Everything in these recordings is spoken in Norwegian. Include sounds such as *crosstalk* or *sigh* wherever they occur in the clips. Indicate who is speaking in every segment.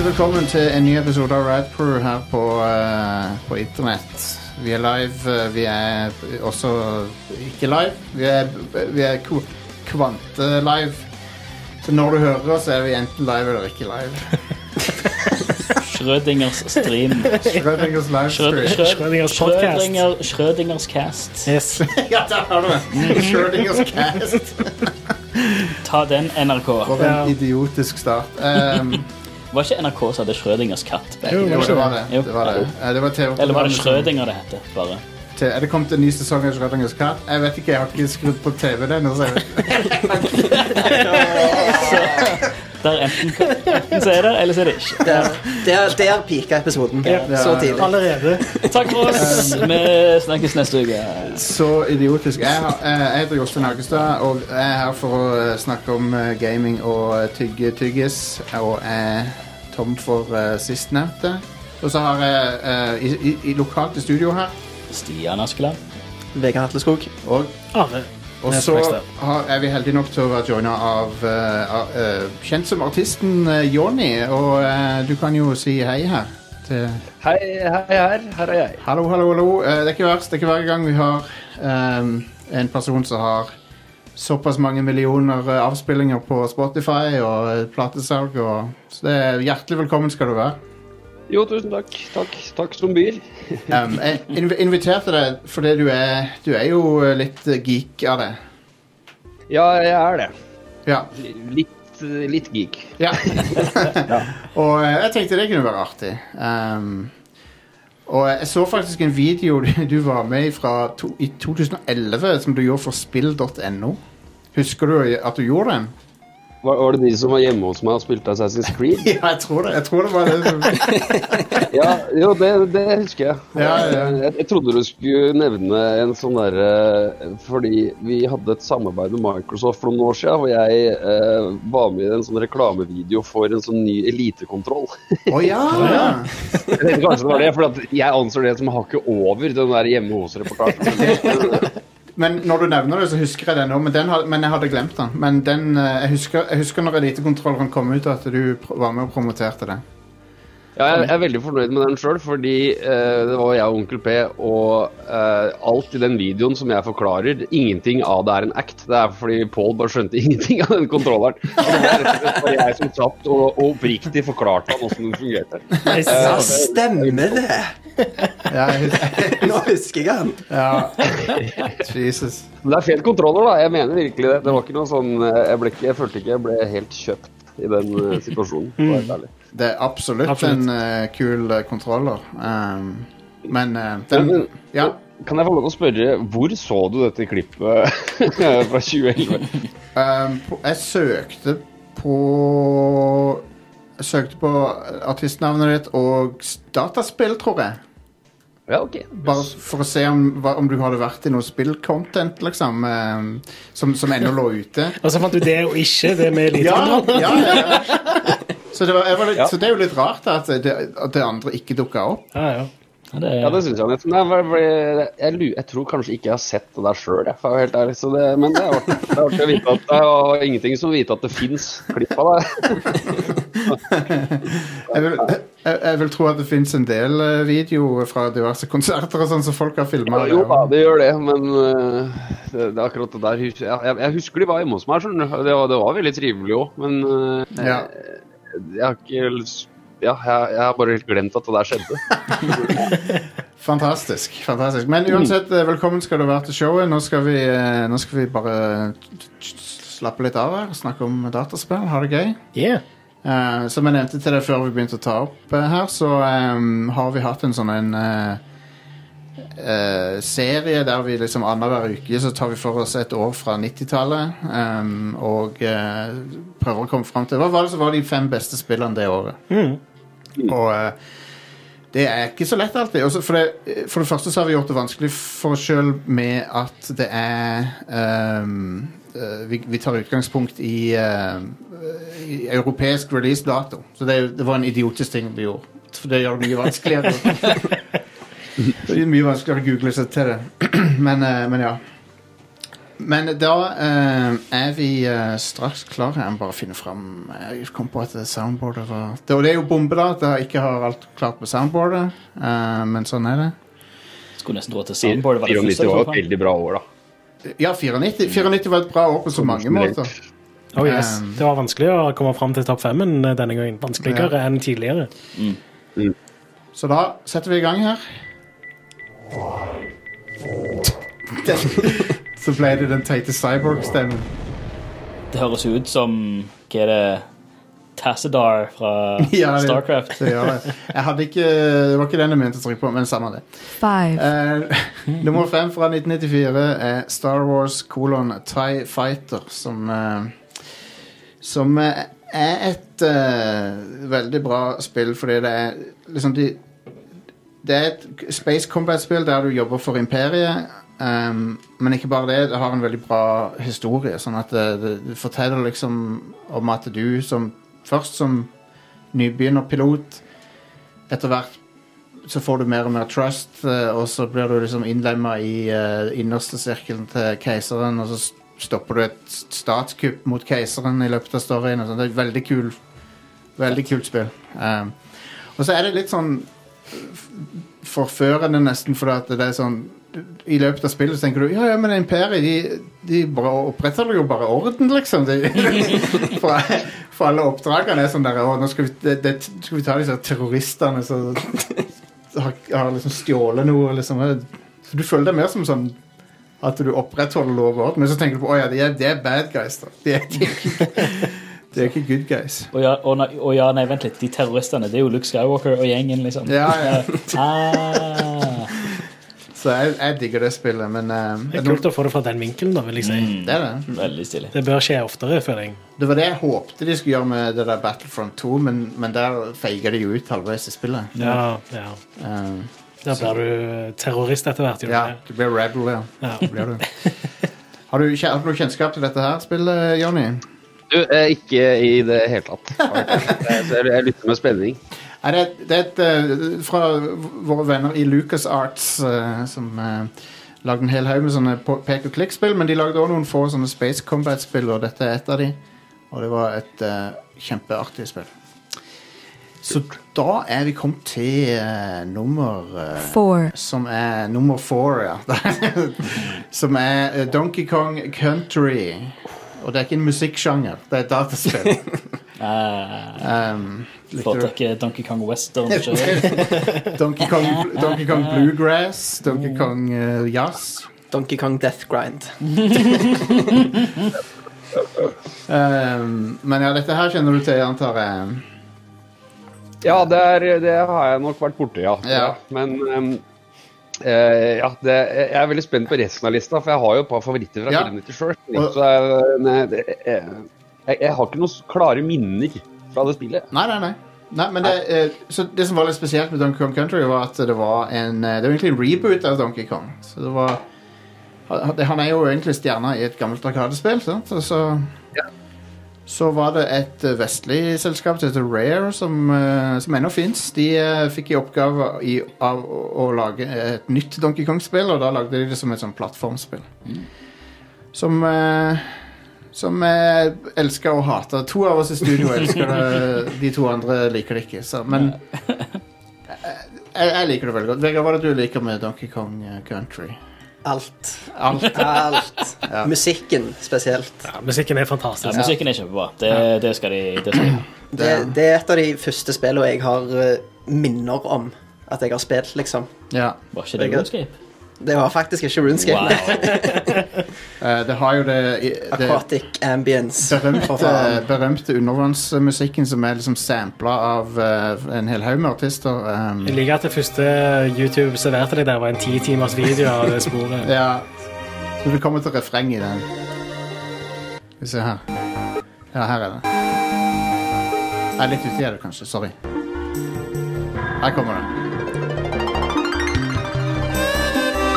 Speaker 1: velkommen til en ny episode av Rad Crew her på, eh, på internett. Vi er live. eh, vi er også ikke live. Vi er, vi er ko- kvante-live. Så når du hører oss, er vi enten live eller ikke live.
Speaker 2: Schrødingers stream.
Speaker 1: Schrødingers
Speaker 2: *laughs* Schrød-
Speaker 1: livestream.
Speaker 2: Schrød-
Speaker 3: Schrødingers podcast.
Speaker 2: Schrødinger, Schrødingers cast.
Speaker 3: Yes.
Speaker 1: Ja, der har du det! Schrødingers Mm, cast.
Speaker 2: Ta den, NRK.
Speaker 1: For
Speaker 3: Ja.
Speaker 1: en idiotisk start. Ehm,
Speaker 2: Var ikke NRK som hadde Schrødingers katt? back
Speaker 3: Jo,
Speaker 2: in
Speaker 1: *laughs*
Speaker 2: the
Speaker 1: jo,
Speaker 2: day?
Speaker 1: det var det.
Speaker 2: Jo.
Speaker 1: det, var det. Eh, det var TV
Speaker 2: Eller var det Schrødinger det het? Bare.
Speaker 1: til, Er det kommet en ny sesong av Schrødingers katt? Jeg vet ikke, jeg har ikke skrudd på TV den. og så jeg vet-
Speaker 2: Der enten, enten så er det, eller så er det ikke.
Speaker 4: Der, der, der pika episoden.
Speaker 3: Ja.
Speaker 4: Så tidlig.
Speaker 3: Allerede.
Speaker 2: Takk for oss. Vi snakkes neste uke.
Speaker 1: Så idiotisk. Jeg, har, eh, jeg heter Jostein Hagestad, og jeg er her for å eh, snakke om eh, gaming og eh, tygge tyggis. Og jeg er tom for eh, sistnevnte. Og så har jeg eh, i, i, i lokalt i studio her
Speaker 2: Stian Askeland.
Speaker 4: Vegard Hatleskog.
Speaker 1: og
Speaker 3: Arne.
Speaker 1: Og
Speaker 4: Neste
Speaker 1: så
Speaker 4: tekst,
Speaker 1: har, er vi heldige nok til å være joina av eh, av, eh, kjent som artisten eh, Jonny. Og eh, du kan jo si hei her. Til
Speaker 5: Hei, hei, her. Her er jeg.
Speaker 1: hallo, hallo, hallo. Eh, det er ikke verst. Det er ikke hver gang vi har ehm, en person som har såpass mange millioner eh, avspillinger på Spotify og eh, platesalg og Så det er hjertelig velkommen skal du
Speaker 5: *laughs*
Speaker 1: være.
Speaker 5: Jo, tusen takk. Takk, takk som byr.
Speaker 1: Ehm, jeg inv inviterte deg fordi du er, du er jo eh, litt eh, geek av det.
Speaker 5: Ja, jeg er det.
Speaker 1: Ja.
Speaker 5: Litt, litt geek.
Speaker 1: *laughs* Ja. og eh, jeg tenkte det kunne være artig. Ehm, og jeg så faktisk en video *laughs* du- du var med i fra to, i 2011, som du gjorde for spill.no. Husker du at du gjorde den?
Speaker 5: Var, var det de som var hjemme hos meg og spilte Assassin's Creed?
Speaker 1: *laughs* Ja, jeg tror det. Jeg tror det var det. som-
Speaker 5: *laughs* Ja, jo, det, det husker jeg.
Speaker 1: Ja, ja.
Speaker 5: Jeg, jeg trodde du skulle nevne en sånn derre Fordi vi hadde et samarbeid med Microsoft for noen år siden, hvor jeg eh, var med i en sånn reklamevideo for en sånn ny *laughs* elitekontroll.
Speaker 1: *laughs* Å ja! ja.
Speaker 5: Jeg tenkte kanskje det var det, for at jeg anser det som hakket over den der hjemme *laughs* hos-reportasjen.
Speaker 1: Men når du nevner det, så husker jeg den nå. Men, den had- men jeg hadde glemt den. Men den, eh, jeg, husker, jeg husker når Elitekontrolleren kom ut, at du pr- var med og promoterte det.
Speaker 5: Ja, jeg jeg er veldig fornøyd med den sjøl, fordi eh, det var jeg og Onkel P, og eh, alt i den videoen som jeg forklarer, ingenting av det er en act. Det er fordi Pål bare skjønte *laughs* ingenting av den kontrolleren. Og det var rett og slett bare jeg som satt og og oppriktig forklarte han åssen den fungerte.
Speaker 3: Nice.
Speaker 4: Ja, stemmer det!
Speaker 1: Ja, jeg hus-
Speaker 4: Nå husker jeg han.
Speaker 1: *laughs* ja. Jesus.
Speaker 5: Men det er fet kontroller, da. Jeg mener virkelig det. Det var ikke noe sånn eh, Jeg, ble ikke, jeg følte ikke jeg ble helt kjøpt i den eh, situasjonen. for å være helt ærlig.
Speaker 1: Det er absolutt,
Speaker 3: Absolutt.
Speaker 1: en eh, kul eh, kontroller. Um, men eh,
Speaker 5: Men-
Speaker 1: den Ja.
Speaker 5: Mm. Kan jeg få lov til å spørre, hvor så du dette klippet *laughs* fra 2011?
Speaker 1: Um, på, jeg søkte på Jeg søkte på eh, artistnavnet ditt og s- dataspill, tror jeg.
Speaker 5: Ja, ok.
Speaker 1: Bare for å se om, hva- om du hadde vært i noe spillcontent, liksom. Um, som, som ennå lå ute.
Speaker 3: Og så fant du det og ikke det med
Speaker 1: Ja,
Speaker 3: elitekontroll.
Speaker 1: *laughs* ja, ja, ja.
Speaker 5: *laughs*
Speaker 1: Så, det var, jeg var litt,
Speaker 5: Ja.
Speaker 1: så det er jo litt rart da, at det, at det andre ikke dukka opp.
Speaker 3: Ja, ja.
Speaker 2: Ja, det
Speaker 5: Ja, det
Speaker 2: er
Speaker 5: syns jeg nesten. Jeg, var- ble- jeg, lu- jeg tror kanskje ikke jeg har sett det der sjøl, jeg. For å være helt ærlig. Så det, men det er artig. Det er artig å vite at jeg har ingenting som å vite at det fins klipp av det.
Speaker 1: Jeg vil, jeg, jeg vil tro at det fins en del eh, video fra diverse konserter og sånn som folk har filma.
Speaker 5: Jo da, det gjør det, men øh, det, det er akkurat det der hus- jeg, jeg husker de var hjemme hos meg, skjønner du. Det, var- det var veldig trivelig òg, men øh,
Speaker 1: Ja.
Speaker 5: jeg har ikke lyst- ja, jeg, jeg har bare helt glemt at det der skjedde.
Speaker 1: Fantastisk. fantastisk. Men uansett, eh, velkommen skal du være til showet. Nå skal vi, eh, nå skal vi bare slappe litt av her, snakke om dataspill, ha det gøy.
Speaker 3: Yeah.
Speaker 1: Eh, som jeg nevnte til deg før vi begynte å ta opp eh, her, så eh, har vi hatt en sånn en eh, eh, serie der vi liksom annenhver uke så tar vi for oss et år fra 90-tallet eh, og eh, prøver å komme fram til Hva var det som var de fem beste spillene det året? Og eh, det er ikke så lett alltid. Også for, det, for det første så har vi gjort det vanskelig for oss sjøl med at det er ehm, eh, vi, vi tar utgangspunkt i, ehm, i europeisk releasedato. Så det, er jo- det var en idiotisk ting vi gjorde. For det gjør det mye vanskeligere. *clears throat* det er mye vanskeligere å google seg til det. men, eh, men ja. Men da eh, er vi eh, straks klar her. Jeg må bare finne fram eh, Jeg kom på at soundboardet var det, Og det er jo bombe, da, at jeg ikke har alt klart med soundboardet. eh, men sånn er det.
Speaker 2: Skulle nesten tro at soundboardet var det
Speaker 5: 94
Speaker 2: første.
Speaker 5: var et
Speaker 2: i så fall.
Speaker 5: veldig bra år, da.
Speaker 1: Ja, 94. 94 var et bra år på så mange
Speaker 5: Generelt.
Speaker 1: måter.
Speaker 3: Oh, yes.
Speaker 1: Um,
Speaker 3: Det var vanskelig å komme fram til topp femmen eh, denne gangen. Vanskeligere enn tidligere.
Speaker 1: Så da setter vi i gang her. Så ble det den teite cyborg-stemmen.
Speaker 2: Det høres ut som Hva er det Tassadar fra
Speaker 5: *laughs*
Speaker 1: Ja, det-
Speaker 2: Starcraft.
Speaker 1: Så gjør det. Jeg hadde ikke, det var ikke den jeg mente å trykke på, men samme det.
Speaker 6: Five,
Speaker 1: Eh, *laughs* nummer fem fra 1994 er Star Wars kolon TIE Fighter, som eh, Som eh, er et eh, veldig bra spill, fordi det er liksom de Det er et space combat-spill der du jobber for imperiet. ehm, men ikke bare det, det har en veldig bra historie. Sånn at det, det, det forteller liksom om at du som først som nybegynnerpilot Etter hvert så får du mer og mer trust, eh, og så blir du liksom innlemma i eh, innerste sirkelen til keiseren, og så s- stopper du et s- statskupp mot keiseren i løpet av storyen. Og sånt. det er et veldig kul, veldig kult spill. Um, og så er det litt sånn f- forførende, nesten, fordi at det er sånn I løpet av spillet så tenker du ja, ja, men imperiet de, de bare opprettholder jo bare orden, liksom. De, *laughs* for, for alle oppdragene er sånn der Å, nå skal vi, det, det, skal vi ta disse terroristene som har, har liksom stjålet noe, liksom. Så du føler deg mer som sånn at du opprettholder lov og orden, men så tenker du på at de, er- de er bad guys, da. De er, de er, ikke, de er ikke good guys.
Speaker 2: Og ja, og, nei, og ja, nei, vent litt. De terroristene, det er jo Luke Skywalker og gjengen, liksom.
Speaker 1: Ja, ja.
Speaker 2: Ah,
Speaker 1: Så jeg, jeg digger det spillet, men eh,
Speaker 3: Det er kult å få det fra den vinkelen, da, vil jeg si.
Speaker 1: det er det.
Speaker 2: veldig stilig.
Speaker 3: Det bør skje oftere, føler jeg.
Speaker 1: Det var det jeg håpte de skulle gjøre med det der Battlefront 2, men, men der feiga de jo ut halvveis i spillet.
Speaker 3: Ja, ja.
Speaker 1: Eh,
Speaker 3: Da blir du eh, terrorist etter hvert. gjør du
Speaker 1: ja,
Speaker 3: det?
Speaker 1: du blir rebel, ja.
Speaker 3: Ja.
Speaker 1: Det Blir du. Har, du, kje- har du noe kjennskap til dette her spillet, Jonny?
Speaker 5: Du, eh, ikke i det hele tatt. Eh, så Jeg, jeg lytter med spenning.
Speaker 1: Nei, det, er- det er et, eh, fra våre venner i Lucas Arts som eh, lagde en hel haug med sånne po- pek og klikk-spill, men de lagde også noen få sånne Space Combat-spill, og dette er et av de. Og det var et eh, kjempeartig spill. Så da er vi kommet til eh, nummer eh,
Speaker 6: four,
Speaker 1: Som er nummer four, ja. *laughs* som er eh, Donkey Kong Country. Og det er ikke en musikksjanger, det er et dataspill.
Speaker 2: Ah,
Speaker 1: Um, likte du-
Speaker 2: Foretrekker Donkey Kong Western. Ikke?
Speaker 1: Donkey Kong, Donkey Kong Bluegrass, Donkey Kong eh, Jazz.
Speaker 4: Donkey Kong Death Grind.
Speaker 1: Ehm, men ja, dette her kjenner du til, antar jeg.
Speaker 5: Ja, det, er, det har jeg nok vært borte, ja.
Speaker 1: Ja.
Speaker 5: Men ehm, eh, ja, det, jeg er veldig spent på resten av lista, for jeg har jo et par favoritter fra
Speaker 1: Ja.
Speaker 5: 94 sjøl. Så jeg, nei, det, eh, jeg, jeg har ikke noen s- klare minner fra det spillet.
Speaker 1: Nei, nei, nei. nei men det, eh, så det som var litt spesielt med Donkey Kong Country, var at det var en eh, Det var egentlig en reboot av Donkey Kong. Så det var han- Han er jo egentlig stjerna i et gammelt arkadespill, sant? Og så så var det et eh, vestlig selskap som heter Rare, som, eh, som ennå fins. De eh, fikk i oppgave i, av å, å lage et nytt Donkey Kong-spill, og da lagde de det som et sånn plattformspill. Som eh, som jeg elsker og hater. To av oss i studio elsker det, de to andre liker det ikke. Så, men jeg, jeg liker det veldig godt. Vegard, hva er det du liker med Donkey Kong eh, Country?
Speaker 4: Alt.
Speaker 1: Alt.
Speaker 4: Alt. Musikken spesielt.
Speaker 3: Ja, musikken er fantastisk.
Speaker 2: Ja, musikken er kjempebra. Det, det skal de det skal de.
Speaker 4: Det, det er et av de første spillene jeg har eh, minner om at jeg har spilt, liksom.
Speaker 1: Ja.
Speaker 2: Var ikke det
Speaker 4: Vegard?
Speaker 2: Runescape?
Speaker 4: Det var faktisk ikke RuneScape.
Speaker 2: Wow.
Speaker 4: det
Speaker 1: Eh, det har jo det, i- det
Speaker 4: Aquatic Ambience. for
Speaker 1: berømte,
Speaker 4: faen.
Speaker 1: berømte undervannsmusikken som er liksom sampla av eh, en hel haug med artister. ehm.
Speaker 3: Jeg liker at det første YouTube serverte deg der, var en ti timers video av det sporet.
Speaker 1: Ja. Så du kommer til refreng i den. Skal vi se her. Ja, her er det. Jeg er litt uti av det, kanskje. Sorry. Her kommer det.
Speaker 4: Eh,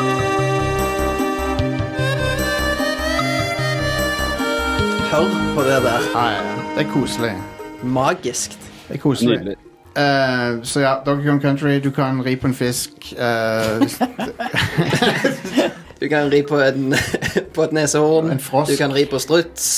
Speaker 4: Hør på det der.
Speaker 1: Ja, ja, ja. Det er koselig.
Speaker 4: Magiskt.
Speaker 1: Det er koselig.
Speaker 5: Nydelig.
Speaker 1: Eh, så ja, Donkey Kong Country, du kan ri på en fisk. eh,
Speaker 4: Du Du kan ri på, en, *laughs* på et nesehorn.
Speaker 1: En frosk.
Speaker 4: Du kan ri på struts.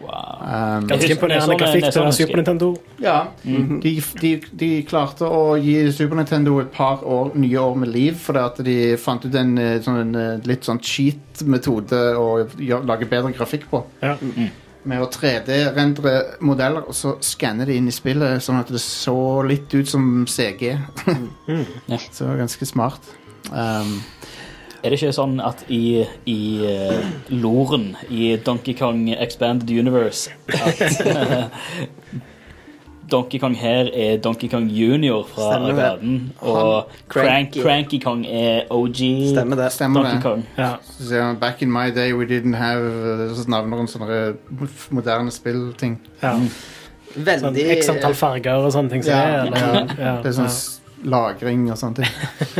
Speaker 2: Wow.
Speaker 1: Um,
Speaker 2: Jeg
Speaker 3: Ganske
Speaker 2: husker- jeg så
Speaker 3: imponerende
Speaker 2: det- sånn
Speaker 3: grafikk
Speaker 2: jeg så
Speaker 3: til
Speaker 2: det,
Speaker 3: Super
Speaker 2: husker jeg.
Speaker 3: Nintendo.
Speaker 1: Ja. Mhm. de, de, de klarte å gi Super Nintendo et par år, nye år med liv, fordi at de fant ut en, eh, sånn, en eh, litt sånn cheat-metode å gjøre- lage bedre grafikk på.
Speaker 3: Ja.
Speaker 1: Med å 3D-rendre modeller, og så skanne det inn i spillet, sånn at det så litt ut som CG. *laughs*
Speaker 2: Ja.
Speaker 1: Så det var ganske smart. Um,
Speaker 2: Er det ikke sånn at i, i eh, loren i Donkey Kong Expanded Universe at *laughs* eh, Donkey Kong her er Donkey Kong junior fra
Speaker 4: Stemmer det.
Speaker 2: verden, og Crank,
Speaker 4: Cranky.
Speaker 2: Cranky Kong er OG
Speaker 4: Stemmer det.
Speaker 1: stemmer
Speaker 2: Donkey
Speaker 1: det.
Speaker 2: Kong.
Speaker 3: Ja.
Speaker 1: Så sier han, Back in my day we didn't have eh, Så navner hun sånne moderne spillting.
Speaker 3: Ja. Sånn
Speaker 4: Veldig,
Speaker 3: X antall farger og sånne ting. som
Speaker 1: Ja.
Speaker 3: er, eller, ja.
Speaker 1: Det er sånn s- lagring og sånne ting.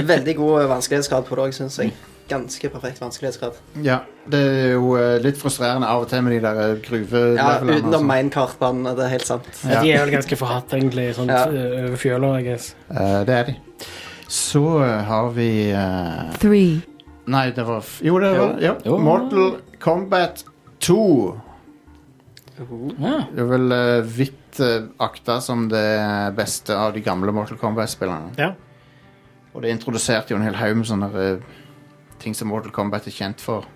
Speaker 1: *laughs*
Speaker 4: veldig god vanskelighetsgrad på det òg, syns jeg. Ganske perfekt vanskelighetsgrad.
Speaker 1: Ja, det er jo eh, litt frustrerende av og til med de der uh,
Speaker 4: Ja,
Speaker 1: gruvelevelene. og
Speaker 4: Utenom
Speaker 1: sånn.
Speaker 4: mainkartbanen, det er helt sant.
Speaker 3: Ja. De er vel ganske forhatt, egentlig, sånn
Speaker 4: Ja.
Speaker 3: eh, over fjøla, I guess.
Speaker 1: Eh, det er de. Så eh, har vi eh,
Speaker 6: three,
Speaker 1: Nei, det var f- Jo, det var ja.
Speaker 2: Jo.
Speaker 1: Mortal Kombat 2.
Speaker 2: Ja.
Speaker 1: Det er vel eh, vidt eh, akta som det beste av de gamle Mortal Kombat-spillerne.
Speaker 3: Ja.
Speaker 1: Og det introduserte jo en hel haug med sånne eh, ting som Mortal Kombat er kjent for.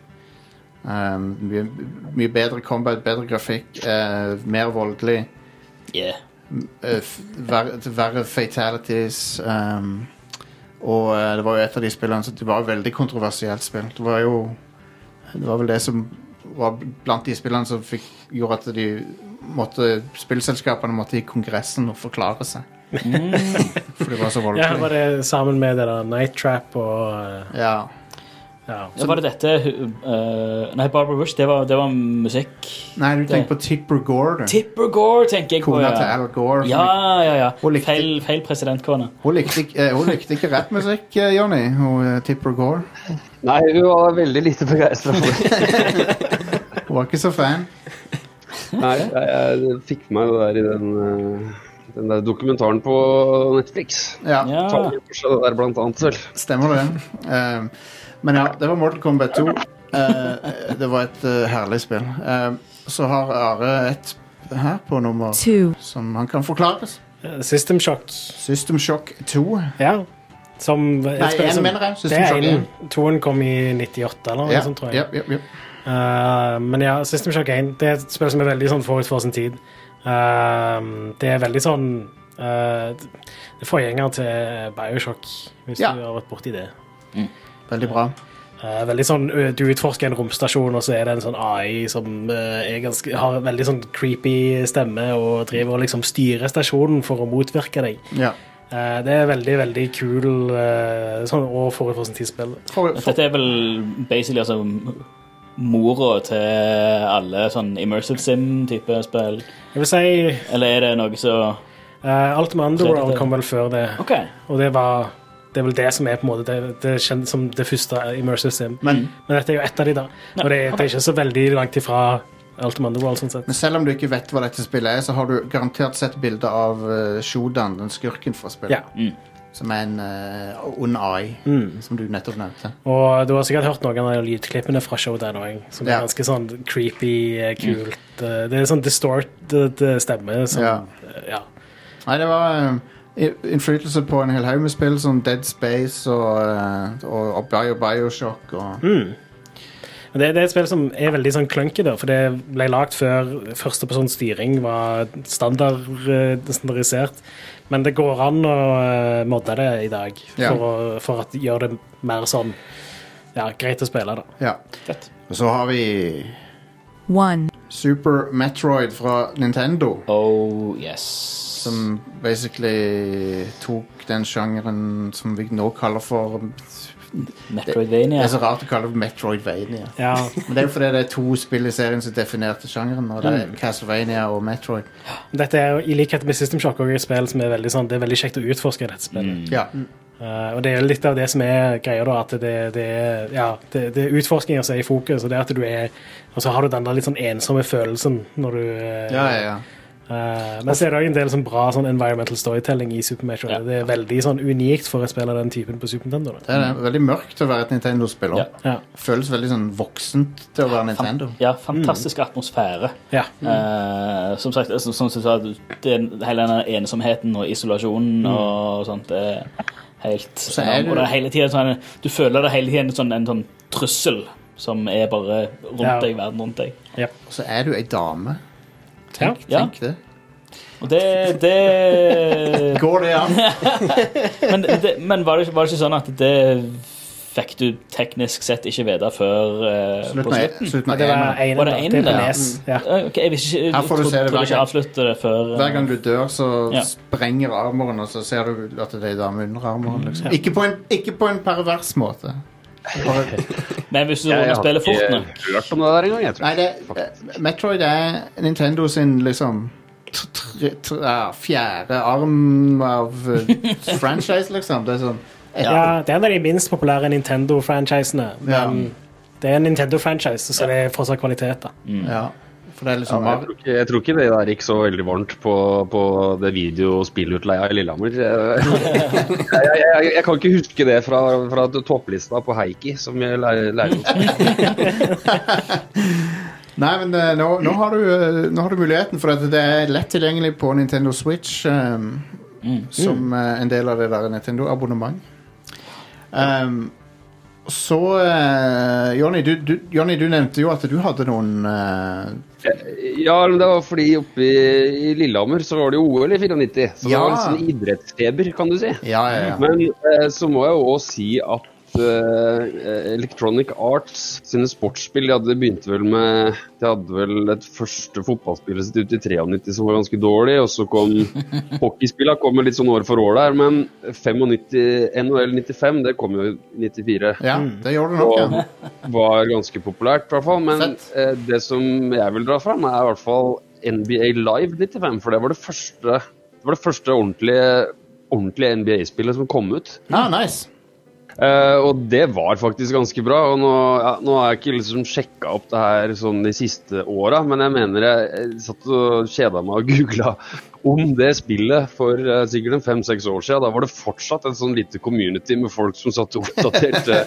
Speaker 1: Um, mye, mye bedre combat, bedre grafikk, eh, mer voldelig.
Speaker 2: Yeah.
Speaker 1: eh, f- verre, verre fatalities ehm, Og eh, det var jo et av de spillene som Det var et veldig kontroversielt spill Det var jo Det var vel det som var blant de spillene som fikk, gjorde at de måtte, spillselskapene måtte i kongressen og forklare seg.
Speaker 2: Mm.
Speaker 1: For det var så
Speaker 3: ja, her
Speaker 1: voldelig.
Speaker 3: var det sammen med det der Night Trap og eh,
Speaker 1: Ja.
Speaker 3: ja.
Speaker 2: Så var det dette eh, Nei, Barbara Bush, det var, det var musikk.
Speaker 1: Nei, du tenker på Tipper Gore, du.
Speaker 2: Tipper Gore, tenker jeg på.
Speaker 1: Kona til
Speaker 2: Ja,
Speaker 1: Al Gore. som
Speaker 2: ja, ja.
Speaker 1: Hun
Speaker 2: ja.
Speaker 1: likte-
Speaker 2: Feil, feil presidentkone.
Speaker 1: Hun likte, ikke- eh, hun likte ikke rappmusikk, eh, Johnny. Hun, eh, Tipper Gore.
Speaker 5: Nei, hun var veldig lite begeistra for
Speaker 1: *laughs*
Speaker 5: det.
Speaker 1: Hun var ikke så fan.
Speaker 5: Nei, jeg, jeg fikk meg det der i den, eh, den der dokumentaren på Netflix.
Speaker 1: Ja.
Speaker 2: Ja.
Speaker 5: Ta litt for seg det der blant annet selv.
Speaker 1: Stemmer det. Ehm, men ja, det var Mortal Kombat 2. Eh, det var et eh, herlig spill. Ehm, så har Are et her på nummer
Speaker 6: two,
Speaker 1: som han kan forklares.
Speaker 3: System Shock.
Speaker 1: System Shock 2.
Speaker 3: Ja. Som
Speaker 1: Nei,
Speaker 3: et spill
Speaker 1: én,
Speaker 3: som-
Speaker 1: mener jeg.
Speaker 3: Det
Speaker 1: System
Speaker 3: er
Speaker 1: Shock 1.
Speaker 3: én. Toen kom i 98 eller noe
Speaker 1: Ja,
Speaker 3: sånt, tror jeg.
Speaker 1: ja, ja, ja.
Speaker 3: Eh, men ja, System Shock 1 det er et spill som er veldig sånn forut for sin tid. Eh, det er veldig sånn eh, Det er forgjenger til Bioshock, hvis
Speaker 1: Ja.
Speaker 3: du har vært borti det.
Speaker 1: Veldig bra.
Speaker 3: Eh, veldig sånn, ø, Du utforsker en romstasjon, og så er det en sånn AI som eh, er ganske, har en veldig sånn creepy stemme og driver og liksom styrer stasjonen for å motvirke deg.
Speaker 1: Ja.
Speaker 3: Eh, det er veldig, veldig kul eh, sånn, og forut for sin tidsspill.
Speaker 1: For, for,
Speaker 2: Dette er vel basically altså mora til alle sånn immersive sim-type spill.
Speaker 3: Jeg vil si eh,
Speaker 2: Eller er det noe så
Speaker 3: alt med Underworld kom vel før det.
Speaker 2: OK.
Speaker 3: Og det var det er vel det som er på en måte det, det kjent som det første immersive sim.
Speaker 1: men,
Speaker 3: Men dette er jo ett av de, da. Og det, det er ikke så veldig langt ifra Ultimate Underworld, sånn sett.
Speaker 1: men selv om du ikke vet hva dette spillet er, så har du garantert sett bilder av eh, Shodan, den skurken fra spillet,
Speaker 3: Ja. Mm.
Speaker 1: som er en eh, ond AI, som du nettopp nevnte.
Speaker 3: Og du har sikkert hørt noen av de lydklippene fra Showdown òg,
Speaker 1: Ja.
Speaker 3: som
Speaker 1: Mm.
Speaker 3: er ganske sånn creepy, eh, kult. eh, Det er sånn distorted eh, stemme som
Speaker 1: Ja.
Speaker 3: eh, ja.
Speaker 1: Nei, det var um, i- innflytelse på en hel haug med spill, som Dead Space og, uh, og, og Bio Bioshock og
Speaker 2: Mm.
Speaker 3: Men Det, det er et spill som er veldig sånn clunky, da, for det ble lagd før førstepersons styring var standard, eh, standardisert. Men det går an å eh, modde det i dag for,
Speaker 1: Ja.
Speaker 3: å, for at gjør det mer sånn ja, greit å spille, da.
Speaker 1: Ja.
Speaker 2: Fett.
Speaker 1: Og så har vi
Speaker 6: one,
Speaker 1: Super Metroid fra Nintendo,
Speaker 2: Oh yes.
Speaker 1: som basically tok den sjangeren som vi nå kaller for Det
Speaker 2: Metroidvania.
Speaker 1: er så rart å kalle det Metroidvania.
Speaker 3: Ja,
Speaker 1: Men det er jo fordi det er to spill i serien som definerte sjangeren, og det
Speaker 2: Mm.
Speaker 1: er Castlevania og Metroid.
Speaker 3: dette er jo i likhet med System Shock også et spill som er veldig sånn, det er veldig kjekt å utforske. i dette spillet.
Speaker 1: Ja.
Speaker 2: Mm.
Speaker 3: Eh, og det er jo litt av det som er greia, da, at det, det, er- ja, det, det er utforskninger som er i fokus, og det er at du er Og så har du den der litt sånn ensomme følelsen når du eh,
Speaker 1: Ja, ja, ja.
Speaker 3: Eh, Eh, men så er det òg en del sånn bra sånn environmental storytelling i Super Metroid.
Speaker 2: Ja.
Speaker 3: Det er veldig sånn unikt for et spill av den typen på Super Nintendo. Da.
Speaker 1: Det er
Speaker 2: Mm.
Speaker 1: det. veldig mørkt å være et Nintendo-spill. også.
Speaker 3: Ja.
Speaker 1: Føles veldig sånn voksent til å være Nintendo.
Speaker 2: Ja, fantastisk atmosfære.
Speaker 3: Ja.
Speaker 1: Mm.
Speaker 2: Eh, som sagt, som, som du sa, den, hele den ensomheten og isolasjonen og sånt det er helt
Speaker 1: Mm. er
Speaker 2: enorm.
Speaker 1: du-
Speaker 2: Og det er hele tiden sånn Du føler det hele tiden sånn, en sånn trussel som er bare rundt
Speaker 3: Ja.
Speaker 2: deg, verden rundt deg.
Speaker 1: Og så er du ei dame.
Speaker 3: Ja.
Speaker 1: Tenk,
Speaker 2: Ja.
Speaker 1: tenk det.
Speaker 2: Og det, det *laughs*
Speaker 1: Går det an? *laughs*
Speaker 2: men, det, men var, det, ikke- var det ikke sånn at det fikk du teknisk sett ikke vite før eh, på
Speaker 1: Slutten av-
Speaker 2: slutten?
Speaker 1: Slutten
Speaker 3: Og
Speaker 1: av
Speaker 3: det var
Speaker 1: enen.
Speaker 3: enen,
Speaker 2: Var det
Speaker 3: da.
Speaker 2: enen,
Speaker 3: Det Mm. er på
Speaker 2: ja?
Speaker 3: Nes. Ja.
Speaker 2: Eh, Ok, jeg visste ikke
Speaker 1: Her får du se det
Speaker 2: Jeg
Speaker 1: hver
Speaker 2: trodde
Speaker 1: gang.
Speaker 2: ikke jeg avsluttet det før eh,
Speaker 1: Hver gang du dør, så
Speaker 2: Ja.
Speaker 1: sprenger armoren, og så ser du at det er ei dame under armoren. Liksom. Ikke, på en, ikke på en pervers måte. Bare,
Speaker 2: eh, Men hvis du
Speaker 5: Jeg
Speaker 2: runder
Speaker 5: har
Speaker 2: spillet fort
Speaker 5: ikke
Speaker 2: nok
Speaker 5: hørt om det der engang, jeg tror.
Speaker 1: nei, det, eh, Metroid er Nintendo sin liksom tr- tr- tr- ja, fjerde arm av eh, franchise, liksom. Det er sånn
Speaker 3: Ja. det er en av de minst populære Nintendo-franchisene. Men det er en Nintendo-franchise, så det er fortsatt kvalitet. da.
Speaker 1: ja. For det er
Speaker 5: Ja,
Speaker 1: liksom
Speaker 5: jeg, tror ikke, jeg tror ikke det der gikk så veldig varmt på, på det videospillutleia i Lillehammer. *laughs* Jeg, jeg, jeg, jeg kan ikke huske det fra, fra topplista på Heikki, som jeg lærer, lærer oss.
Speaker 1: Nei, men eh, nå, nå, har du, eh, nå har du muligheten, for at det er lett tilgjengelig på Nintendo Switch ehm, som eh, en del av det der Nintendo-abonnement. Ehm, så eh, Jonny, du, du, Jonny, du nevnte jo at du hadde noen eh,
Speaker 5: Ja, men det var fordi oppe i, i Lillehammer så var det jo OL i 94, så det
Speaker 1: Ja.
Speaker 5: var litt sånn idrettsfeber, kan du si.
Speaker 1: Ja, ja, ja.
Speaker 5: Men eh, så må jeg jo også si at eh, Electronic Arts sine sportsspill De hadde begynt vel med De hadde vel et første fotballspillet sitt ut i 93 som var ganske dårlig, og så
Speaker 1: *laughs*
Speaker 5: kom hockeyspillene kom jo litt sånn år for år der, men 95, NHL 95 det kom jo i 94
Speaker 1: ja det gjør du nok.
Speaker 5: og
Speaker 1: Ja.
Speaker 5: var ganske populært, i hvert fall. Men
Speaker 1: Fett.
Speaker 5: eh, det som jeg vil dra fram, er i hvert fall NBA Live 95. For det var det første, det var det første ordentlige, ordentlige NBA-spillet som kom ut.
Speaker 1: Ah, nice.
Speaker 5: Eh, og det var faktisk ganske bra. Og nå, ja, nå har jeg ikke liksom sjekka opp det her sånn de siste åra, men jeg mener jeg, jeg satt og kjeda meg og googla om det spillet for eh, sikkert en fem-seks år siden. Da var det fortsatt et sånn lite community med folk som satt
Speaker 1: *laughs*
Speaker 5: og oppdaterte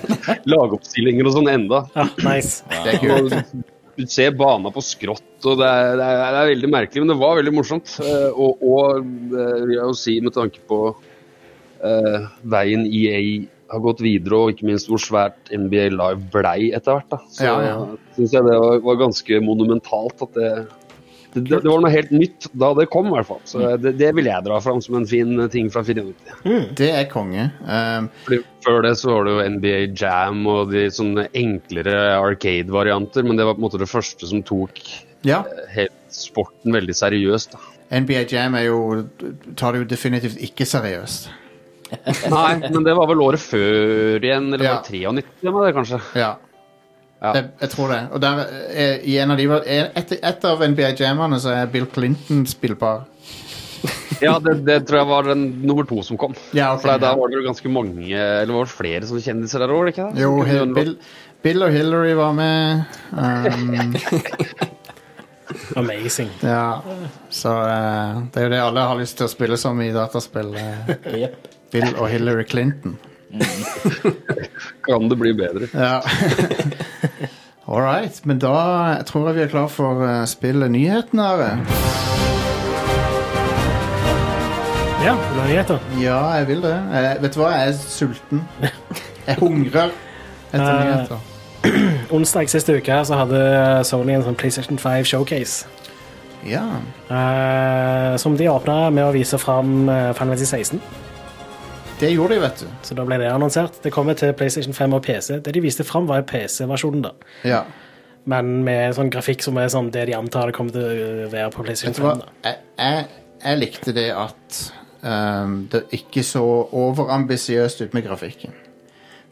Speaker 5: lagoppstillinger og sånn enda.
Speaker 3: Ja, Ah, *laughs* nice.
Speaker 1: Det er kult.
Speaker 5: Du ser bana på skrått, og det er, det, er, det er veldig merkelig, men det var veldig morsomt. Eh, og og eh, vil jeg jo si med tanke på eh, veien EA har gått videre, og ikke minst hvor svært NBA Live blei etter hvert, da. så
Speaker 1: Ja, ja.
Speaker 5: syns jeg det var, var ganske monumentalt at det det, det, det var noe helt nytt da det kom, i hvert fall.
Speaker 1: Mm.
Speaker 5: Så det, det vil jeg dra fram som en fin ting fra 94.
Speaker 1: Det er konge. Ehm,
Speaker 5: Fordi Før det så var det jo NBA Jam og de sånne enklere arcade-varianter, men det var på en måte det første som tok
Speaker 1: ja.
Speaker 5: helt sporten veldig seriøst. Da.
Speaker 1: NBA Jam er jo tar det jo definitivt ikke seriøst.
Speaker 5: Nei, men det var vel året før igjen, eller
Speaker 1: Ja.
Speaker 5: var det 93 var det kanskje?
Speaker 1: Ja.
Speaker 5: Ja.
Speaker 1: Det, jeg tror det. Og der, eh, i en av de, et, et av NBA Jammerne så er Bill Clinton spillbar.
Speaker 5: Ja, det, det tror jeg var den nummer to som kom.
Speaker 1: Ja, ok,
Speaker 5: For da- da
Speaker 1: ja.
Speaker 5: var det vel ganske mange, eller det var vel flere sånne kjendiser der òg, ikke det?
Speaker 1: Jo,
Speaker 5: Som kunne
Speaker 1: Hil-
Speaker 5: gjøre noe.
Speaker 1: Bill, Bill og Hillary var med. Um,
Speaker 3: Amazing.
Speaker 1: ja. Så eh, det er jo det alle har lyst til å spille som i dataspill. eh,
Speaker 2: Jep.
Speaker 1: Bill og Hillary Clinton.
Speaker 5: Kan det bli bedre?
Speaker 1: Ja. *laughs* All right. Men da tror jeg vi er klar for eh, spillet Nyhetene, Are.
Speaker 3: Ja, vil du ha nyheter?
Speaker 1: Ja, jeg vil det. Eh, vet du hva, jeg er sulten. Jeg hungrer etter
Speaker 3: Eh.
Speaker 1: nyheter.
Speaker 3: Onsdag siste uke her så hadde Sony en sånn PlayStation 5 showcase.
Speaker 1: Ja.
Speaker 3: eh, som de åpna med å vise fram uh, Final Fantasy 16.
Speaker 1: Det gjorde de, vet du.
Speaker 3: Så da ble det annonsert. Det kommer til PlayStation 5 og PC. Det de viste fram, var PC-versjonen, da.
Speaker 1: Ja.
Speaker 3: Men med sånn grafikk som er sånn det de antar det kommer til å være på PlayStation
Speaker 1: Vet du hva,
Speaker 3: 5. da.
Speaker 1: jeg, jeg, jeg likte det at ehm, det ikke så overambisiøst ut med grafikken.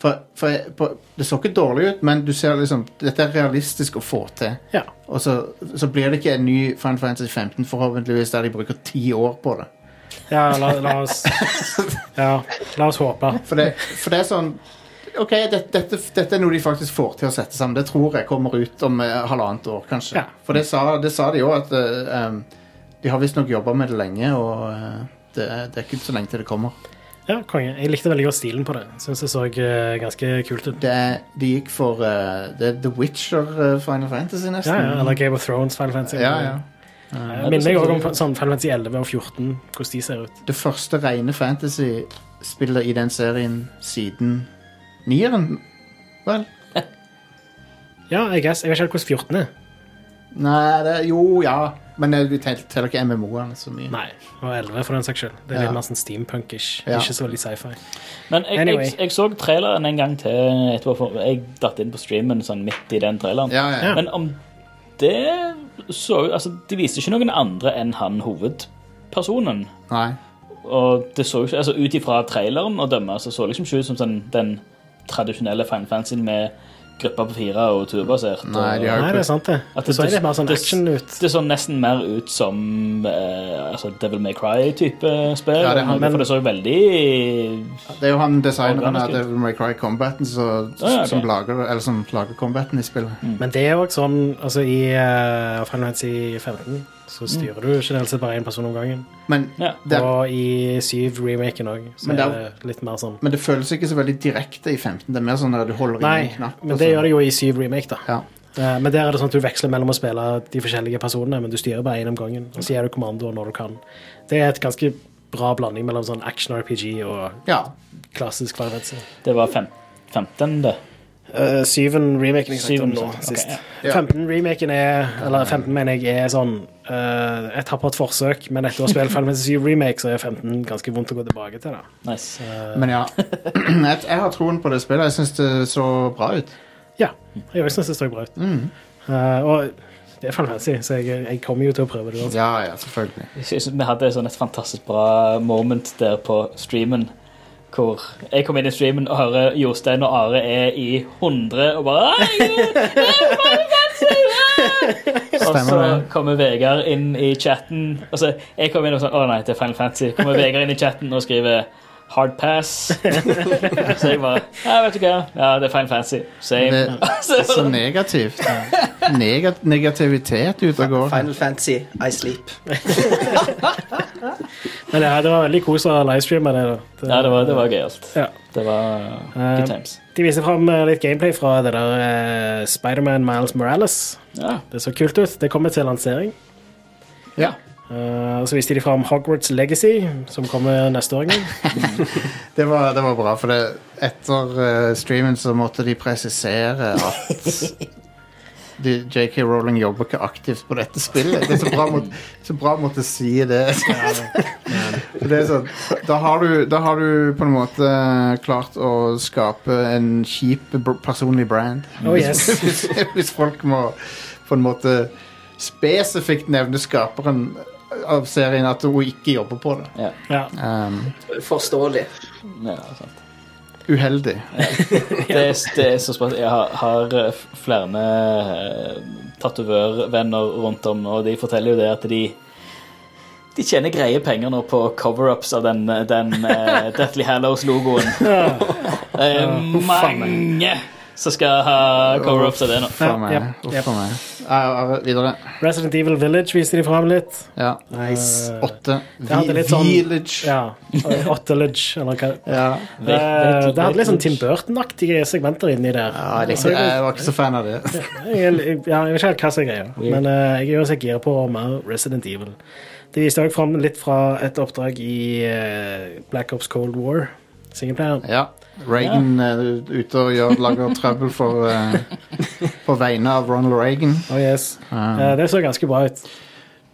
Speaker 1: For, for jeg, på, det så ikke dårlig ut, men du ser liksom Dette er realistisk å få til.
Speaker 3: Ja.
Speaker 1: Og så, så blir det ikke en ny Final Fantasy 15, forhåpentligvis, der de bruker ti år på det.
Speaker 3: Ja, la, la
Speaker 1: *laughs*
Speaker 3: oss Ja, la oss håpe.
Speaker 1: For det, for det er sånn OK, det, dette, dette er noe de faktisk får til å sette sammen. Det tror jeg kommer ut om eh, halvannet år, kanskje.
Speaker 3: Ja.
Speaker 1: For det sa, det sa de jo at eh, em, De har visstnok jobba med det lenge, og eh, det, er- det er ikke så lenge til det kommer.
Speaker 3: Ja, konge. Jeg likte veldig godt stilen på det. Syns det så eh, ganske kult ut.
Speaker 1: Det, er- de gikk for eh, det er The Witcher eh, Final Fantasy,
Speaker 3: Ja,
Speaker 1: nesten.
Speaker 3: ja, Eller Game of Thrones, Final Fantasy.
Speaker 1: ja, ja.
Speaker 3: Jeg minner meg også om sånn Final Fantasy 11 og 14, hvordan de ser ut.
Speaker 1: Det første rene fantasy-spillet i den serien siden nieren. Vel?
Speaker 3: Ja, I guess. Jeg vet ikke helt hvordan 14 er.
Speaker 1: Nei, det, jo, ja. Men eh, vi tel- teller ikke MMO-ene så mye.
Speaker 3: Nei. Og 11, for den saks skyld. Det er
Speaker 1: Ja.
Speaker 3: litt mer sånn steampunk-ish.
Speaker 1: Ja.
Speaker 3: Ikke så veldig sci-fi.
Speaker 2: Men jeg,
Speaker 3: Anyway.
Speaker 2: jeg, jeg så traileren en gang til eh, etterpå. For jeg datt inn på streamen sånn midt i den traileren.
Speaker 1: Ja, ja.
Speaker 2: Men om det så Altså, de viste ikke noen andre enn han hovedpersonen.
Speaker 1: Nei.
Speaker 2: Og det så ikke Altså, ut ifra traileren å dømme, så så det liksom ikke ut som sånn, den tradisjonelle Final Fantasy med gruppa på fire og turbasert.
Speaker 1: Nei, de
Speaker 2: og,
Speaker 1: har-
Speaker 3: Nei, det er sant, det.
Speaker 2: At det-
Speaker 3: det så litt mer sånn
Speaker 2: det-
Speaker 3: action ut.
Speaker 2: Det så nesten mer ut som eh, altså Devil May Cry-type spill.
Speaker 1: Ja, det har-
Speaker 2: for det så veldig
Speaker 1: Det er jo han designeren av
Speaker 2: Organisk, ja.
Speaker 1: Devil May Cry Combaten så,
Speaker 2: Ah, ja, ok.
Speaker 1: som, lager, eller som lager combaten i spillet.
Speaker 3: Men det er jo også sånn Altså, i uh, Final Fantasy 15 så styrer du generelt sett bare én person om gangen.
Speaker 1: Men,
Speaker 2: Ja.
Speaker 1: Mm. det,
Speaker 3: Og i 7-remaken òg, så
Speaker 1: Men det
Speaker 3: er
Speaker 1: er-
Speaker 3: det litt mer sånn
Speaker 1: men det føles ikke så veldig direkte i 15. Det er mer sånn at du holder inn
Speaker 3: Nei,
Speaker 1: en knapp.
Speaker 3: men det gjør det jo i 7-remake, da.
Speaker 1: Ja.
Speaker 3: Eh, Men der er det sånn at du veksler mellom å spille de forskjellige personene, men du styrer bare én om gangen. Og så gir du kommandoer når du kan. Det er et ganske bra blanding mellom sånn action-RPG og
Speaker 1: ja.
Speaker 3: klassisk Valvense.
Speaker 2: Det var fem, 15, det.
Speaker 3: Uh, syven remaken jeg snakket
Speaker 2: Syven,
Speaker 3: om nå
Speaker 2: ok,
Speaker 3: sist.
Speaker 2: ja.
Speaker 1: Ja.
Speaker 3: 15 remaken er Eller 15 mener jeg er sånn eh, et tappert forsøk, men etter å ha spilt Final Fantasy 7 remake, så er 15 ganske vondt å gå tilbake til. da
Speaker 2: Nice.
Speaker 1: Men ja. jeg, jeg har troen på det spillet. Jeg syns det så bra ut.
Speaker 3: Ja, jeg også synes det står bra ut.
Speaker 2: Mm.
Speaker 3: Eh, og det er Final Fantasy, så jeg, jeg kommer jo til å prøve det. uansett.
Speaker 1: Ja, ja, selvfølgelig.
Speaker 2: Jeg synes Vi hadde sånn et fantastisk bra moment der på streamen. Hvor jeg kom inn i streamen og hører Jostein og Are er i 100 og bare «Ai, Gud, det er Final Fantasy, ah!» Og så
Speaker 1: Stemmer det.
Speaker 2: kommer Vegard inn i chatten. Og så jeg kom inn og sånn, å nei, det er Final Fantasy. Kommer Vegard inn i chatten og skriver Hard pass. Så jeg bare Ja, vet du hva. Ja, det er Final Fantasy. Same.
Speaker 1: Det er så negativt. Negat negativitet ute og går.
Speaker 4: Final Fantasy, I Sleep.
Speaker 3: Men det, det var veldig kos å livestreame det. da Det-
Speaker 2: Ja, det var, det var gøyalt.
Speaker 3: Ja.
Speaker 2: Det var
Speaker 1: Eh,
Speaker 2: good times.
Speaker 3: De viser fram litt gameplay fra det der eh, Spider-Man Miles Morales.
Speaker 2: Ja.
Speaker 3: Det så kult ut. Det kommer til lansering.
Speaker 1: Ja.
Speaker 3: Eh, og så viste de fram Hogwarts Legacy, som kommer neste år.
Speaker 2: *laughs*
Speaker 3: en gang.
Speaker 1: Det var, det var bra, for det, etter eh, streamen så måtte de presisere at de, JK Rowling jobber ikke aktivt på dette spillet. Det er så bra, mot, så bra å måtte si det. For det er sånn, da, har du, da har du på en måte klart å skape en kjip br- personlig brand.
Speaker 3: Oh, yes.
Speaker 1: *laughs* hvis, hvis folk må på en måte spesifikt nevne skaperen av serien at hun ikke jobber på det.
Speaker 2: Ja.
Speaker 3: Ja.
Speaker 1: Um,
Speaker 4: Forståelig.
Speaker 2: ja sånn. sant.
Speaker 1: uheldig.
Speaker 2: det, er, det er så spennende. Jeg har, har eh, flere eh, tatovørvenner rundt om, og de forteller jo det at de de tjener greie penger nå på cover-ups av den, den eh, Deathly Hallows-logoen. Det er mange som skal ha cover-ups av det nå.
Speaker 1: Uff a meg.
Speaker 3: Ja,
Speaker 1: Uff
Speaker 3: ja.
Speaker 1: a meg. Ja, ja, videre.
Speaker 3: Resident Evil Village viste de fram litt.
Speaker 1: Ja.
Speaker 4: Nice.
Speaker 3: Eh,
Speaker 1: Åtte.
Speaker 3: Det hadde litt sånn-
Speaker 1: Village. Ja.
Speaker 3: Ja. Ottelage, eller hva.
Speaker 1: Ja.
Speaker 3: Eh, det hadde litt sånn Tim Burton-aktige segmenter inni der.
Speaker 1: jeg likte- jeg var ikke så fan av det.
Speaker 3: Jeg, jeg, ja, jeg vet ikke helt hva som er greia, men eh, jeg er uansett gira på mer Resident Evil. De viste også fram litt fra et oppdrag i eh, Black Ops Cold War. Singleplayeren.
Speaker 1: Ja. Reagan er ute og gjør, lager trøbbel for eh, På vegne av Ronald Reagan.
Speaker 3: Oh, yes.
Speaker 1: Eh,
Speaker 3: Eh, det så ganske bra ut.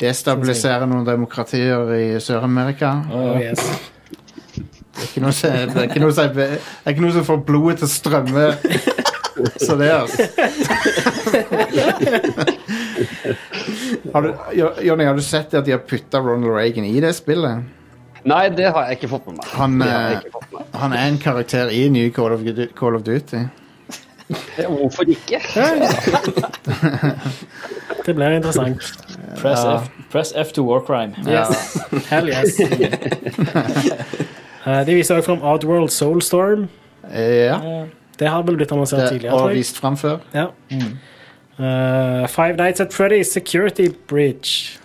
Speaker 1: Destabilisere noen demokratier i Sør-Amerika.
Speaker 3: Oh, yes.
Speaker 1: Det er ikke noe som- det er ikke noe som- det er ikke noe som får blodet til å strømme. Så det, altså. Har du, Jo- Jonny, har du sett at de har putta Ronald Reagan i det spillet?
Speaker 5: Nei, det har jeg ikke fått med meg.
Speaker 1: Han,
Speaker 5: Det har jeg
Speaker 1: eh,
Speaker 5: ikke fått med meg.
Speaker 1: Han er en karakter i nye Call of, Du- Call of Duty.
Speaker 5: Eh, Hvorfor ikke?
Speaker 3: Det blir interessant.
Speaker 2: Press, F, press F to war crime.
Speaker 3: Yes. Hell *laughs* yes. Eh, de viste også fram Oddworld Soulstorm.
Speaker 1: Eh, Ja.
Speaker 3: Det har vel blitt annonsert
Speaker 1: Det,
Speaker 3: tidligere.
Speaker 1: og
Speaker 3: tror jeg.
Speaker 1: vist fram før.
Speaker 3: Ja. Eh, Five Nights at Freddy's Security Bridge.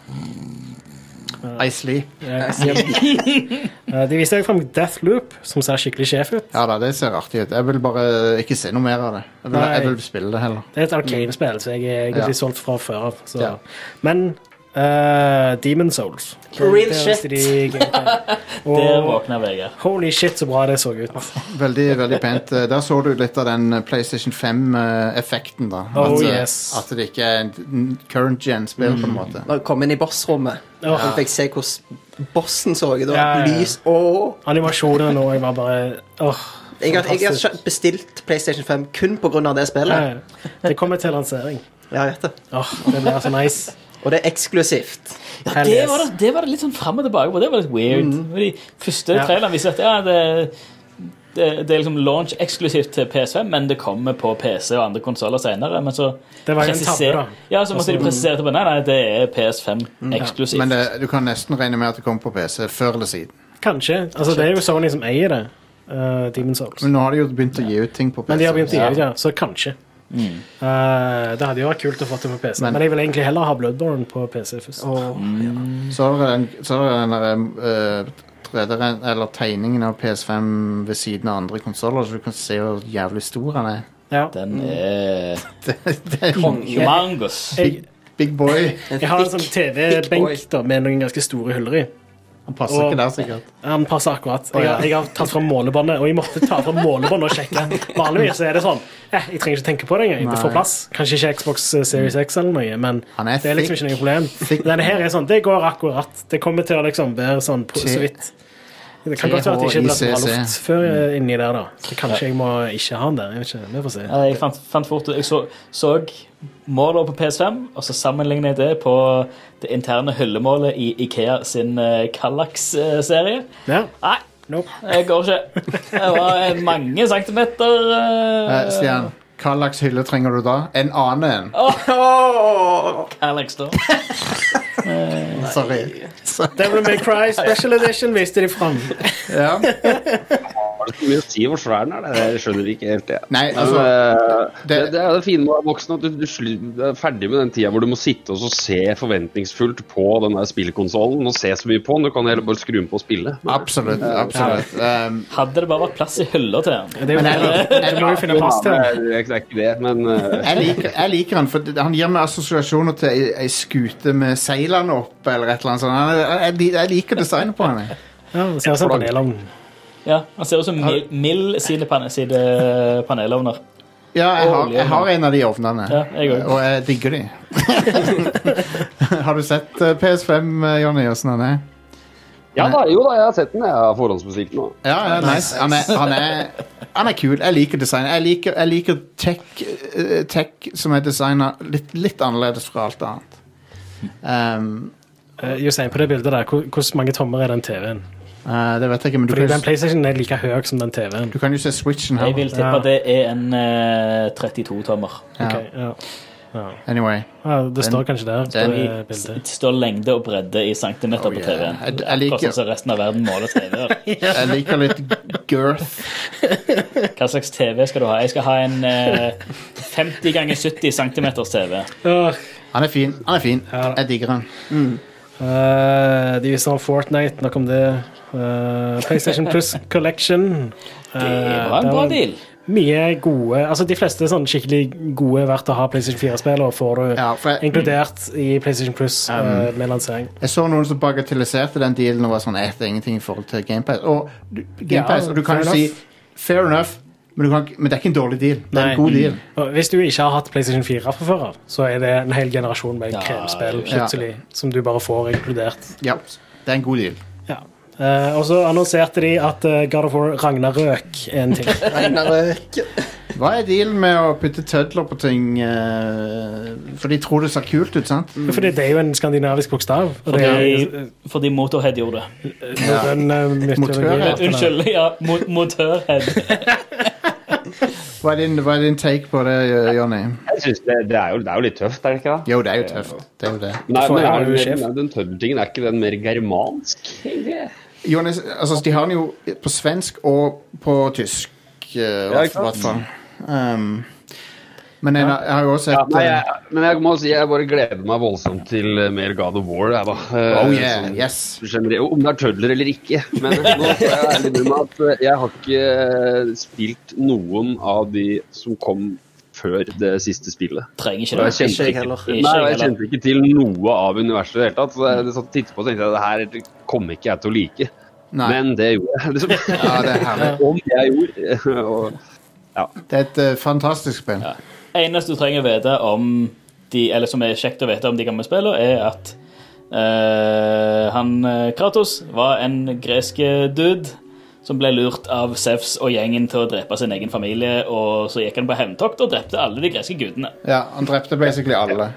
Speaker 1: I
Speaker 2: *laughs*
Speaker 1: sleep.
Speaker 3: Eh, De viste deg frem Deathloop, som ser skikkelig sjef ut.
Speaker 1: Ja da, det ser artig ut. Jeg vil bare ikke se noe mer av det. Jeg vil,
Speaker 3: Nei.
Speaker 1: jeg vil spille det heller.
Speaker 3: Det er et Arcane-spill, så jeg er egentlig
Speaker 1: Ja.
Speaker 3: solgt fra før av. Så.
Speaker 1: Ja.
Speaker 3: Men eh, Demon Souls.
Speaker 4: Real
Speaker 3: Det
Speaker 4: shit.
Speaker 3: viste de
Speaker 4: *laughs*
Speaker 3: gameplay.
Speaker 2: Der
Speaker 3: Og
Speaker 2: våkner Vegard.
Speaker 3: holy shit, så bra det så ut.
Speaker 1: Veldig, veldig pent. Eh, Der så du litt av den eh, PlayStation 5-effekten, da.
Speaker 3: Oh,
Speaker 1: at, eh,
Speaker 3: yes. Mm.
Speaker 1: at det ikke er en current gen-spill, på en måte.
Speaker 4: Da jeg kom inn i bossrommet,
Speaker 3: Ja.
Speaker 4: og fikk se hvordan bossen så ut. Og
Speaker 3: Ja, ja, ja.
Speaker 4: lys og
Speaker 3: Animasjonen nå jeg var bare åh,
Speaker 4: jeg har, jeg har
Speaker 3: fantastisk.
Speaker 4: kjøpt- bestilt PlayStation 5 kun pga. det
Speaker 3: Ja,
Speaker 4: spillet.
Speaker 3: ja. Det kommer til lansering.
Speaker 4: Ja, jeg vet det.
Speaker 3: Åh, Det blir så nice.
Speaker 4: Og det er eksklusivt.
Speaker 2: Ja,
Speaker 3: Hell
Speaker 2: det
Speaker 3: yes. Mm.
Speaker 2: var det, det var det litt sånn fram og tilbake på. Det var litt weird. De første
Speaker 3: Ja.
Speaker 2: traileren viste at ja, det, det, det er liksom launch eksklusivt til PS5, men det kommer på PC og andre konsoller senere. Men så
Speaker 3: Det var jo en tabbe, da. Mm.
Speaker 2: Ja, så måtte de presisere det på Nei, nei, det er PS5 eksklusivt.
Speaker 1: Men det, du kan nesten regne med at det kommer på PC før eller siden.
Speaker 3: Kanskje. Altså, det er jo Sony som eier det. eh, Demon Souls.
Speaker 1: Men nå har de jo begynt å gi ut ting på PC.
Speaker 3: Men de har begynt å
Speaker 2: Ja.
Speaker 3: gjøre det, ja. så kanskje. Eh, det hadde jo vært kult å få det på PC, men, jeg vil egentlig heller ha Bloodborne på PC først.
Speaker 1: Så har den, så har den der, eh, tredje- eller tegningen av PS5 ved siden av andre konsoller, så du kan se hvor jævlig stor han er.
Speaker 3: Ja.
Speaker 2: Den
Speaker 3: *laughs*
Speaker 2: er
Speaker 1: Det er jo
Speaker 2: humongous.
Speaker 3: Jeg,
Speaker 1: Big boy.
Speaker 4: En
Speaker 3: jeg har en
Speaker 4: thick-
Speaker 3: sånn
Speaker 4: boy.
Speaker 3: TV-benk da, med noen ganske store huller i.
Speaker 1: Han passer
Speaker 3: Og-
Speaker 1: ikke der, sikkert.
Speaker 3: Han passer akkurat.
Speaker 1: Å,
Speaker 3: Jeg,
Speaker 1: ja.
Speaker 3: har- jeg har tatt fram målebåndet, og jeg måtte ta fram målebåndet og sjekke. Vanligvis er det sånn eh, Jeg trenger ikke tenke på det engang. Det får
Speaker 1: Nei.
Speaker 3: plass. Kanskje ikke Xbox eh, Series X eller noe, men
Speaker 1: Han er
Speaker 3: det er liksom
Speaker 1: thick.
Speaker 3: ikke noe problem.
Speaker 1: Thick.
Speaker 3: Denne her er sånn Det går akkurat. Det kommer til å liksom være sånn på, så vidt. Det kan godt være at det ikke blir så bra
Speaker 1: THICC.
Speaker 3: luft før
Speaker 1: Mm.
Speaker 3: eh, inni der, da. Så kanskje jeg må ikke ha den der. Jeg vet ikke. Vi får se.
Speaker 2: Ja, Jeg fant, fant fort ut Jeg så, så målet på PS5, og så sammenlignet jeg det på det interne hyllemålet i Ikea sin eh, Kallax-serie.
Speaker 3: Ja.
Speaker 2: Nei,
Speaker 3: Nope.
Speaker 2: det går ikke. Det var mange centimeter
Speaker 1: Eh,
Speaker 2: eh,
Speaker 1: Stian, hva slags hylle trenger du da? En annen en?
Speaker 4: Åh!
Speaker 2: Kallax, da.
Speaker 1: Sorry.
Speaker 3: Devil May Cry Special Edition viste de fram.
Speaker 1: Ja.
Speaker 5: Har det så mye å si hvor svær den er? Det Jeg skjønner ikke helt det.
Speaker 1: Nei,
Speaker 5: Men,
Speaker 1: altså
Speaker 5: eh, det,
Speaker 1: det-
Speaker 5: det er det fine med å være voksen, at du, du slu- er ferdig med den tida hvor du må sitte og så se forventningsfullt på den der spillkonsollen og se så mye på den. Du kan heller bare skru den på og spille.
Speaker 1: Absolutt. absolutt. Um,
Speaker 2: Hadde det bare vært plass i hylla til den.
Speaker 3: Det er jo-
Speaker 1: jeg-
Speaker 3: du må jo finne plass til
Speaker 5: det
Speaker 3: den.
Speaker 5: er, det er ikke det, men eh,
Speaker 1: jeg, liker, jeg liker han, for det- han gir meg assosiasjoner til ei- ei skute med seilene opp, eller et eller annet sånt. Han- Jeg, jeg, jeg liker designet på han. jeg.
Speaker 3: Ja, det ser sånn ut som en panel om
Speaker 2: Ja, Han ser ut som mil- mild sidepane- sidepanelovner.
Speaker 1: Ja, jeg har, jeg har en av de ovnene.
Speaker 2: Ja, jeg også.
Speaker 1: Og jeg digger de. *laughs* har du sett eh, PS5, eh, Jonny, åssen han er?
Speaker 5: ja da, jo da, jeg har sett den. Jeg har forhåndsbestilt den. også.
Speaker 1: Ja, ja nice. Han er, han, er, han er kul. Jeg liker design. Jeg liker, jeg liker tech, eh, tech som er designa litt, litt annerledes fra alt annet. Um,
Speaker 3: Eh, Jostein, på det bildet der, hvor, hvor mange tommer er den TV-en?
Speaker 1: eh, det vet jeg ikke, men du
Speaker 3: Fordi
Speaker 1: kan, jo
Speaker 3: den
Speaker 1: s-
Speaker 3: PlayStation er like høy som den TV-en.
Speaker 1: du kan jo se switchen
Speaker 2: Jeg
Speaker 1: her.
Speaker 2: vil tippe det er en eh, 32-tommer.
Speaker 1: Ja.
Speaker 3: Ok, ja. Ja. *laughs*
Speaker 1: Anyway.
Speaker 3: Ja, det står kanskje der. på
Speaker 1: den-
Speaker 3: det bildet.
Speaker 2: Det står lengde og bredde i centimeter
Speaker 1: Oh,
Speaker 2: på
Speaker 1: yeah.
Speaker 2: TV-en.
Speaker 1: Jeg- jeg liker-
Speaker 2: Akkurat sånn som resten av verden måler TV-er.
Speaker 1: *laughs* Jeg liker litt girth.
Speaker 2: Hva slags TV skal du ha? Jeg skal ha en eh, 50 ganger 70 cm TV.
Speaker 3: Åh,
Speaker 1: Han er fin. Han er fin.
Speaker 3: Ja.
Speaker 1: Jeg digger han.
Speaker 3: eh, de viser om Fortnite, nok om det. Eh, PlayStation Plus Collection. Eh,
Speaker 2: Det var en bra deal.
Speaker 3: Mye gode Altså, de fleste er sånn skikkelig gode verdt å ha PlayStation 4-spill, og får du
Speaker 1: Ja, for jeg-
Speaker 3: inkludert i PlayStation Plus eh, med lansering.
Speaker 1: Jeg så noen som bagatelliserte den dealen og var sånn etter ingenting i forhold til GamePass. Og, du- Game
Speaker 3: Ja,
Speaker 1: Pass, og du kan
Speaker 3: fair
Speaker 1: jo si
Speaker 3: enough.
Speaker 1: fair enough, men, du kan, ikke- men det er ikke en dårlig deal. Det er
Speaker 3: Nei. Mm.
Speaker 1: en god deal.
Speaker 3: Og Hvis du ikke har hatt PlayStation 4 fra før av, så er det en hel generasjon med
Speaker 2: Ja,
Speaker 3: kremspill
Speaker 1: ja.
Speaker 3: plutselig, som du bare får inkludert.
Speaker 1: Ja, det er en god deal.
Speaker 3: Ja. Eh, og så annonserte de at eh, God of War Ragnarøk er en ting.
Speaker 4: Ragnarøk.
Speaker 1: Hva er dealen med å putte tødler på ting eh, For de tror det ser kult ut, sant?
Speaker 3: Fordi det er jo en skandinavisk bokstav. Og det er
Speaker 2: Fordi, fordi Motorhead gjorde det.
Speaker 3: norrøn eh, mytologi.
Speaker 1: Motørhead.
Speaker 2: Unnskyld, ja. Mot motorhead.
Speaker 1: Hva er din, hva er din take på det, eh, Jonny?
Speaker 5: Jeg synes det, det, er jo, det er jo litt tøft, er det ikke det?
Speaker 1: Jo, det er jo tøft. Det er jo det.
Speaker 5: Nei,
Speaker 3: For
Speaker 5: men
Speaker 3: jeg
Speaker 5: er
Speaker 3: er jo
Speaker 5: det,
Speaker 3: sjef.
Speaker 5: mer- den tøddeltingen, er ikke den mer germansk? egentlig?
Speaker 1: Jonny, altså, de har den jo på svensk og på tysk, eh, i hvert
Speaker 5: ikke sant?
Speaker 1: fall. Um, Men jeg, jeg har jo også
Speaker 5: Ja,
Speaker 1: sett
Speaker 5: nei,
Speaker 1: eh,
Speaker 5: jeg, men jeg må si jeg bare gleder meg voldsomt til eh, mer God of War. Jeg, da. Eh,
Speaker 1: Oh yeah,
Speaker 5: sånn
Speaker 1: yes.
Speaker 5: generelt- Om det er tødler eller ikke. Men nå skal jeg ærlig innrømme at eh, jeg har ikke eh, spilt noen av de som kom før det siste spillet.
Speaker 2: Trenger ikke
Speaker 5: Og
Speaker 2: det.
Speaker 5: jeg kjente
Speaker 4: Ikke jeg
Speaker 5: ikke-
Speaker 4: heller.
Speaker 5: Nei, og jeg kjente ikke til noe av universet i det hele tatt. Så jeg satt og tittet på og tenkte at det her kommer ikke jeg til å like.
Speaker 1: Nei.
Speaker 5: Men det gjorde jeg. Liksom.
Speaker 1: Ja, det er
Speaker 5: *laughs*
Speaker 1: herlig.
Speaker 5: Om jeg gjorde. *laughs* Og,
Speaker 1: Det er et eh, fantastisk spill.
Speaker 2: Ja. Eneste du trenger å vite om de, eller som er kjekt å vite om de gamle spillene, er at eh, han eh, Kratos var en gresk eh, dude som ble lurt av Sevs og gjengen til å drepe sin egen familie, og så gikk han på hevntokt og drepte alle de greske gudene.
Speaker 1: Ja, han drepte basically alle.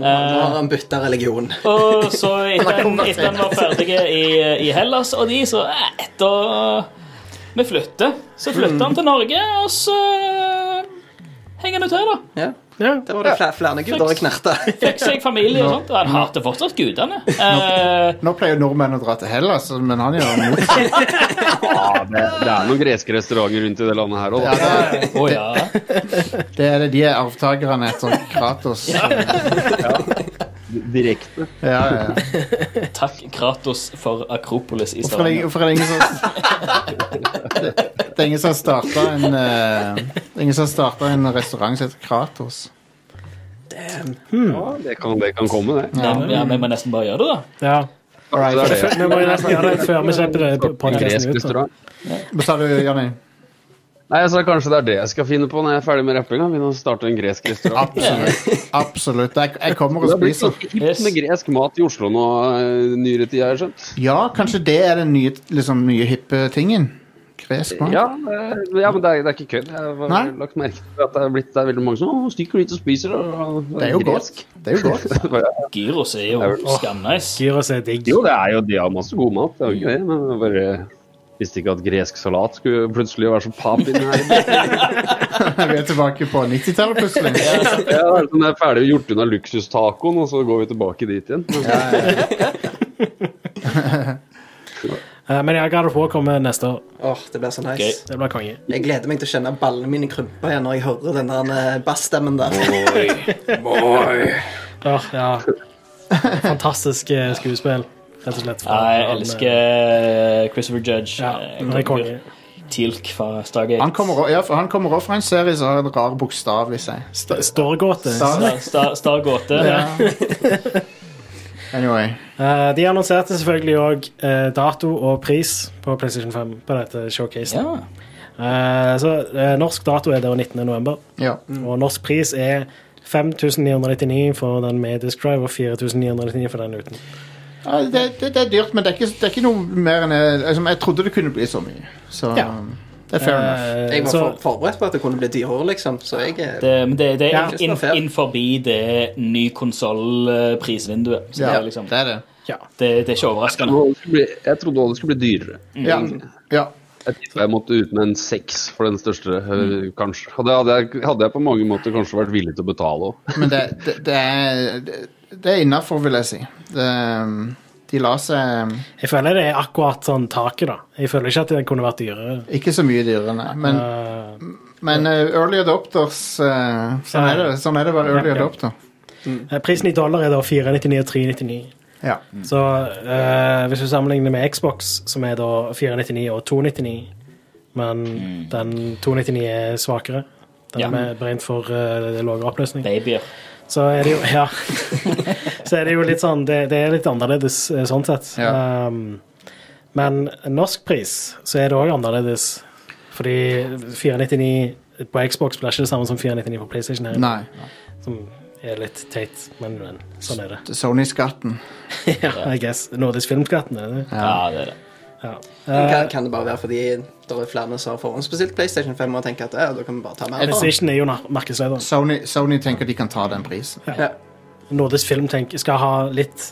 Speaker 4: Nå nå har han bytta religion.
Speaker 2: Og så etter han, etter han var ferdig i, i Hellas og de, så eh, etter vi flytter, så flytter han til Norge, og så eh, henger han ut her, da.
Speaker 4: Ja.
Speaker 3: Ja.
Speaker 4: Det var det flere, flere guder å knerte.
Speaker 2: Fikk seg familie og sånt. og Han hater fortsatt gudene. Eh,
Speaker 1: Nå pleier jo nordmenn å dra til Hellas, men han gjør det motsatt.
Speaker 5: ja, ah, det, det er noen greske restauranter rundt i det landet her òg,
Speaker 1: Ja,
Speaker 5: da.
Speaker 1: det, er-
Speaker 2: Å ja.
Speaker 1: det er det. De er arvtakerne etter Kratos. Ja,
Speaker 5: Direkte.
Speaker 1: ja, ja.
Speaker 2: Takk, Kratos, for Akropolis i
Speaker 1: Hvorfor er det,
Speaker 2: Stavanger.
Speaker 1: hvorfor er det ingen som Det er ingen som har starta en eh, Det er ingen som har startet en restaurant som heter Kratos.
Speaker 5: Ja, det kan, det kan komme, det.
Speaker 2: Ja, men- ja, men vi må nesten bare gjøre det, da.
Speaker 3: ja.
Speaker 1: Alright,
Speaker 5: Så er
Speaker 3: Før- Vi må jo nesten gjøre det før vi slipper
Speaker 5: En gresk
Speaker 3: podkasten ut. da.
Speaker 5: restaurant.
Speaker 1: Hva sa du, Jonny?
Speaker 5: Nei, jeg sa kanskje det er det jeg skal finne på når jeg er ferdig med rappinga. Begynne å starte en gresk restaurant.
Speaker 1: Absolutt. *laughs* Absolutt. Jeg, jeg kommer
Speaker 5: Det
Speaker 1: og
Speaker 5: har blitt
Speaker 1: spiser.
Speaker 5: ganske hipt med gresk mat i Oslo nå eh, nyere tid, har jeg skjønt.
Speaker 1: Ja, kanskje det er den nye, liksom, nye hippe tingen. Gresk mat.
Speaker 5: Ja, eh, ja men det er, det er ikke kødd. Jeg har
Speaker 1: Nei.
Speaker 5: lagt merke til at det er blitt det er veldig mange som «Å, stikker dit og spiser. Og, og,
Speaker 1: Det er jo godt.
Speaker 5: gresk».
Speaker 1: Det er jo godt.
Speaker 5: *laughs*
Speaker 2: Gyros er jo
Speaker 5: Åh.
Speaker 2: skamnice.
Speaker 3: Gyros er digg.
Speaker 5: jo, det er jo de har masse god mat, det er jo ikke det. Men jeg bare visste ikke at gresk salat skulle plutselig være så pap inn her.
Speaker 1: *laughs* *laughs* Vi er tilbake på 90-tallet plutselig.
Speaker 5: Ja, det er sånn, jeg er ferdig gjort unna luksustacoen, og så går vi tilbake dit igjen.
Speaker 3: Eh, Men ja, God of War kommer neste år.
Speaker 4: Åh, det blir så nice.
Speaker 2: Gøy.
Speaker 3: Det blir konge.
Speaker 4: Jeg gleder meg til å kjenne ballene mine krympe igjen når jeg hører den der eh, bassstemmen der.
Speaker 3: Åh, ja. Fantastisk eh, skuespill, rett og slett.
Speaker 2: Ja, jeg elsker Christopher Judge.
Speaker 3: Ja,
Speaker 2: Eh,
Speaker 3: han er konge.
Speaker 2: Tilk fra Stargate.
Speaker 1: Han kommer også- ja, for han kommer også fra en serie som har en rar bokstav i seg.
Speaker 3: St- Storgåte.
Speaker 1: Star-
Speaker 2: Star- Star- Stargate.
Speaker 1: Ja. Anyway.
Speaker 3: Eh, De annonserte selvfølgelig òg dato og pris på PlayStation 5 på dette showcasen.
Speaker 2: Ja.
Speaker 3: Eh, Så eh, norsk dato er der 19. november,
Speaker 1: Ja.
Speaker 3: og norsk pris er 5999 for den med disk drive og 4999 for den uten.
Speaker 1: Ja, det, det, det er dyrt, men det er ikke, det er ikke noe mer enn jeg, liksom, jeg trodde det kunne bli så mye. Så um,
Speaker 3: Ja.
Speaker 1: det er fair enough.
Speaker 3: Eh,
Speaker 4: Jeg var
Speaker 3: så-
Speaker 4: for, forberedt på at det kunne bli dyrere, liksom. Så jeg eh,
Speaker 2: Det, men det, det
Speaker 3: Ja.
Speaker 2: er innenfor inn, innenfor det ny konsoll-prisvinduet. Så det,
Speaker 1: Ja,
Speaker 2: er liksom,
Speaker 1: det er det.
Speaker 3: ja.
Speaker 2: det, det er ikke overraskende.
Speaker 5: Jeg trodde bli- jeg trodde også det skulle bli dyrere.
Speaker 1: Ja. ja.
Speaker 5: Jeg tipper jeg måtte ut med en seks for den største, eh, kanskje. Og det hadde jeg, hadde jeg på mange måter kanskje vært villig til å betale òg.
Speaker 1: Men det, det, det er, det- det er innafor, vil jeg si. Det, de la seg
Speaker 3: Jeg føler det er akkurat sånn taket, da. Jeg føler ikke at det kunne vært dyrere.
Speaker 1: ikke så mye dyrere, nei. Men,
Speaker 3: Eh,
Speaker 1: men eh, early adopters eh, sånn, er det, sånn er det å være early
Speaker 3: Ja, ja.
Speaker 1: adopter.
Speaker 3: eh, Prisen i dollar er da 499 og 399.
Speaker 1: Ja.
Speaker 3: Så eh, hvis du sammenligner med Xbox, som er da 499 og 299, men den 299 er svakere Den
Speaker 2: Ja.
Speaker 3: er beregnet for uh, lavere oppløsning.
Speaker 2: Babyer.
Speaker 3: Så er det jo Ja. så er det jo litt sånn Det, det er litt annerledes eh, sånn sett.
Speaker 1: Ja.
Speaker 3: Um, men norsk pris, så er det òg annerledes. Fordi 499 på Xbox blir ikke det samme som 499 på PlayStation. Her,
Speaker 1: Nei.
Speaker 3: Som er litt teit, men, men sånn er det.
Speaker 1: Sony-skatten.
Speaker 3: ja, *laughs* I guess. Nordisk Filmskatt, er det det?
Speaker 2: Ja, det er det.
Speaker 3: Ja. Eh,
Speaker 4: kan, kan det bare være fordi det er flere som har forhåndsbestilt PlayStation 5 og tenker at ja, da kan vi bare ta mer. da.
Speaker 3: Activision er jo nar- markedslederen.
Speaker 1: Sony, Sony tenker de kan ta den prisen.
Speaker 4: Ja.
Speaker 3: Nordisk Film tenk, skal ha litt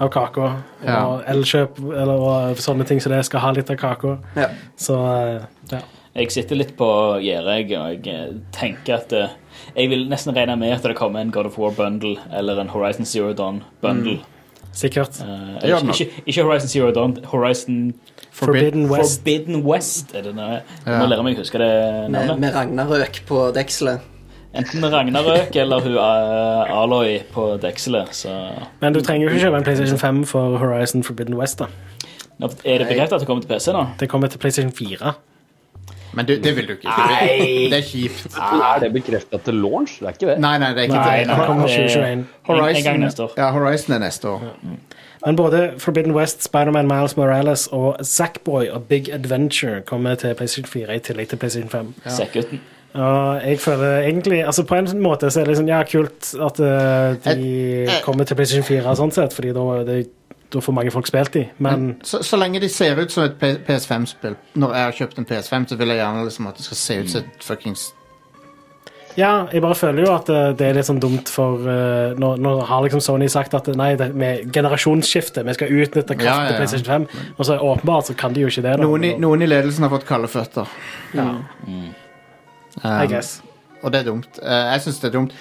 Speaker 3: av kaka.
Speaker 1: Ja.
Speaker 3: Og Elkjøp eller, og sånne ting som det skal ha litt av kaka.
Speaker 4: Ja.
Speaker 3: Så eh, ja.
Speaker 2: Jeg sitter litt på gjerdet jeg, og jeg eh, tenker at eh, Jeg vil nesten regne med at det kommer en God of War-bundle eller en Horizon Zero Dawn-bundle.
Speaker 3: Sikkert.
Speaker 2: Eh,
Speaker 1: Mm. Det gjør den
Speaker 2: ikke, ikke, ikke Horizon Zero Dawn, Horizon
Speaker 3: Forbidden West.
Speaker 2: Forbidden West. Er det noe? Jeg
Speaker 1: Ja.
Speaker 2: må lære meg å huske det
Speaker 4: Med,
Speaker 2: navnet.
Speaker 4: med Ragnarøk på dekselet.
Speaker 2: Enten Ragnarøk eller hun eh, Aloy på dekselet. Så
Speaker 3: Men du trenger jo ikke kjøpe en PlayStation 5 for Horizon Forbidden West. da.
Speaker 2: Nå, Er det bekreftet at det kommer til PC nå?
Speaker 3: Det kommer til PlayStation 4.
Speaker 1: Men du, det vil du ikke.
Speaker 2: Nei.
Speaker 1: Det er kjipt.
Speaker 5: Er det bekrefta til launch? Det er ikke det.
Speaker 1: Nei, nei, det er ikke
Speaker 3: Nei,
Speaker 1: det.
Speaker 3: det kommer
Speaker 2: det-
Speaker 3: 2021.
Speaker 2: En, en gang neste år.
Speaker 1: Ja, Horizon er neste år.
Speaker 3: Men både Forbidden West, Spiderman Miles Morales og Zackboy og Big Adventure kommer til PlayStation 4 i tillegg til PlayStation 5.
Speaker 2: Sekkgutten.
Speaker 3: Og jeg føler egentlig altså På en måte så er det liksom, ja, kult at eh, de kommer til PlayStation 4, sånn sett, fordi da, er det, da får mange folk spilt de. Men
Speaker 1: Så, så lenge de ser ut som et P- PS5-spill Når jeg har kjøpt en PS5, så vil jeg gjerne liksom at det skal se ut som et fuckings
Speaker 3: ja, jeg bare føler jo at eh, det er litt sånn dumt for eh, Nå, nå har liksom Sony sagt at eh, nei, det med generasjonsskifte, vi skal utnytte kraft
Speaker 1: Ja, ja, ja.
Speaker 3: til PlayStation 5, og så åpenbart så kan de jo ikke det. da.
Speaker 1: noen i, noen i ledelsen har fått kalde føtter.
Speaker 3: ja, I
Speaker 1: Um,
Speaker 3: guess.
Speaker 1: og det er dumt. Eh, jeg syns det er dumt.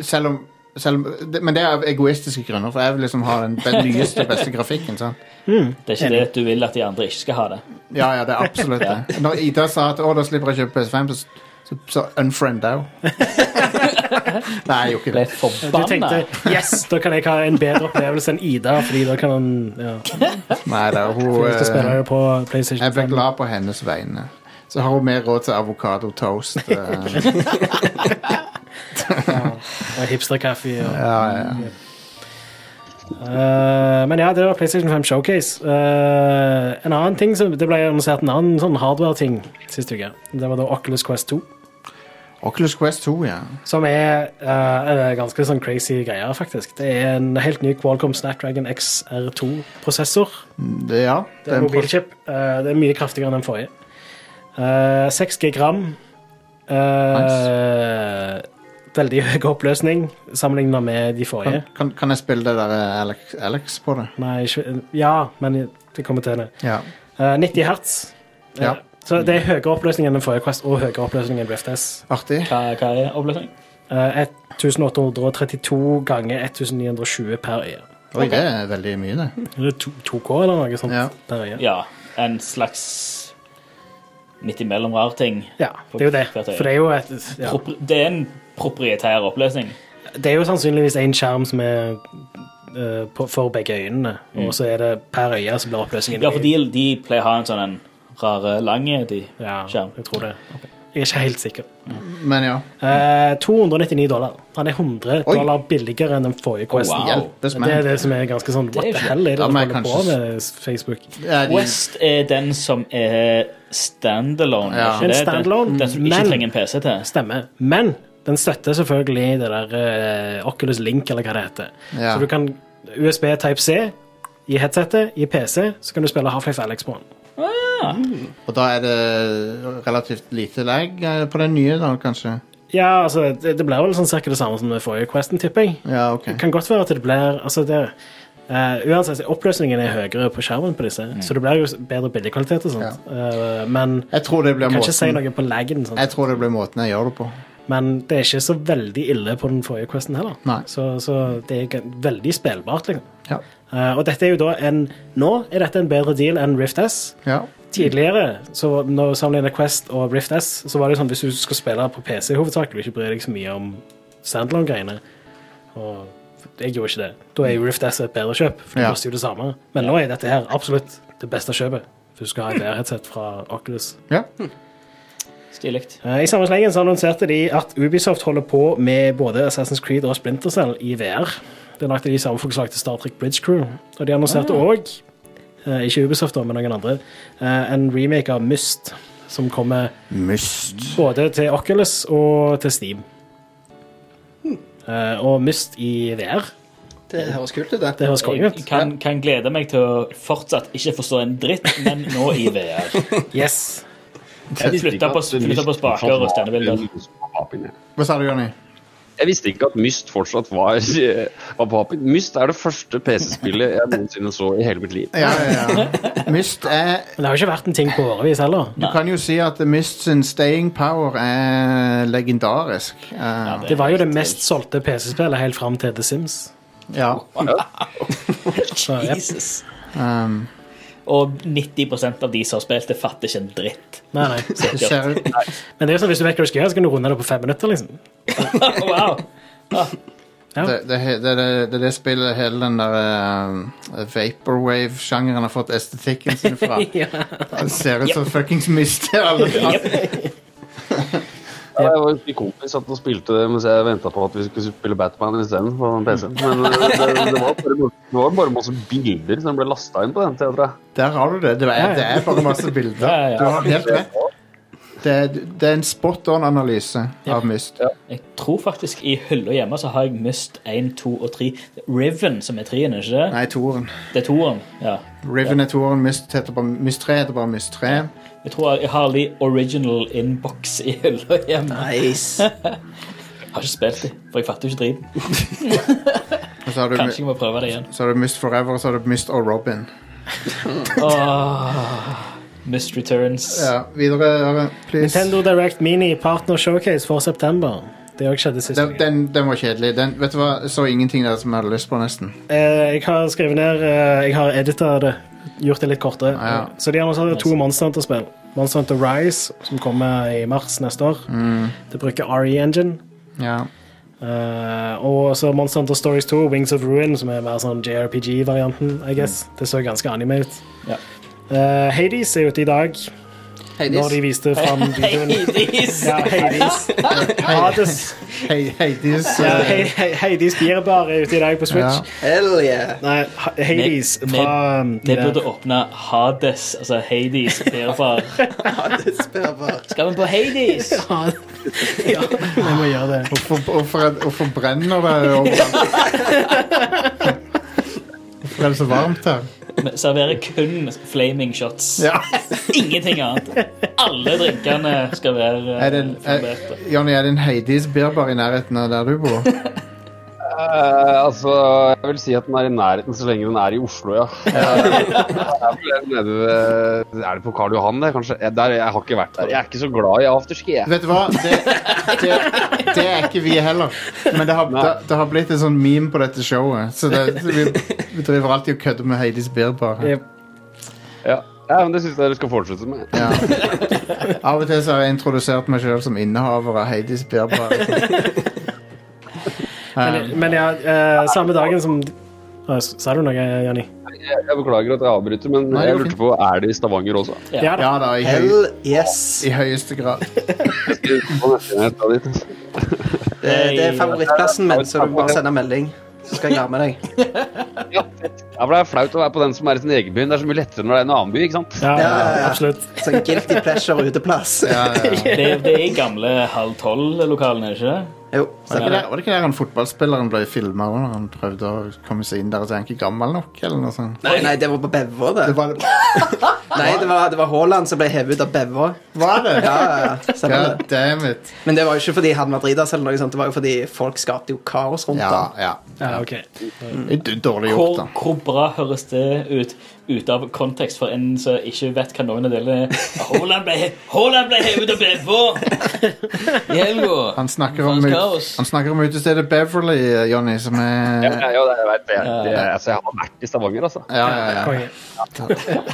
Speaker 1: Selv om, selv om det, Men det er av egoistiske grunner, for jeg vil liksom ha den, den nyeste, beste grafikken. sant?
Speaker 2: Det er ikke det at du vil at de andre ikke skal ha det.
Speaker 1: Ja, ja, det er absolutt det. Når Ida sa at å, da slipper jeg å kjøpe PS5, så, så, så unfrienda jeg henne. Nei, jeg gjorde ikke
Speaker 2: Ble
Speaker 1: det.
Speaker 3: Du
Speaker 2: forbanna.
Speaker 3: tenkte yes, da kan jeg ha en bedre opplevelse enn Ida, fordi da kan han ja,
Speaker 1: Nei, det er, hun,
Speaker 3: Hvis du spiller
Speaker 1: eh,
Speaker 3: det på PlayStation
Speaker 1: jeg ble
Speaker 3: 5.
Speaker 1: glad på hennes vegne. Så har hun mer råd til avokadotoast. eh.
Speaker 3: og hipsterkaffe. Og,
Speaker 1: Ja, ja.
Speaker 3: Eh, men ja, det var PlayStation 5 Showcase. Eh, en annen ting som, Det ble annonsert en annen sånn hardware-ting sist uke. Det var da Oculus Quest 2.
Speaker 1: Oculus Quest 2, ja.
Speaker 3: Som er eh, eh, ganske sånn crazy greier, faktisk. Det er en helt ny Qualcomm Snapdragon XR2-prosessor.
Speaker 1: Det, ja.
Speaker 3: Det er
Speaker 1: Den-
Speaker 3: mobilchip. Eh, det er mye kraftigere enn den forrige. Eh, 6 G gram. Eh, Veldig høy oppløsning sammenlignet med de forrige.
Speaker 1: kan, kan, kan jeg spille det der eh, Alex, Alex på det?
Speaker 3: Nei, ikke, ja, men vi kommer til det.
Speaker 1: Ja.
Speaker 3: Eh, 90 hertz. Eh,
Speaker 1: Ja.
Speaker 3: Så det er høyere oppløsning enn den forrige Quest og høyere oppløsning enn BFTS.
Speaker 1: Artig.
Speaker 2: Hva, hva er oppløsning?
Speaker 3: Eh, 1832 ganger 1920 per øye.
Speaker 1: Oi, det er veldig mye, det.
Speaker 3: Er det to- 2K eller noe sånt
Speaker 1: Ja.
Speaker 3: per øye?
Speaker 2: Ja, en slags midt imellom rar ting.
Speaker 3: Ja, det er jo det.
Speaker 2: Hvert øye.
Speaker 3: For det er jo et ja.
Speaker 2: Propr det er en proprietær oppløsning.
Speaker 3: Det er jo sannsynligvis én skjerm som er eh, på, for begge øynene, og så er det per øye som blir oppløsningen.
Speaker 2: Mm. Ja, for de, de pleier å ha en sånn en rare lange de.
Speaker 3: ja,
Speaker 2: skjerm.
Speaker 3: Jeg tror det. Jeg er ikke helt sikker.
Speaker 1: Men ja.
Speaker 3: Eh, 299 dollar. Han er 100
Speaker 1: Oi.
Speaker 3: dollar billigere enn den forrige Questen.
Speaker 2: Oh, Wow.
Speaker 1: Hjelpes
Speaker 3: Det er
Speaker 1: meg.
Speaker 3: det som er ganske sånn What
Speaker 2: Det er
Speaker 3: the
Speaker 2: ikke-
Speaker 3: hell er det
Speaker 1: Ja,
Speaker 3: du
Speaker 1: men
Speaker 3: holder på
Speaker 1: kanskje-
Speaker 3: med, Facebook?
Speaker 1: Ja, de-
Speaker 2: West er den som er standalone.
Speaker 1: Ja.
Speaker 2: ikke
Speaker 3: En
Speaker 2: det?
Speaker 3: standalone,
Speaker 2: den, den som du ikke
Speaker 3: men-
Speaker 2: trenger en PC til.
Speaker 3: Stemmer. Men den støtter selvfølgelig det der eh, Oculus Link, eller hva det heter.
Speaker 1: Ja.
Speaker 3: Så du kan USB Type C i headsetet, i PC, så kan du spille Half-Life Alex på den.
Speaker 1: Og da er det relativt lite lag eh, på den nye, da, kanskje?
Speaker 3: Ja, altså, det, det blir vel sånn cirka det samme som den forrige Questen, tipper jeg.
Speaker 1: Ja, ok.
Speaker 3: Det kan godt være at det blir altså det, eh, Uansett, oppløsningen er høyere på skjermen på disse, så det blir jo bedre bildekvalitet og sånt. Eh, men
Speaker 1: Jeg tror Mm. det blir
Speaker 3: jeg kan ikke si
Speaker 1: måten
Speaker 3: noe på laggen. Sånn.
Speaker 1: jeg, tror det blir måten jeg gjør det på.
Speaker 3: Men det er ikke så veldig ille på den forrige questen heller.
Speaker 1: Nei.
Speaker 3: Så, så det er g- veldig spillbart. liksom.
Speaker 1: Ja.
Speaker 3: Eh, og dette er jo da en, nå er dette en bedre deal enn Rift S.
Speaker 1: ja.
Speaker 3: Tidligere, så når vi sammenligner Quest og Rift S, så var det jo sånn hvis du skal spille på PC hovedsakelig, ikke bryr deg så mye om standalone-greiene. Og jeg gjorde ikke det. Da er jo Rift S et bedre kjøp, for det
Speaker 1: Ja.
Speaker 3: koster jo det samme. Men nå er dette her absolutt det beste kjøpet. Du skal ha
Speaker 1: *laughs*
Speaker 3: et VR-headset fra Oculus.
Speaker 1: ja.
Speaker 2: Stilig.
Speaker 3: Eh, I samme slengen så annonserte de at Ubisoft holder på med både Assassin's Creed og Splinter Cell i VR. Det lagde de samme folk som lagde Star Trek Bridge Crew. Og de annonserte
Speaker 1: Ah.
Speaker 3: òg, ikke Ubisoft, da, men noen andre, eh, en remake av Myst. Som kommer
Speaker 1: Myst.
Speaker 3: både til Oculus og til Steam. Eh, og Myst i VR.
Speaker 4: Det høres kult ut, det.
Speaker 3: Det høres konge
Speaker 2: Jeg
Speaker 3: ut.
Speaker 2: kan, kan glede meg til å fortsatt ikke forstå en dritt, men nå i VR.
Speaker 3: Yes.
Speaker 2: Jeg flytta på, flytta på spaker og stjernebilder.
Speaker 1: Hva sa du, Jonny?
Speaker 5: Jeg visste ikke at Myst fortsatt var, eh, var på Apin. Myst er det første PC-spillet jeg noensinne så i hele mitt liv.
Speaker 1: Ja, ja, ja. *laughs* Myst er
Speaker 3: Men det har jo ikke vært en ting på årevis heller.
Speaker 1: Du kan jo si at Myst sin staying power er legendarisk. Eh,
Speaker 3: Det var jo det mest solgte PC-spillet helt fram til The Sims.
Speaker 1: ja.
Speaker 5: Ja.
Speaker 3: Så, yep.
Speaker 2: Jesus.
Speaker 1: Um,
Speaker 2: Og 90 av de som har spilt det, fatter ikke en dritt. *laughs*
Speaker 3: Nei, nei.
Speaker 1: Det ser ut
Speaker 3: Men det er jo sånn, hvis du vet hva du skal gjøre, så kan du runde det på fem minutter. liksom.
Speaker 2: wow!
Speaker 1: det, det, det, det, det, det spillet hele den der eh, vaporwave-sjangeren har fått estetikken sin fra. Det ser ut som fuckings mister alle
Speaker 5: Ja, jeg var en kompis at han spilte det mens jeg venta på at vi skulle spille Batman isteden. på den PC-en. Men eh, det, det, var bare, det var bare masse bilder som ble lasta inn på den. tror jeg, tror jeg.
Speaker 1: Der har du det. Det er, det er bare masse bilder.
Speaker 2: Ja, ja, ja.
Speaker 1: Du har helt rett. Det, er- det er en spot on-analyse av Myst.
Speaker 2: Jeg tror faktisk i hylla hjemme så har jeg Myst 1, 2 og 3. Riven, som er trien, er ikke det?
Speaker 1: Nei, toeren.
Speaker 2: Det er toeren. Ja.
Speaker 1: Riven er toeren, Myst heter bare Myst 3 heter bare Myst 3.
Speaker 2: Jeg tror jeg har de original inbox i hylla hjemme.
Speaker 4: Nice.
Speaker 2: Jeg har ikke spilt de, for jeg fatter jo ikke driten.
Speaker 1: Og så har du,
Speaker 2: Kanskje jeg må prøve det igjen.
Speaker 1: så har du Myst Forever, og så har du Myst og Robin.
Speaker 2: Åh, Myst Returns.
Speaker 1: Ja, videre, Are, please.
Speaker 3: Nintendo Direct Mini Partner Showcase for september. Det òg skjedde sist.
Speaker 1: Den, den, den var kjedelig. Den, vet du hva, jeg så ingenting der som jeg hadde lyst på, nesten.
Speaker 3: Eh, jeg har skrevet ned eh, Jeg har edita det. Gjort det litt kortere.
Speaker 1: Ja.
Speaker 3: Så de har også to Monster Hunter-spill. Monster Hunter Rise, som kommer i mars neste år.
Speaker 2: Mm.
Speaker 3: Det bruker RE Engine.
Speaker 1: Ja.
Speaker 3: Eh, og så Monster Hunter Stories 2, Wings of Ruin, som er mer sånn JRPG-varianten. I guess Det så ganske anime ut.
Speaker 2: Mm. Ja.
Speaker 3: Eh, Hades er ute i dag, når de viste
Speaker 2: *laughs*
Speaker 3: fram videoen.
Speaker 2: Hades!
Speaker 3: Ja, Hades. Hades.
Speaker 1: Hei, hei, de s-
Speaker 2: Eh.
Speaker 3: Ja, He- He- Hades Beer Bar er ute i dag på Switch.
Speaker 1: Ja.
Speaker 4: Hell yeah.
Speaker 3: Nei, Ha- Hades
Speaker 2: Nei,
Speaker 3: fra um,
Speaker 2: Det
Speaker 3: der.
Speaker 2: burde åpne Hades, altså Hades, derfor.
Speaker 4: Ja, det spør bare.
Speaker 2: *laughs* Skal vi på Hades?
Speaker 3: Ja, vi må gjøre det.
Speaker 1: Hvorfor, hvorfor, er- hvorfor brenner det overalt? Hvorfor er det så varmt her?
Speaker 2: Vi serverer kun flaming shots.
Speaker 1: Ja.
Speaker 2: *laughs* Ingenting annet. Alle drinkene skal være
Speaker 1: Er
Speaker 2: eh,
Speaker 1: det en, er,
Speaker 2: flamberte.
Speaker 1: Johnny, er det en Heidis birbar i nærheten av der du bor?
Speaker 5: Eh, altså, jeg vil si at den er i nærheten så lenge den er i Oslo, ja. Eh, det er vel nede ved, er det på Karl Johan, det, kanskje? Jeg, der, jeg har ikke vært der. Jeg er ikke så glad i afterski, jeg.
Speaker 1: Vet du hva? Det, det, det er ikke vi heller. Men det har, det, det har blitt en sånn meme på dette showet. Så det, vi, vi driver alltid og kødder med Heidis birbar.
Speaker 3: Yep.
Speaker 5: Ja. ja, men Det syns jeg dere skal fortsette med.
Speaker 1: Ja. Av og til så har jeg introdusert meg sjøl som innehaver av Heidis birbar.
Speaker 3: Men, men ja, eh, samme dagen som Å, s- Sa du noe, Janni?
Speaker 5: Jeg, jeg beklager at jeg avbryter, men
Speaker 1: Nei, det
Speaker 5: jeg
Speaker 1: går
Speaker 5: lurte på er det i Stavanger også.
Speaker 2: Ja.
Speaker 3: Ja da.
Speaker 1: Ja da, i, høy,
Speaker 4: Hell yes.
Speaker 1: i høyeste grad.
Speaker 5: Jeg skal ut på nettet ditt.
Speaker 4: Det, det er favorittplassen min, så du må bare sende melding. Så skal jeg være med deg.
Speaker 5: Ja, for det er flaut å være på den som er i sin egen by. Det er så mye lettere når det er en annen by, ikke sant?
Speaker 3: Ja,
Speaker 4: ja, ja.
Speaker 3: absolutt.
Speaker 4: Sånn guilty pleasure uteplass.
Speaker 1: Ja, ja.
Speaker 2: Det, det er gamle halv tolv-lokalene, ikke det?
Speaker 4: *laughs* Jo,
Speaker 1: Var det, ikke
Speaker 4: stemmer det.
Speaker 1: der, var det ikke der han fotballspilleren ble filma når han prøvde å komme seg inn der og så er han ikke gammel nok? eller noe sånt?
Speaker 4: Nei, nei, det var på Bevå, det.
Speaker 1: Det var,
Speaker 4: Nei, det var, det var Haaland som ble hevet ut av Bevå.
Speaker 1: var det?
Speaker 4: Ja, ja, ja, stemmer
Speaker 1: God
Speaker 4: det.
Speaker 1: damn it.
Speaker 4: Men det var jo ikke fordi han var drita selv, eller noe sånt. det var jo fordi folk skapte jo kaos rundt
Speaker 1: Ja,
Speaker 4: ham.
Speaker 1: ja.
Speaker 3: Ja, ok.
Speaker 1: Det er Dårlig gjort,
Speaker 2: Hvor,
Speaker 1: da.
Speaker 2: hvor bra høres det ut ut av kontekst for en som ikke vet hva noen av delene er? Haaland ble, Haaland ble hevet og ble på! I helga!
Speaker 1: Han snakker om,
Speaker 2: Faens
Speaker 1: ut,
Speaker 2: kaos.
Speaker 1: han snakker om utestedet Beverly, eh, Johnny, som
Speaker 5: Ja,
Speaker 1: er
Speaker 5: ja, ja, det- jeg vet det. det altså, jeg har vært i Stavanger, altså.
Speaker 1: Ja, ja, ja.
Speaker 3: Konge.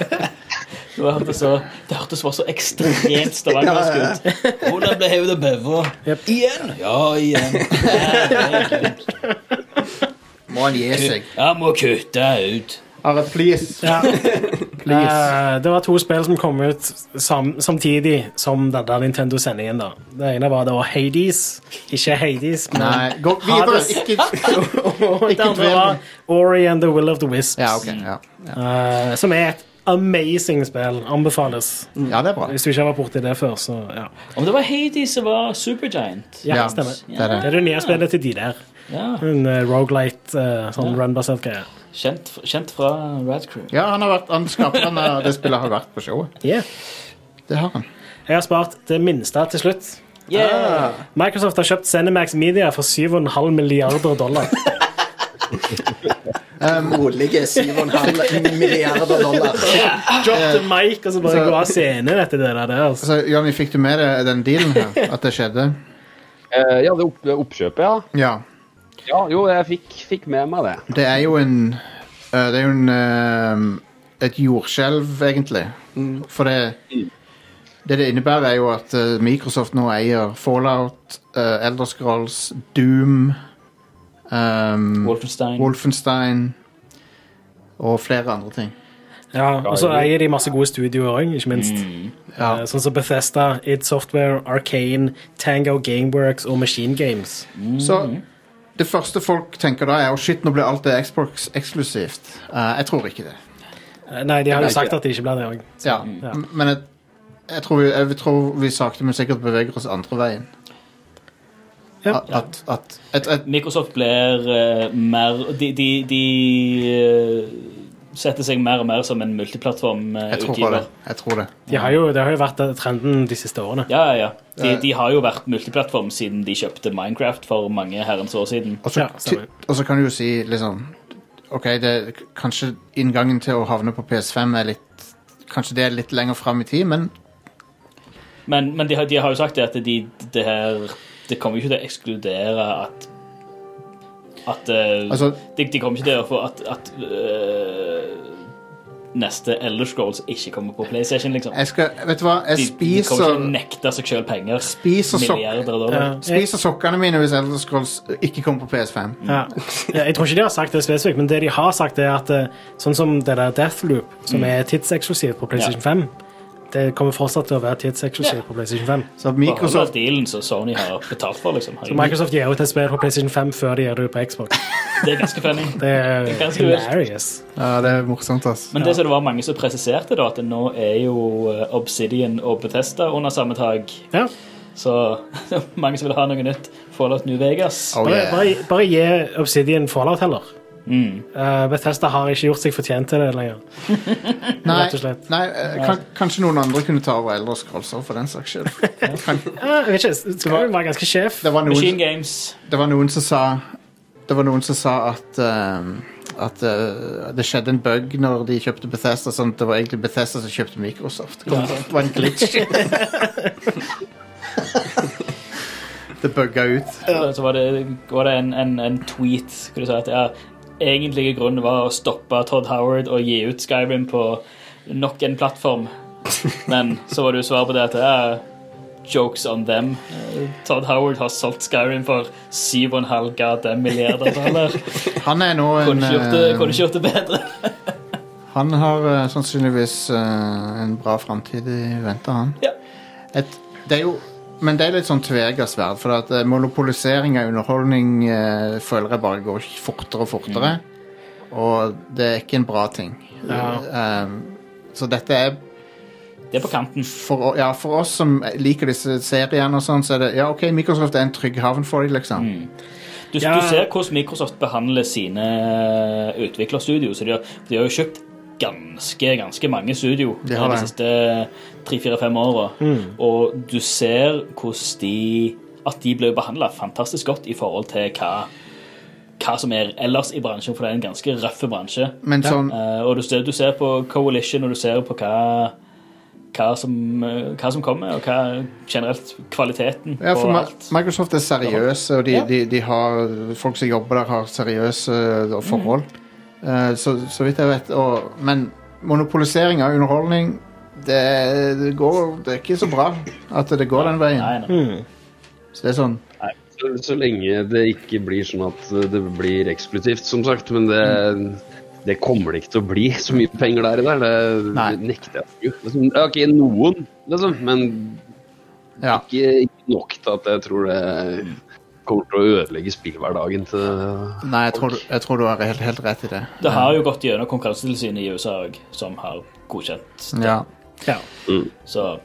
Speaker 2: Det hørtes så, det hørtes bare så ekstremt stavangersk ut. Haaland ble hevet og beva. Igjen? Ja, igjen.
Speaker 1: *laughs*
Speaker 2: Herregud.
Speaker 1: Må han gi seg?
Speaker 2: Jeg må kutte ut.
Speaker 1: Are, please.
Speaker 3: Ja. Eh, det var to spill som kom ut sam samtidig som den der Nintendo-sendingen. da. Det ene var det var Hades, ikke Hades. Men
Speaker 1: Nei, gå videre.
Speaker 3: Hades.
Speaker 1: Ikke
Speaker 3: Og *laughs* det andre
Speaker 1: dvel.
Speaker 3: var Ori and the Will of the Wisps,
Speaker 1: Ja, ok. Ja, ja.
Speaker 3: eh, som er et amazing spill. Anbefales.
Speaker 1: ja det er bra.
Speaker 3: Hvis du ikke har vært borti det før, så ja.
Speaker 2: Om det var Hades som var supergiant?
Speaker 3: ja,
Speaker 1: Ja,
Speaker 3: stemmer.
Speaker 1: det er det.
Speaker 3: Det er det nye spillet til de der.
Speaker 2: Ja.
Speaker 3: En uh, roguelite, eh, sånn run-basert greie.
Speaker 2: Kjent, kjent fra Rad Crew.
Speaker 1: Ja, han har vært, han skaperen av det spillet har vært på showet.
Speaker 3: Yeah.
Speaker 1: Det har han.
Speaker 3: Jeg har spart det minste til slutt.
Speaker 2: Yeah.
Speaker 3: Microsoft har kjøpt Cinemax Media for 7,5 milliarder dollar.
Speaker 4: Rolige 7,5 milliarder dollar.
Speaker 3: Drop the mic, og så
Speaker 1: Så-
Speaker 3: bare gå av scenen etter det der. Altså.
Speaker 1: Så, Johnny, fikk du med deg den dealen her? At det skjedde?
Speaker 5: Eh, Ja, det opp, oppkjøpet, ja.
Speaker 1: Ja.
Speaker 5: ja. Jo, jeg fikk, fikk med meg det.
Speaker 1: eh, Det er jo en øh, Det er jo en øh, et jordskjelv, egentlig. For det, det det innebærer, er jo at eh, Microsoft nå eier Fallout, uh, Elder Scrolls, Doom ehm,
Speaker 2: Wolfenstein.
Speaker 1: Wolfenstein og flere andre ting.
Speaker 3: Ja, og så eier de masse gode studioer òg, ikke minst.
Speaker 1: Ja.
Speaker 3: Eh, Sånn som Bethesda, id Software, Arcane, Tango Gameworks og Machine Games.
Speaker 1: Så det første folk tenker da, er å shit, nå blir alt det Xbox eksklusivt. Eh, jeg tror ikke det.
Speaker 3: Eh, Nei, de har jo sagt at de ikke blir det òg.
Speaker 1: Ja, m- Men jeg, jeg, tror vi, jeg tror vi sakte, men sikkert beveger oss andre veien.
Speaker 3: Ja.
Speaker 1: At, at, at, et, et,
Speaker 2: Microsoft blir eh, mer De, de, de eh, setter seg mer og mer som en
Speaker 1: jeg tror på det.
Speaker 2: multiplattformutgiver.
Speaker 1: Jeg tror det.
Speaker 3: De har jo, det har jo vært eh, trenden de siste årene.
Speaker 2: Ja, ja, ja. De, de har jo vært multiplattform siden de kjøpte Minecraft for mange herrens år siden.
Speaker 1: Og så-
Speaker 3: Ja, stemmer.
Speaker 1: ti- Og så kan du jo si liksom OK, det, kanskje inngangen til å havne på PS5 er litt Kanskje det er litt lenger fram i tid, men
Speaker 2: Men, men de, har- de har jo sagt det at de, det her Det kommer jo ikke til å ekskludere at At eh,
Speaker 1: Altså-
Speaker 2: de, de kommer ikke til å få at, at eh, neste Elder Scrolls ikke kommer på PlayStation, liksom.
Speaker 1: jeg skal Vet du hva?
Speaker 2: De,
Speaker 1: Jeg spiser
Speaker 2: de kommer ikke til å nekte seg sjøl penger.
Speaker 1: Spiser sokker.
Speaker 2: Milliarder av dollar.
Speaker 3: Eh,
Speaker 1: Spiser sokkene mine hvis Elder Scrolls ikke kommer på PS5.
Speaker 2: Mm.
Speaker 3: Ja. Ja, Jeg tror ikke de har sagt det spesifikt, men det de har sagt, er at eh, sånn som det der Deathloop, som er tidseksklusivt på PlayStation 5 det kommer fortsatt til å være tidseksklusivt
Speaker 2: Ja.
Speaker 3: på PlayStation 5.
Speaker 1: Så
Speaker 2: Microsoft.
Speaker 1: Microsoft
Speaker 2: dealen som Sony har betalt for, liksom.
Speaker 3: Så Microsoft gir ut et spill på PlayStation 5 før de gjør det på Xbox.
Speaker 2: Det er ganske funny.
Speaker 3: Det er
Speaker 2: Det er ganske vilt.
Speaker 3: hilarious.
Speaker 1: Ja, det er morsomt, ass.
Speaker 2: Men det som det var mange som presiserte, da, at nå er jo eh, Obsidian og Bethesda under samme tak.
Speaker 3: Ja.
Speaker 2: Så *laughs* mange som vil ha noe nytt. Fallout New Vegas.
Speaker 1: Oh,
Speaker 3: Bare,
Speaker 1: yeah.
Speaker 3: bare, bare gi Obsidian Fallout heller.
Speaker 2: Mm.
Speaker 3: Eh, Bethesda har ikke gjort seg fortjent til det lenger.
Speaker 1: Nei,
Speaker 3: rett og slett.
Speaker 1: nei eh, kan, kanskje noen andre kunne ta over Elder Scrolls også, for den saks skyld. Kan-
Speaker 3: Eh, jeg vet ikke, Skyrim var ganske sjef.
Speaker 1: Det var
Speaker 2: Machine
Speaker 1: noen,
Speaker 2: Games.
Speaker 1: det var noen som sa Det var noen som sa at ehm, at eh, det skjedde en bug når de kjøpte Bethesda, sånn at det var egentlig Bethesda som kjøpte Microsoft. Det var en
Speaker 3: *laughs*
Speaker 1: glitch. det bugga ut.
Speaker 2: Så var det, var det en, en, en tweet skulle du si at ja, egentlige grunnen var å stoppe Todd Howard og gi ut Skyrim på nok en plattform. Men så var det jo svar på det at ja, jokes on them. Eh, Todd Howard har solgt Skyrim for 7,5 goddamn milliarder dollar.
Speaker 1: Han er nå en
Speaker 2: Kunne ikke gjort det,
Speaker 1: eh,
Speaker 2: kunne ikke gjort det bedre.
Speaker 1: Han har eh, sannsynligvis eh, en bra framtid i vente, han.
Speaker 2: Ja.
Speaker 1: Et, det er jo, men det er litt sånn tvega sverd, for at eh, monopolisering av underholdning eh, føler jeg bare går fortere og fortere. Og det er ikke en bra ting. Eh, så dette er
Speaker 2: Det er på kanten.
Speaker 1: for, å- ja, for oss som liker disse seriene og sånn, så er det ja, OK, Microsoft er en trygg havn for dem, liksom.
Speaker 2: Du,
Speaker 3: Ja.
Speaker 2: du ser hvordan Microsoft behandler sine eh, utviklerstudio. Så de har, de har jo kjøpt ganske, ganske mange studio
Speaker 1: De Mm. har
Speaker 2: de
Speaker 1: det.
Speaker 2: siste tre-fire-fem åra. Og du ser hvordan de At de blir behandla fantastisk godt i forhold til hva, hva som er ellers i bransjen, for det er en ganske røff bransje.
Speaker 1: Men sånn
Speaker 2: Eh, og du ser, du ser på Coalition, og du ser på hva hva som, eh, hva som kommer, og hva generelt kvaliteten
Speaker 1: Ja, for
Speaker 2: på
Speaker 1: Ma-
Speaker 2: alt.
Speaker 1: Microsoft er seriøse, og de,
Speaker 2: Ja.
Speaker 1: de, de har, folk som jobber der, har seriøse eh, forhold. Eh, så, så vidt jeg vet. Og, men monopolisering av underholdning, det, det går Det er ikke så bra at det går den veien.
Speaker 2: Nei, nei.
Speaker 1: Så det er sånn
Speaker 5: Så, så lenge det ikke blir sånn at det blir eksklusivt, som sagt. Men det, det kommer det ikke til å bli så mye penger der i der. Det,
Speaker 1: Nei.
Speaker 5: det nekter jeg å tro. Liksom, ja, OK, noen, liksom. Men
Speaker 1: Ja.
Speaker 5: ikke, ikke nok til at jeg tror det kommer til å ødelegge spillhverdagen til
Speaker 1: Nei, jeg tror, du- jeg tror du har helt, helt rett i det.
Speaker 2: Det har jo gått gjennom Konkurransetilsynet i USA òg, som har godkjent.
Speaker 1: Ja.
Speaker 3: Ja.
Speaker 2: Så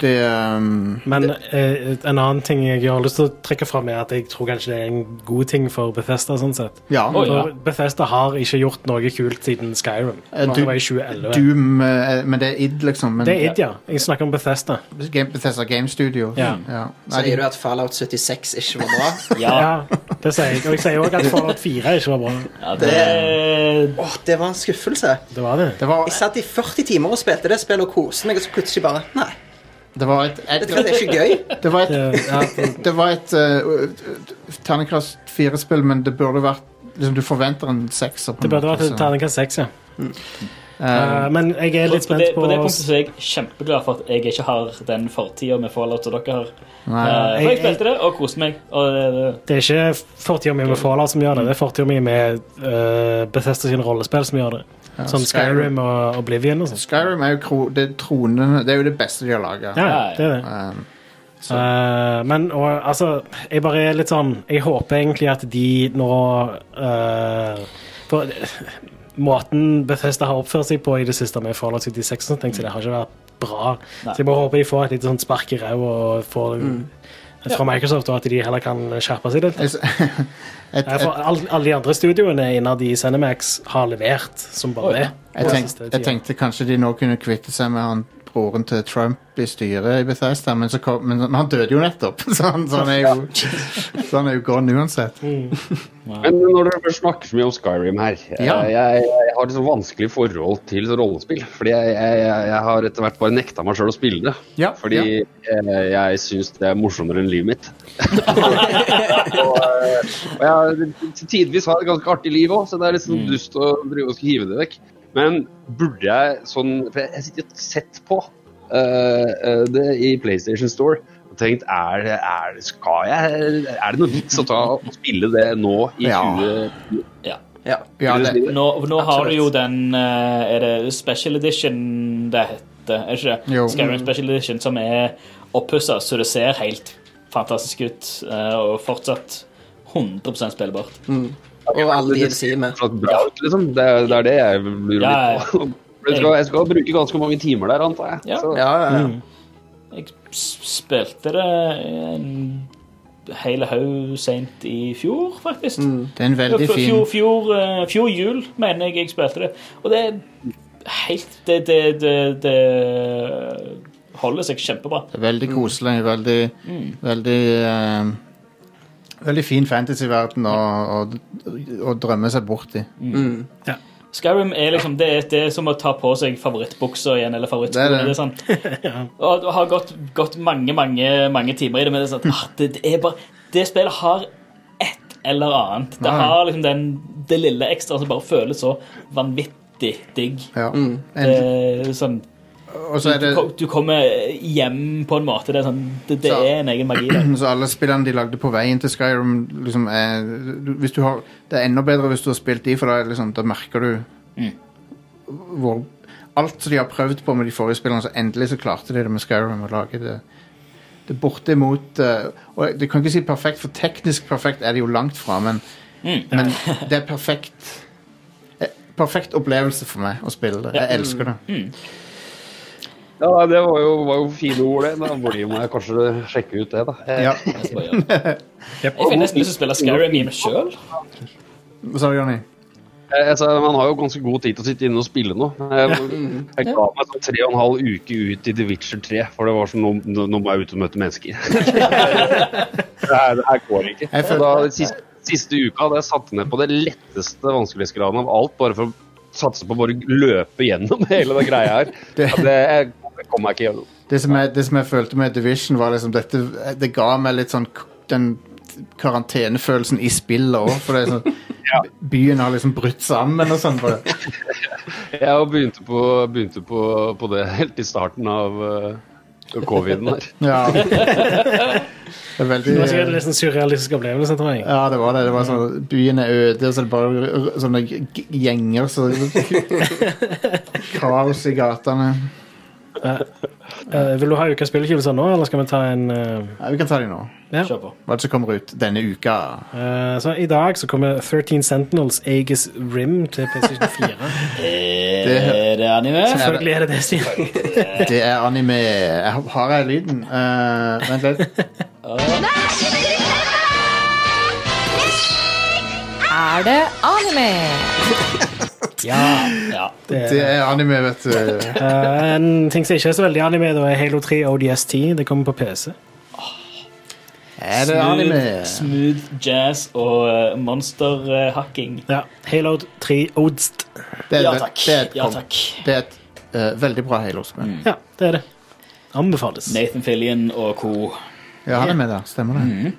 Speaker 1: Det ehm,
Speaker 3: Men eh, en annen ting jeg har lyst til å trekke fram, er at jeg tror kanskje det er en god ting for Bethesda. sånn sett.
Speaker 1: Ja.
Speaker 2: Oi. ja.
Speaker 3: For Bethesda har ikke gjort noe kult siden Skyrim.
Speaker 1: Eh, du-
Speaker 3: det var i 2011.
Speaker 1: Doom eh, Men det er id, liksom. Men,
Speaker 3: det er id, ja. Jeg snakker om Bethesda.
Speaker 1: Game, Bethesda Game Studio.
Speaker 3: Ja.
Speaker 1: Nei,
Speaker 4: Sier
Speaker 1: de,
Speaker 4: du at Fallout 76 ikke var bra?
Speaker 2: ja,
Speaker 3: Ja, det sier jeg. Og jeg sier òg at Fallout 4 ikke var bra.
Speaker 2: ja det
Speaker 4: Åh, det var en skuffelse.
Speaker 3: Det var det.
Speaker 1: det var,
Speaker 4: Jeg satt i 40 timer og spilte det spillet og koste meg, og så plutselig bare Nei,
Speaker 1: det var et,
Speaker 4: dette er
Speaker 1: et,
Speaker 4: ikke gøy.
Speaker 1: det var et
Speaker 3: Det, ja, det-
Speaker 1: Det var et eh, uh, terningkast fire-spill, men det burde vært liksom, Du forventer en sekser. på
Speaker 3: det
Speaker 1: en
Speaker 3: burde
Speaker 1: måte,
Speaker 3: vært
Speaker 1: så-
Speaker 3: terningkast 6, ja.
Speaker 1: Eh,
Speaker 3: Eh, men jeg er litt
Speaker 2: på, det,
Speaker 3: spent
Speaker 2: på
Speaker 3: på
Speaker 2: det punktet så er jeg kjempeglad for at jeg ikke har den fortida med Fallout som dere har.
Speaker 1: nei,
Speaker 2: Eh, for jeg
Speaker 3: jeg-
Speaker 2: spilte det og koste meg. Og eh, det, det,
Speaker 3: Det er ikke fortida mi med Fallout som gjør det, det er fortida mi med uh, Bethesda sine rollespill som gjør det.
Speaker 1: ja,
Speaker 3: Som Skyrim og Oblivion og sånn. sånt.
Speaker 1: Skyrim er jo kro, det, tronene, det er jo det beste de har laga.
Speaker 3: Ja, det er det.
Speaker 1: Um, så-
Speaker 3: Eh, men og, altså, jeg bare er litt sånn Jeg håper egentlig at de nå eh, For måten Bethesda har oppført seg på i det siste med Fallout 76, og sånt, tenkte jeg, det har ikke vært bra.
Speaker 2: Nei.
Speaker 3: Så jeg bare håper de får et lite sånn spark i ræva og får- fra Microsoft, og at de heller kan skjerpe seg litt.
Speaker 1: jeg s- *laughs* et,
Speaker 3: Nei, For alle, alle de andre studioene innad i Cinemax har levert som bare det.
Speaker 1: Jeg,
Speaker 3: på den
Speaker 1: tenk,
Speaker 3: siste
Speaker 1: jeg
Speaker 3: tiden.
Speaker 1: tenkte kanskje de nå kunne kvitte seg med han broren til Trump i styret i Bethesda, men, så kom, men, men han døde jo nettopp, *laughs* så han, så han, er, jo, så han er jo gone uansett.
Speaker 5: Men når dere først snakker så mye om Skyrim her eh,
Speaker 1: Ja.
Speaker 5: jeg, jeg har et så vanskelig forhold til rollespill. Fordi jeg, jeg, jeg jeg har etter hvert bare nekta meg sjøl å spille det.
Speaker 1: Ja,
Speaker 5: Fordi
Speaker 1: ja.
Speaker 5: eh, jeg syns det er morsommere enn livet
Speaker 2: *laughs*
Speaker 5: mitt. *laughs* og, eh, og jeg til tidvis har jeg et ganske artig liv òg, så det er litt sånn
Speaker 2: Mm.
Speaker 5: dust å drive og skulle hive det vekk. Men burde jeg sånn For jeg, jeg sitter og sett på eh, eh, det i PlayStation Store og tenkt er, det- er, det- skal jeg, er det noe vits å ta og spille det nå i
Speaker 1: Ja.
Speaker 5: 20...
Speaker 4: Ja.
Speaker 1: Ja, det,
Speaker 2: Nå, nå har
Speaker 4: Absolutt.
Speaker 2: du jo den eh, Er det Special Edition det heter? Er ikke det?
Speaker 1: Jo.
Speaker 2: Skyrim Special Edition, som er oppussa så det ser helt fantastisk ut. eh, og fortsatt 100 spillbart.
Speaker 4: Og alle de DLC med.
Speaker 5: fortsatt bra ut, liksom. Det, er- det er det jeg lurer
Speaker 2: Ja, ja.
Speaker 5: litt på. *laughs* Jeg skal, jeg skal bruke ganske mange timer der, antar jeg.
Speaker 2: Ja.
Speaker 5: Så-
Speaker 4: Ja, ja, ja.
Speaker 2: Jeg s- spilte det en hele haug seint i fjor, faktisk.
Speaker 1: det er en
Speaker 2: Ja,
Speaker 1: veldig
Speaker 2: Fjor,
Speaker 1: fin
Speaker 2: fjor, fjor, eh, fjor jul, mener jeg jeg spilte det. Og det er helt Det, det, det, det holder seg kjempebra.
Speaker 1: det er veldig koselig, veldig veldig, ehm, veldig fin fantasyverden å, å, å drømme seg bort i.
Speaker 4: Mm.
Speaker 2: Skyrim er liksom det, er- det er som å ta på seg favorittbuksa igjen, eller
Speaker 1: Det
Speaker 2: favorittskoene.
Speaker 1: er
Speaker 2: Det
Speaker 1: det.
Speaker 2: er sånn. Og du har gått, gått mange, mange mange timer i det, men det er sånn ah, det, det er bare Det spillet har et eller annet. Det
Speaker 1: Nei.
Speaker 2: har liksom den, det lille ekstra som bare føles så vanvittig digg.
Speaker 1: Ja.
Speaker 2: Det
Speaker 1: En,
Speaker 2: er sånn
Speaker 1: og så er
Speaker 2: du,
Speaker 1: det
Speaker 2: ko- du kommer hjem på en måte. Det er, sånn, det, det
Speaker 1: Så-
Speaker 2: er en egen magi der.
Speaker 1: så alle spillene de lagde på veien til Skyrim liksom, er, du- hvis du har, Det er enda bedre hvis du har spilt de, for da, er det liksom, da merker du hvor Alt som de har prøvd på med de forrige spillene, så endelig så klarte de det med Skyrim. Å lage det Det er bortimot eh, Og du kan ikke si perfekt, for teknisk perfekt er det jo langt fra, men, men det er perfekt eh, Perfekt opplevelse for meg å spille det. Jeg elsker det.
Speaker 5: Ja, det var jo, var jo fine ord, det. Da burde må jeg kanskje sjekke ut det, da. Eh,
Speaker 1: Ja.
Speaker 2: Jeg skal altså, bare gjøre det. Jeg fikk nesten lyst til å spille Skyrim i meg sjøl.
Speaker 1: Hva sa du, Johnny?
Speaker 5: eh, altså, man har jo ganske god tid til å sitte inne og spille nå. Jeg, jeg ga meg sånn tre og en halv uke ut i The Witcher 3, for det var sånn Nå, nå- nå må jeg ut og møte
Speaker 1: *laughs*
Speaker 5: mennesker. det, her, det her går ikke.
Speaker 1: Jeg føler-
Speaker 5: Og da, siste, siste uka hadde jeg satt ned på det letteste vanskelighetsgraden av alt, bare for å satse på å bare løpe gjennom *laughs* hele den greia her.
Speaker 1: Det-
Speaker 5: Ja, Det, jeg, jeg kom meg ikke gjennom.
Speaker 1: det som, jeg, det som jeg følte med Division, var liksom dette Det ga meg litt sånn k- den karantenefølelsen i spillet òg, for det er sånn Byen har liksom brutt sammen og sånn. for det.
Speaker 5: Jeg begynte på, begynte på, på det helt i starten av uh, coviden her.
Speaker 1: Ja. Det er veldig
Speaker 3: Det var sikkert en litt sånn surrealistisk opplevelse, tror jeg.
Speaker 1: Ja, det var det. det var sånn, byen er øde, og så er det bare r- sånne g- g- gjenger så *laughs* Kaos i gatene.
Speaker 3: Eh, vil du ha ukas spillutgivelser nå, eller skal vi ta en eh,
Speaker 1: Ja, vi kan ta de nå.
Speaker 3: Ja.
Speaker 2: Kjør på.
Speaker 1: Hva er det som kommer ut denne uka?
Speaker 3: Eh, så I dag så kommer 13 Sentinels Aegis Rim til PlayStation 4.
Speaker 2: Er det anime?
Speaker 3: Selvfølgelig er det det,
Speaker 1: *laughs*
Speaker 3: Stian.
Speaker 1: Det er anime jeg, har- Har jeg lyden? Eh, vent litt.
Speaker 6: er det anime.
Speaker 2: Ja.
Speaker 1: Det er anime, vet du.
Speaker 3: Eh, en ting som ikke er så veldig anime, da er Halo 3 ODST. Det kommer på PC.
Speaker 1: Er det
Speaker 2: Smooth,
Speaker 1: anime?
Speaker 2: smooth jazz og eh, monsterhacking.
Speaker 3: Ja, Halo 3 ODST.
Speaker 1: Det er,
Speaker 2: Ja
Speaker 1: et-
Speaker 2: takk.
Speaker 1: Det er et,
Speaker 2: Ja,
Speaker 1: kom-
Speaker 2: takk.
Speaker 1: Det er et eh, veldig bra Halo-spill.
Speaker 3: Ja, det er det. Anbefales.
Speaker 2: Nathan Fillion og co.
Speaker 1: Ja, han er med der. Stemmer det.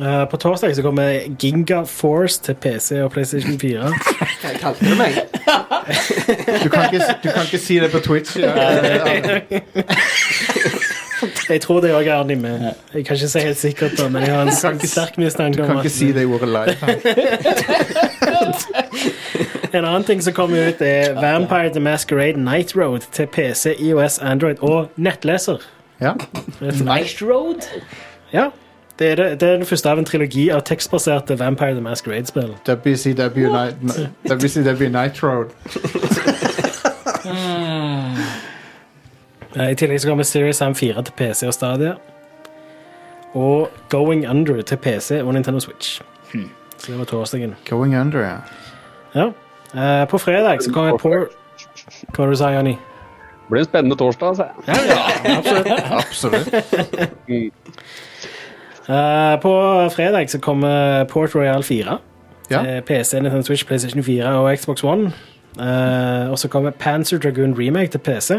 Speaker 3: Eh, på torsdag så kommer Ginga Force til PC og PlayStation
Speaker 1: *laughs*
Speaker 3: 4.
Speaker 4: Hva kalte du meg?
Speaker 1: Du kan ikke, du kan ikke si det på Twitch. Ja.
Speaker 3: Jeg tror det òg er anime. Jeg kan ikke si helt sikkert, da, men jeg har en
Speaker 1: kan ikke-
Speaker 3: sterk mistanke
Speaker 1: Du
Speaker 3: om
Speaker 1: kan
Speaker 3: at
Speaker 1: ikke si det ordet live.
Speaker 3: En annen ting som kommer ut, er Vampire the Masquerade Night Road til PC, IOS, Android og nettleser.
Speaker 1: Ja.
Speaker 2: Night Road?
Speaker 3: Ja, det er, det, det er den første av en trilogi av tekstbaserte Vampire the Masquerade-spill.
Speaker 1: WCW, Night, WCW Night Road.
Speaker 3: Eh, I tillegg så kommer Series M4 til PC og Stadia. Og Going Under til PC og Nintendo Switch. Så det var torsdagen.
Speaker 1: Going Under, ja.
Speaker 3: Ja. Eh, på fredag så kommer Por... Hva var det du sa, Jonny?
Speaker 5: Det blir en spennende torsdag, altså. sa jeg.
Speaker 1: Absolutt.
Speaker 3: Eh, på fredag så kommer Port Royal 4.
Speaker 1: Ja.
Speaker 3: Eh, PC, Nintendo Switch, PlayStation 4 og Xbox One. Eh, og så kommer Panzer Dragoon Remake til PC.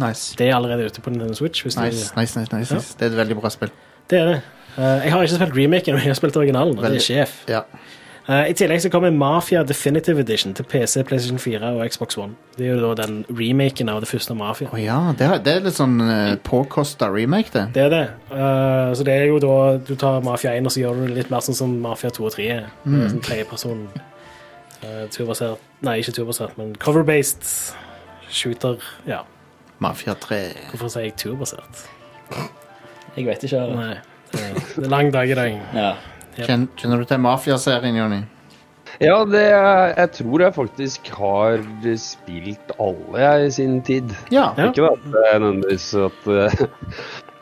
Speaker 1: Nice.
Speaker 3: Det er allerede ute på Nintendo Switch. Hvis
Speaker 1: Nice,
Speaker 3: du,
Speaker 1: nice, nice, nice. nice. Det er et veldig bra spill.
Speaker 3: det er det. Eh, jeg har ikke spilt remaken, men jeg har spilt originalen. og Det er
Speaker 1: Veldig.
Speaker 3: sjef.
Speaker 1: Ja.
Speaker 3: Eh, I tillegg så kommer Mafia Definitive Edition til PC, PlayStation 4 og Xbox One. Det er jo da den remaken av det første Mafia.
Speaker 1: Å ja, det er, det er litt sånn uh, påkosta remake, det.
Speaker 3: Det er det. Eh, så det er jo da du tar Mafia 1 og så gjør du det litt mer sånn som Mafia 2 og 3 er. Mm. Sånn tredjeperson eh, turbasert Nei, ikke turbasert, men cover-based shooter. Ja,
Speaker 1: Mafia 3.
Speaker 3: hvorfor sier jeg turbasert?
Speaker 2: Jeg vet ikke. Eller?
Speaker 3: Nei. eh, Det er lang dag i dag.
Speaker 2: Ja.
Speaker 1: Kjen, kjenner du til Mafia-serien, Jonny?
Speaker 5: Ja, det, jeg tror jeg faktisk har spilt alle jeg i sin tid.
Speaker 1: Ja.
Speaker 3: Ja.
Speaker 5: Ikke det at det er nødvendigvis at eh,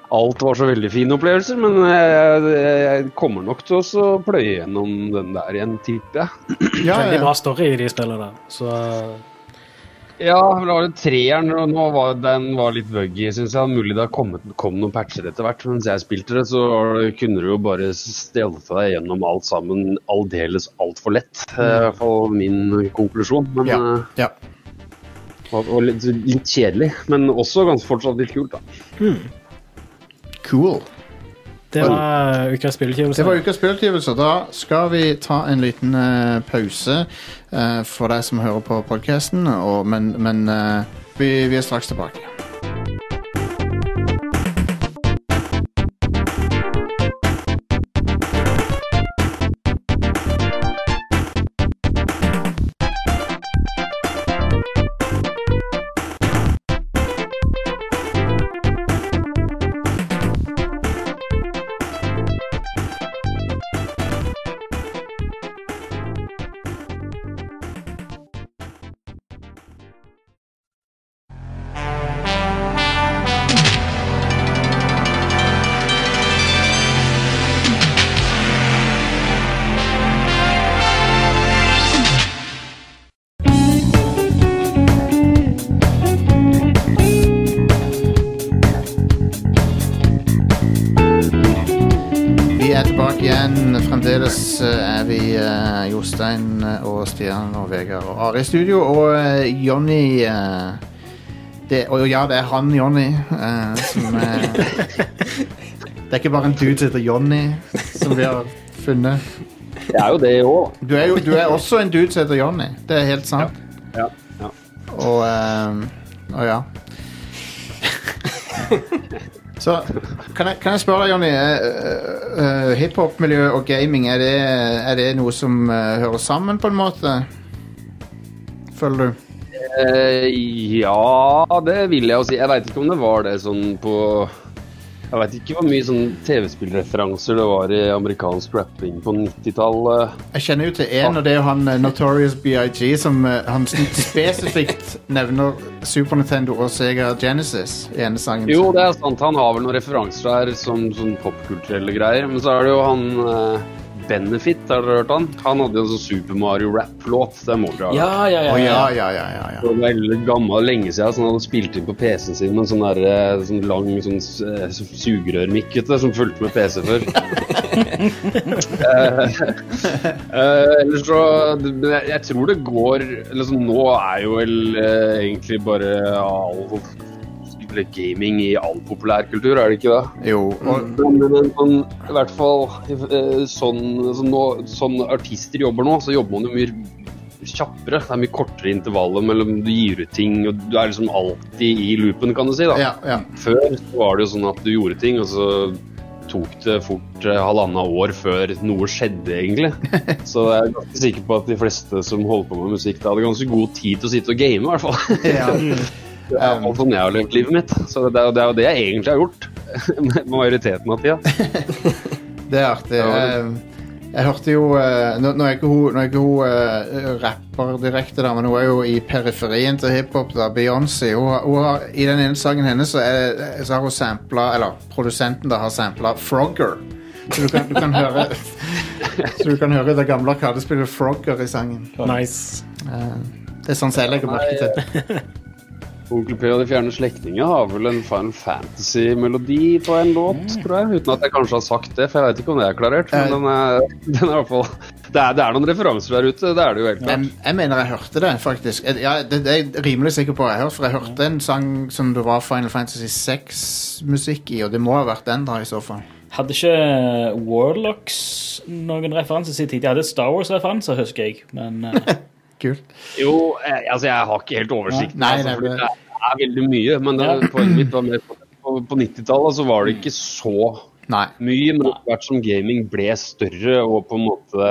Speaker 5: alt var så veldig fine opplevelser, men eh, jeg, jeg kommer nok til å så pløye gjennom den der igjen, tipper jeg.
Speaker 1: ja,
Speaker 3: Veldig
Speaker 1: ja.
Speaker 3: bra story i de spillene. der, Så
Speaker 5: Ja, det var det treeren, og nå var den var litt buggy, syns jeg. Mulig det har kommet, kom noen patcher etter hvert. Mens jeg spilte det, så var det- kunne du jo bare stelte deg gjennom alt sammen aldeles altfor lett. Eh, I hvert fall min konklusjon. Men,
Speaker 1: ja.
Speaker 5: eh,
Speaker 1: ja.
Speaker 5: og og litt, litt kjedelig, men også ganske fortsatt litt kult, da.
Speaker 1: Cool.
Speaker 3: det var ukas
Speaker 1: Det
Speaker 3: spillutgivelse.
Speaker 1: var ukas spillutgivelser. Da skal vi ta en liten eh, pause eh, for deg som hører på podkasten, men, men eh, vi, vi er straks tilbake. Vi er tilbake igjen. Fremdeles eh, er vi eh, Jostein eh, og Stian og Vegard og Are i studio. Og eh, Jonny eh, det, Og ja, det er han Jonny eh, som eh, Det er ikke bare en dude som heter Jonny, som vi har funnet.
Speaker 5: Det er jo det òg,
Speaker 1: Du er jo du er også en dude som heter Jonny. Det er helt sant.
Speaker 5: da. Ja. Ja.
Speaker 1: Og, ehm, og ja. *laughs* Så kan jeg, kan jeg spørre deg, Jonny. eh, eh, eh, Hiphop-miljø og gaming, er det, er det noe som eh, hører sammen, på en måte? Føler du?
Speaker 5: Eh, ja, det vil jeg jo si. Jeg veit ikke om det var det sånn på Jeg veit ikke hvor mye sånn TV-spillreferanser det var i amerikansk rapping på 90-tallet.
Speaker 1: Jeg kjenner jo til én, og det er jo han eh, Notorious BIG som eh, han spesifikt nevner Super Nintendo og Sega Genesis i ene sangen.
Speaker 5: Jo, det er sant. Han har vel noen referanser her som sånn popkulturelle greier. Men så er det jo han eh, Benefit, har dere hørt han? Han hadde jo en sånn Super Mario-rap-låt. Det må dere ha.
Speaker 2: Ja, ja, ja.
Speaker 1: Å,
Speaker 2: ja.
Speaker 1: ja, ja, ja, ja, ja.
Speaker 5: Det var veldig gammel, lenge siden, så han hadde spilt inn på PC-en sin med en sånn, der, eh, sånn lang sånn, s- eh, sugerørmikk vet du, som fulgte med PC før. *laughs* Eh, eh, ellers så det- men Jeg jeg tror det går eller sånn, Nå er jo vel eh, egentlig bare all selvfølgelig gaming i all populærkultur, er det ikke det?
Speaker 1: Jo, og,
Speaker 5: Men, men, men sånn, i hvert fall eh, sånn, som nå, sånn artister jobber nå, så jobber man jo mye kjappere. Det er mye kortere intervaller mellom du gir ut ting, og du er liksom alltid i loopen, kan du si. da.
Speaker 1: ja, ja.
Speaker 5: Før så var det jo sånn at du gjorde ting, og så tok det fort eh, halvannet år før noe skjedde, egentlig. Så jeg er ganske sikker på at de fleste som holder på med musikk, da hadde ganske god tid til å sitte og game, i hvert fall. *laughs*
Speaker 1: ja.
Speaker 5: Det er i hvert fall sånn jeg har levd livet mitt. Så det er jo det, er jo det jeg egentlig har gjort. *laughs* Majoriteten av tida.
Speaker 1: Det er artig.
Speaker 5: Ja.
Speaker 1: Eh, Jeg hørte jo eh, Nå nå er ikke hun, nå er ikke hun eh, rapper direkte, da, men hun er jo i periferien til hiphop. da, Beyoncé. Hun, har- hun har, I den ene sangen hennes så, er, så har hun sampla Eller produsenten da har sampla Frogger. Så du kan, du kan høre Så du kan høre det gamle arkadespillet Frogger i sangen.
Speaker 3: Nice.
Speaker 1: Det er sånn som jeg legger merke til.
Speaker 5: Onkel P og De fjerne slektninger har vel en Final Fantasy-melodi på en låt,
Speaker 1: Mm.
Speaker 5: tror jeg. Uten at jeg kanskje har sagt det, for jeg vet ikke om det er klarert. Men den er, *laughs* den er i hvert fall det er, det er noen referanser der ute, det er det jo helt klart.
Speaker 1: Jeg, jeg mener jeg hørte det, faktisk. Jeg- Ja, det, det er jeg rimelig sikker på. at Jeg hørte, for jeg hørte en sang som det var Final Fantasy 6-musikk i, og det må ha vært den, da, i så fall.
Speaker 2: Hadde ikke eh, Warlocks noen referanser i sin tid? De hadde Star Wars-referanser, husker jeg. Men eh,
Speaker 1: *laughs* Kult.
Speaker 5: Jo, jeg, altså jeg har ikke helt oversikt.
Speaker 1: Nei, nei,
Speaker 5: altså, fordi
Speaker 1: det-
Speaker 5: det er, det er veldig mye, men det, poenget mitt var mer på, på, på 90-tallet så var det ikke så
Speaker 1: Nei.
Speaker 5: mye, men etter hvert som gaming ble større og på en måte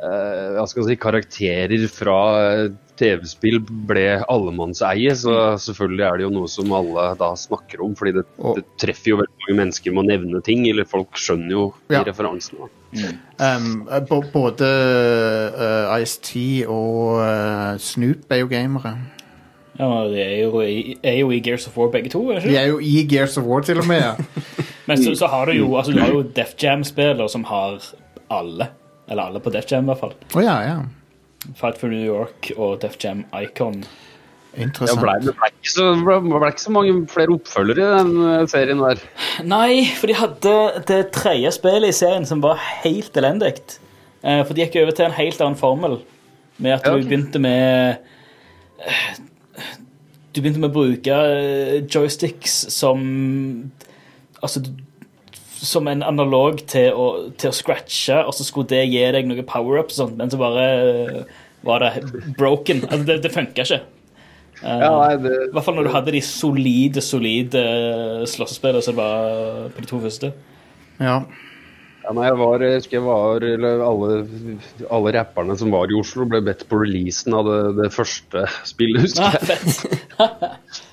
Speaker 5: eh, hva skal jeg si, karakterer fra eh, TV-spill ble allemannseie, så selvfølgelig er det jo noe som alle da snakker om, fordi det,
Speaker 1: Mm. Og-
Speaker 5: det treffer jo veldig mange mennesker med å nevne ting, eller folk skjønner jo
Speaker 1: Ja.
Speaker 5: de referansene.
Speaker 1: Um, bo- både uh, Ice-T og uh, Snoop er jo gamere.
Speaker 2: ja, de er jo, i, er jo i Gears of War, begge to. er det
Speaker 1: De
Speaker 2: ikke?
Speaker 1: er jo i Gears of War, til og med. Ja.
Speaker 2: Men så, så har du
Speaker 1: Mm.
Speaker 2: jo, altså, du har jo Def Jam-spiller som har alle. Eller alle på Def Jam, i hvert fall.
Speaker 1: Å ja, ja.
Speaker 2: Fight for New York og Def Jam Icon.
Speaker 5: Det
Speaker 1: Interessant.
Speaker 5: ble, det, ble ikke så, det ble- det ble ikke så mange flere oppfølgere i den eh, serien der.
Speaker 2: Nei, for de hadde det tredje spillet i serien som var helt elendig. Eh, For de gikk over til en helt annen formel. Med at
Speaker 5: Ja,
Speaker 2: du
Speaker 5: ok.
Speaker 2: begynte med eh, Du begynte med å bruke eh, joysticks som Altså du- som en analog til å, til å scratche, og så skulle det gi deg noe power-ups og sånt, men så bare eh, var det broken. Altså, det, det funka ikke. Eh,
Speaker 5: Ja, nei, det,
Speaker 2: i hvert fall når du hadde de solide, solide eh, slåssespillene som det var på de to første.
Speaker 1: Ja.
Speaker 5: Ja, nei, jeg var, jeg husker jeg var eller alle, alle rapperne som var i Oslo, ble bedt på releasen av det, det første
Speaker 2: Ah,
Speaker 5: spillet, husker jeg.
Speaker 2: fett.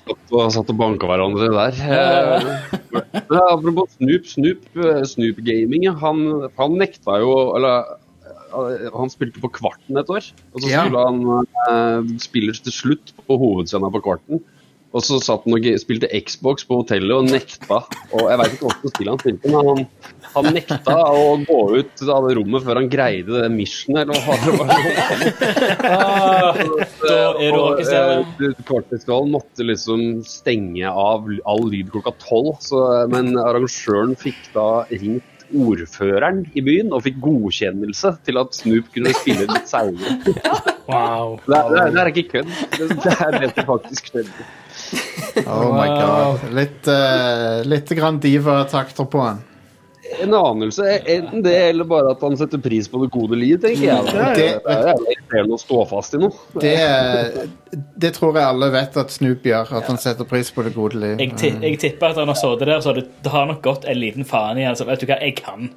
Speaker 5: Satt og, satt og banka hverandre der. Eh, men Apropos Snoop, Snoop, eh, Snoop Gaming, ja, han, han nekta jo Eller eh, han spilte på Kvarten et år, og så
Speaker 1: Ja.
Speaker 5: skulle han eh, spille til slutt på hovedscena på Kvarten. Og så satt han og ge- spilte Xbox på hotellet og nekta. Og jeg veit ikke hvordan spill han spilte, men han, han nekta å gå ut av det rommet før han greide det missionet, eller hva faen det var.
Speaker 2: Ah, da er du rockestjerne.
Speaker 5: Kvartfestivalen eh, måtte liksom stenge av all lyd klokka tolv, så- men arrangøren fikk da ringt ordføreren i byen og fikk godkjennelse til at Snoop kunne spille litt seinere. Det,
Speaker 3: Wow.
Speaker 5: er- det, er- det er ikke kødd. Det, det er det som faktisk skjedde.
Speaker 1: Oh my god. Litt, uh, litt grann diva-takter på han.
Speaker 5: En anelse. Enten det, eller bare at han setter pris på det gode liv, tenker jeg. Det,
Speaker 1: Ja,
Speaker 5: er-
Speaker 1: ja.
Speaker 5: det er jævlig irriterende å stå fast i noe.
Speaker 1: Det, det tror jeg alle vet at Snoop gjør. At han setter pris på det gode liv.
Speaker 2: Jeg, ti- jeg tipper at han har sittet der, så det, det har nok gått en liten faen i han. så Vet du hva, jeg kan.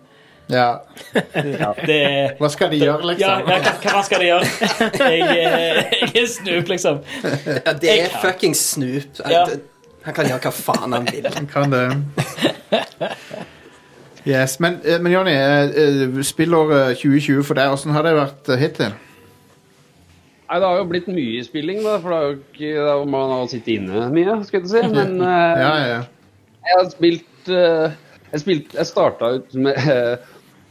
Speaker 1: Ja.
Speaker 2: Det
Speaker 1: *laughs*
Speaker 2: er
Speaker 1: Hva skal de gjøre,
Speaker 2: ja,
Speaker 1: liksom?
Speaker 2: ja, hva, hva skal de gjøre? *laughs* Jeg, eh, jeg er snup, liksom.
Speaker 4: Ja, det
Speaker 2: Jeg
Speaker 4: er
Speaker 2: kan.
Speaker 4: fucking Snoop. Han,
Speaker 2: Ja.
Speaker 4: han kan gjøre hva faen han vil.
Speaker 1: Han kan det. Yes, men, eh, men Jonny, eh, eh, spillåret 2020 for deg, åssen har det vært eh, hittil?
Speaker 5: Nei, Det har jo blitt mye spilling, da, for det er jo ikke, det er jo- man har sittet inne mye. skal jeg si. Men eh,
Speaker 1: Ja, ja, ja.
Speaker 5: jeg har spilt eh, Jeg, spilt, jeg starta ut med eh,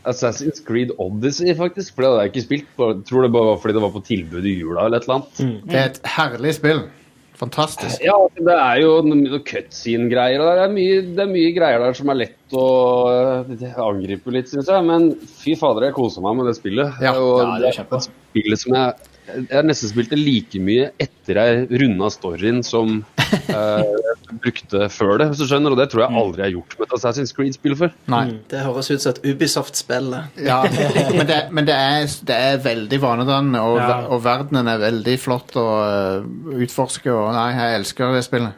Speaker 5: Assassin's Creed Odyssey, faktisk. For det hadde jeg ikke spilt. Bare, tror det bare var fordi det var på tilbud i jula eller et eller annet.
Speaker 2: Mm.
Speaker 1: Det er et herlig spill. Fantastisk.
Speaker 5: Ja, det er jo noen cutscene-greier. og Det, er mye- det er mye greier der som er lett å eh, angripe litt, syns jeg. Men fy fader, jeg koser meg med det spillet.
Speaker 1: Ja,
Speaker 5: og
Speaker 2: ja, det er kjempe. *laughs*
Speaker 5: et spillet som jeg jeg har nesten spilt det like mye etter jeg runda storyen som eh, brukte før det, hvis du skjønner. Og det tror jeg aldri jeg har gjort med et Assassin's Creed-spill før.
Speaker 1: Nei.
Speaker 4: Det høres ut som et Ubisoft-spill. det.
Speaker 1: Ja, men det, men det, er, det er veldig vanedannende, og,
Speaker 3: Ja.
Speaker 1: ver- og verdenen er veldig flott å øh, utforske. Og nei, jeg elsker det spillet.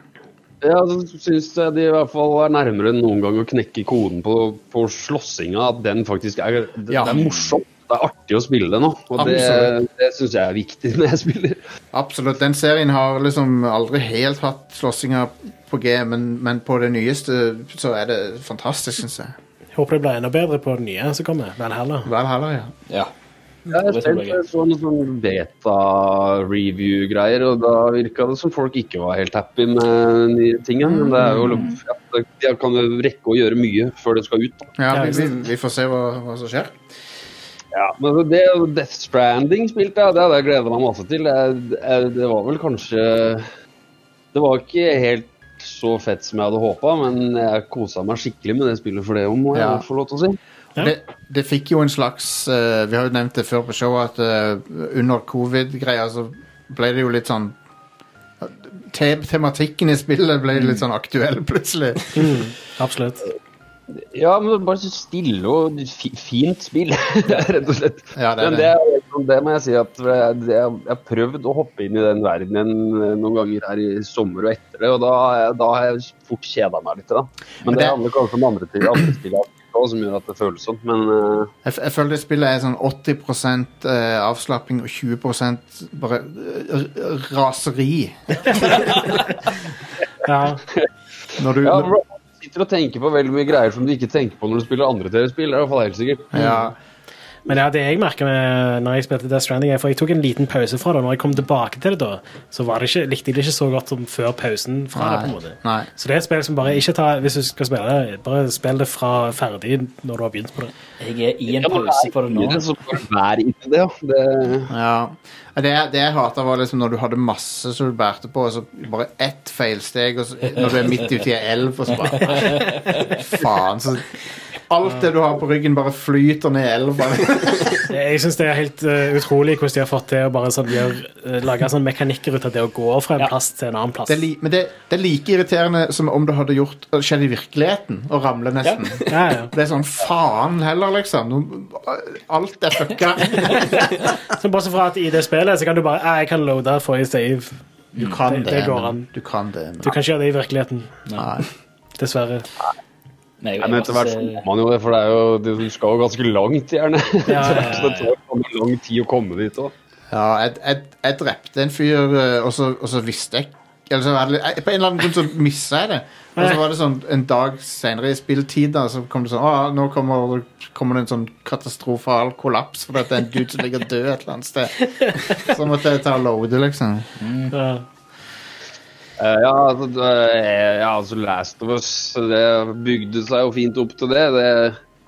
Speaker 5: Jeg syns de i hvert fall er nærmere enn noen gang å knekke koden på, på slåssinga. At den faktisk er det,
Speaker 1: Ja.
Speaker 5: det er morsomt. Det er artig å spille det nå. Og det,
Speaker 1: Absolutt.
Speaker 5: det syns jeg er viktig når jeg spiller.
Speaker 1: Absolutt. Den serien har liksom aldri helt hatt slåssinga på G, men, men på det nyeste eh, så er det fantastisk, syns jeg.
Speaker 3: Håper det blir enda bedre på det nye som kommer. Vel heller.
Speaker 1: Vel heller, ja.
Speaker 2: Ja.
Speaker 5: Jeg har
Speaker 2: Det tror jeg
Speaker 5: spilt sånn, sånn beta-review-greier, og da virka det som folk ikke var helt happy med de tingene. Men det
Speaker 1: Mm.
Speaker 5: er jo, ja, det- de kan jo rekke å gjøre mye før det skal ut. Da.
Speaker 1: ja
Speaker 3: Ja,
Speaker 1: vi,
Speaker 3: ikke
Speaker 1: vi, vi får se hva, hva som skjer.
Speaker 5: Ja, men altså, det Death Stranding spilte jeg, det hadde jeg gleda meg masse til. Jeg, jeg, det var vel kanskje Det var ikke helt så fett som jeg hadde håpa, men jeg kosa meg skikkelig med det spillet for det om, må jeg
Speaker 1: Ja.
Speaker 5: få lov til å si.
Speaker 3: Ja.
Speaker 1: Det, det fikk jo en slags eh, Vi har jo nevnt det før på showet at eh, under covid-greia så ble det jo litt sånn te Tematikken i spillet ble litt sånn aktuell plutselig.
Speaker 3: Absolutt.
Speaker 5: Ja, men bare så stille og fi, fint spill, *laughs* rett og slett.
Speaker 1: Ja, det er
Speaker 5: men det, er- liksom det må jeg si at jeg, det- jeg har prøvd å hoppe inn i den verdenen noen ganger her i sommer og etter det, og da, har jeg- da har jeg fort kjeda meg litt. Da. Men
Speaker 1: Men
Speaker 5: det,
Speaker 1: det-
Speaker 5: handler kanskje om andre, til- andre spill jeg har spilt også, som gjør at det føles sånn. Men eh,
Speaker 1: Jeg, f- jeg føler det spillet er sånn 80 eh, avslapping og 20 bare eh, r- raseri.
Speaker 3: Ja.
Speaker 1: Når du
Speaker 5: ja, bro, du sitter og tenker på veldig mye greier som du ikke tenker på når du spiller andre TV-spill. Det er i hvert fall helt sikkert. Mm.
Speaker 1: ja,
Speaker 3: Men ja, det jeg merker med når jeg spilte Death Stranding, er for jeg tok en liten pause fra det. Når jeg kom tilbake til det da, så var det ikke, likte jeg det ikke så godt som før pausen fra det. på
Speaker 1: nei,
Speaker 3: en måte.
Speaker 1: nei.
Speaker 3: Så det er et spill som bare ikke tar, hvis du skal spille det, bare spill det fra ferdig når du har begynt på det.
Speaker 2: Jeg er i en pause på det nå.
Speaker 5: Det er så bare vær inni det, ja. Det,
Speaker 1: Ja. Det, jeg- det jeg hata, var liksom når du hadde masse som du bærte på, og så bare ett feilsteg og så, når du er midt ute i ei elv, og så bare
Speaker 3: *laughs*
Speaker 1: Faen. Så alt det du har på ryggen, bare flyter ned i elva.
Speaker 3: Jeg syns det er helt eh, utrolig hvordan de har fått til å bare sånn, gjøre, eh, lage sånn mekanikker ut av det å gå fra en
Speaker 2: Ja.
Speaker 3: plass til en annen plass.
Speaker 1: *laughs* Det er li, men det, det er like irriterende som om det hadde gjort, det skjedd i virkeligheten, å ramle nesten.
Speaker 3: Ja, ja.
Speaker 1: Det er sånn faen heller, liksom. Nå- Alt er fucka.
Speaker 3: *laughs* Så Bortsett fra at i det spillet så kan du bare eh, Jeg kan loade forrige save.
Speaker 1: Du kan det,
Speaker 3: Det- det går
Speaker 1: men-
Speaker 3: an.
Speaker 1: Du kan det, men
Speaker 3: Du kan ikke gjøre det i virkeligheten.
Speaker 1: Nei.
Speaker 3: Dessverre.
Speaker 2: Nei,
Speaker 5: Ja,
Speaker 2: jeg
Speaker 5: men etter
Speaker 3: altså,
Speaker 5: hvert så må
Speaker 2: *laughs*
Speaker 5: man jo det, for det er jo, det- du skal jo ganske langt, gjerne.
Speaker 3: Ja, ja, ja,
Speaker 5: *laughs* Så det tar jo lang tid å komme dit òg.
Speaker 1: Ja, jeg, jeg, jeg drepte en fyr, eh, og så, og så visste jeg eller så var det, jeg, På en eller annen grunn så missa jeg det. Og så var det sånn en dag senere i spilletida så kom det sånn Å, nå kommer, kommer det en sånn katastrofal kollaps fordi at det er en dude som ligger død et eller annet sted. Så måtte jeg ta og loade, liksom.
Speaker 3: Ja.
Speaker 5: ja, altså, det er- ja, altså Last of Us det bygde seg jo fint opp til det.